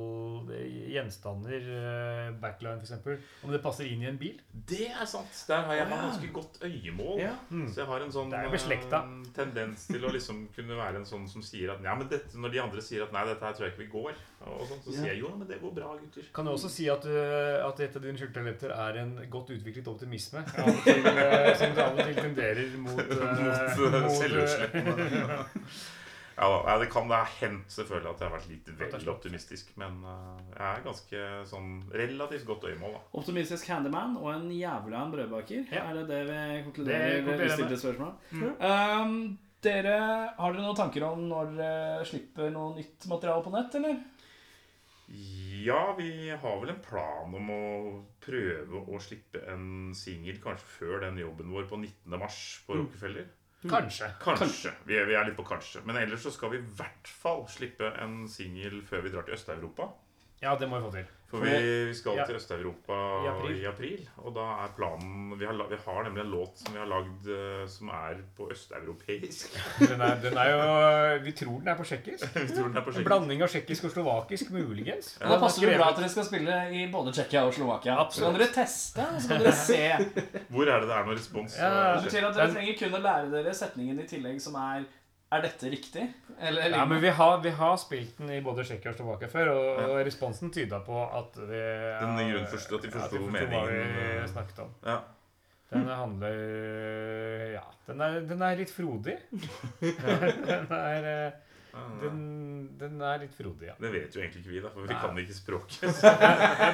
[SPEAKER 4] gjenstander, eh, backline f.eks., om det passer inn i en bil?
[SPEAKER 5] Det er sant. Der har jeg meg ganske godt øyemål.
[SPEAKER 3] Ja.
[SPEAKER 5] Så jeg har en sånn
[SPEAKER 4] Hmm. Det er jo beslekta.
[SPEAKER 5] eh, tendens til å liksom kunne være en sånn som sier at ja, men dette, Når de andre sier at nei, dette her tror jeg ikke vi går, og sånn, så sier jeg jo, men det går bra, gutter.
[SPEAKER 4] Kan du også si at, uh, at et av dine skjulte talenter er en godt utviklet optimisme? Av og til, uh, som du av og til tenderer mot, uh,
[SPEAKER 5] Mot eh,
[SPEAKER 4] mot, uh,
[SPEAKER 5] selvutslippene. Ja da, nei, det kan det har hendt selvfølgelig at jeg har vært litt vel optimistisk, men eh, jeg er ganske sånn relativt godt øyemål, da.
[SPEAKER 11] Optimistisk handyman og en jævla en brødbaker.
[SPEAKER 4] Ja.
[SPEAKER 11] Er det det vi
[SPEAKER 4] Det
[SPEAKER 11] konkluderer med?
[SPEAKER 4] konkluderer Mm.
[SPEAKER 11] Stilte spørsmål? Um, dere, har dere noen tanker om når dere slipper noe nytt materiale på nett, eller?
[SPEAKER 5] Ja, vi har vel en plan om å prøve å slippe en singel kanskje før den jobben vår på 19. mars på Rockefeller.
[SPEAKER 4] Kanskje.
[SPEAKER 5] Mm. Kanskje. Vi, er, vi er litt på kanskje. Men ellers så skal vi i hvert fall slippe en singel før vi drar til Øst-Europa.
[SPEAKER 4] Ja, det må vi få til.
[SPEAKER 5] For vi, vi skal
[SPEAKER 4] Ja.
[SPEAKER 5] til Øst-Europa
[SPEAKER 4] I
[SPEAKER 5] i,
[SPEAKER 4] april.
[SPEAKER 5] april. Og da er planen vi har, la- vi har nemlig en låt som vi har lagd eh, som er på østeuropeisk.
[SPEAKER 4] Den er, den er jo eh, Vi tror den er på tsjekkisk.
[SPEAKER 5] Vi tror den er på
[SPEAKER 4] En
[SPEAKER 5] skikkelig.
[SPEAKER 4] blanding av tsjekkisk og slovakisk, muligens.
[SPEAKER 11] Da passer det bra at dere skal spille i både Tsjekkia og Slovakia. Så kan dere teste, og så kan dere se.
[SPEAKER 5] Hvor er det det er noe respons?
[SPEAKER 4] Ja.
[SPEAKER 11] Det betyr at dere trenger kun å lære dere setningen i tillegg som er Er dette riktig? Eller
[SPEAKER 4] Ja, men vi har, vi har spilt den i både Tsjekkia og Slovakia før, og, og responsen tyda på at vi
[SPEAKER 5] Den i grunnen forstod- at de forsto
[SPEAKER 4] hva
[SPEAKER 5] meningen. eh,
[SPEAKER 4] vi snakket om.
[SPEAKER 5] Ja.
[SPEAKER 4] Den handler Ja, den er, den er litt frodig. den, er, eh, den, den er litt frodig, ja.
[SPEAKER 5] Det vet jo egentlig ikke vi, da, for vi
[SPEAKER 4] Nei.
[SPEAKER 5] kan ikke språket.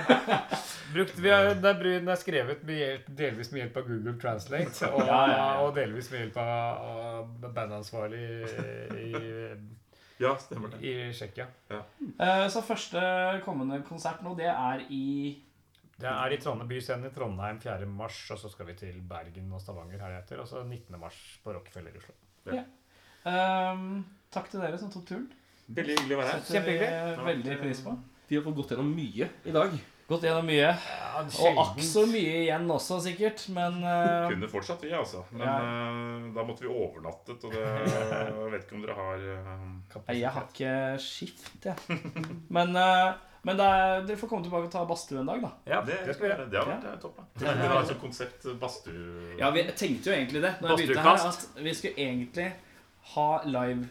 [SPEAKER 4] Brukt, vi har, den, er, bru- den er skrevet med hjelp, delvis med hjelp av Google Translate og,
[SPEAKER 11] Ja, ja, ja.
[SPEAKER 4] og delvis med hjelp av, av bandansvarlig i,
[SPEAKER 5] Ja, stemmer det.
[SPEAKER 4] i Tsjekkia.
[SPEAKER 11] Eh, Så første kommende konsert nå, det er i
[SPEAKER 4] Det er i Trondheim byscenen i Trondheim 4. mars, og så skal vi til Bergen og Stavanger heretter, og så 19. mars på Rockefeller i Oslo.
[SPEAKER 11] ehm, Takk til dere som tok turen.
[SPEAKER 5] Veldig hyggelig å være her.
[SPEAKER 11] Kjempehyggelig. Veldig pris på.
[SPEAKER 3] Vi har fått gått gjennom mye i dag.
[SPEAKER 11] Gått gjennom mye.
[SPEAKER 4] Ja, Ja,
[SPEAKER 2] Og
[SPEAKER 4] sjelden.
[SPEAKER 2] akk så mye igjen også, sikkert. Men eh,
[SPEAKER 5] Kunne fortsatt vi, altså. Men eh, da måtte vi overnattet, og det jeg vet ikke om dere har eh,
[SPEAKER 2] nei, jeg har ikke skift, jeg. Men, eh, men det er, dere får komme tilbake og ta badstue en dag, da.
[SPEAKER 6] Ja,
[SPEAKER 5] det,
[SPEAKER 6] det skal vi gjøre.
[SPEAKER 5] det har vært eh, topp. da. Det var et sånt konsept eh, badstue...
[SPEAKER 2] Ja, vi tenkte jo egentlig det. Når jeg begynte her, at vi skulle egentlig ha live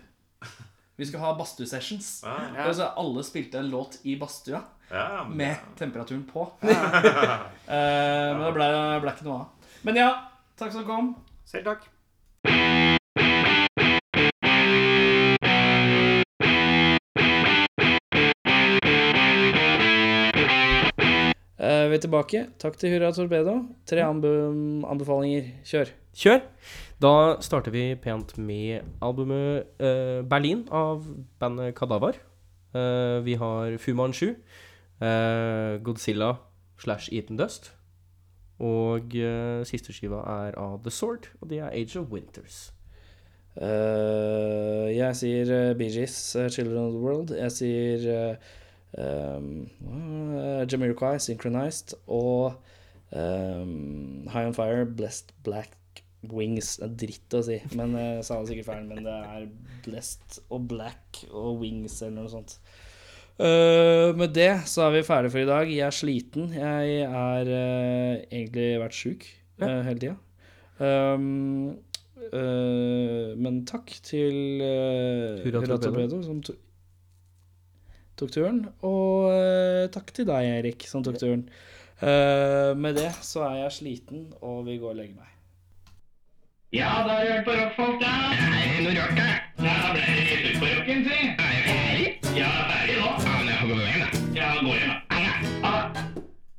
[SPEAKER 2] Vi skulle ha badstue-sessions.
[SPEAKER 5] Ja,
[SPEAKER 2] Og så alle spilte en låt i badstua
[SPEAKER 5] ja, men-
[SPEAKER 2] med temperaturen på. Eh, men det ble, ble ikke noe av. Men ja, takk som kom.
[SPEAKER 6] Selv takk.
[SPEAKER 2] Eh, vi er tilbake. Takk til Hurra Torpedo. Tre anbe- anbefalinger. Kjør.
[SPEAKER 3] Kjør! Da starter vi pent med albumet eh, Berlin av bandet Kadavar. Eh, vi har Fuman 7, Godzilla slash Eaten Dust. Og eh, siste skiva er av The Sword, og det er Age of Winters.
[SPEAKER 2] Eh, jeg sier uh, Bee Gees, eh, 'Children of the World'. Jeg sier eh, um, eh, Jamiroquai, 'Synchronized'. Og um, 'High On Fire', 'Blessed Black Wings'. Det er dritt å si, men eh, jeg sa det sikkert feil. Men det er 'Blessed' og 'Black' og 'Wings' eller noe sånt. Eh, med det så er vi ferdige for i dag. Jeg er sliten. Jeg er eh, egentlig vært sjuk eh, hele tida. Um, Eh, men takk til uh,
[SPEAKER 3] Hurra
[SPEAKER 2] Hurra
[SPEAKER 3] Torpedo.
[SPEAKER 2] Torpedo som to tok turen. Og eh, takk til deg, Erik, som tok turen. Eh, med det så er jeg sliten, og vi går og legger meg.
[SPEAKER 14] Ja, da har du hørt på rockfolk, da. Er det noe rart, da? Ja, da ble det litt ut på rocken, si. Er jeg ferdig? Ja, ferdig nå. Ja, men jeg får gå hjem, da. Ja, gå hjem, da.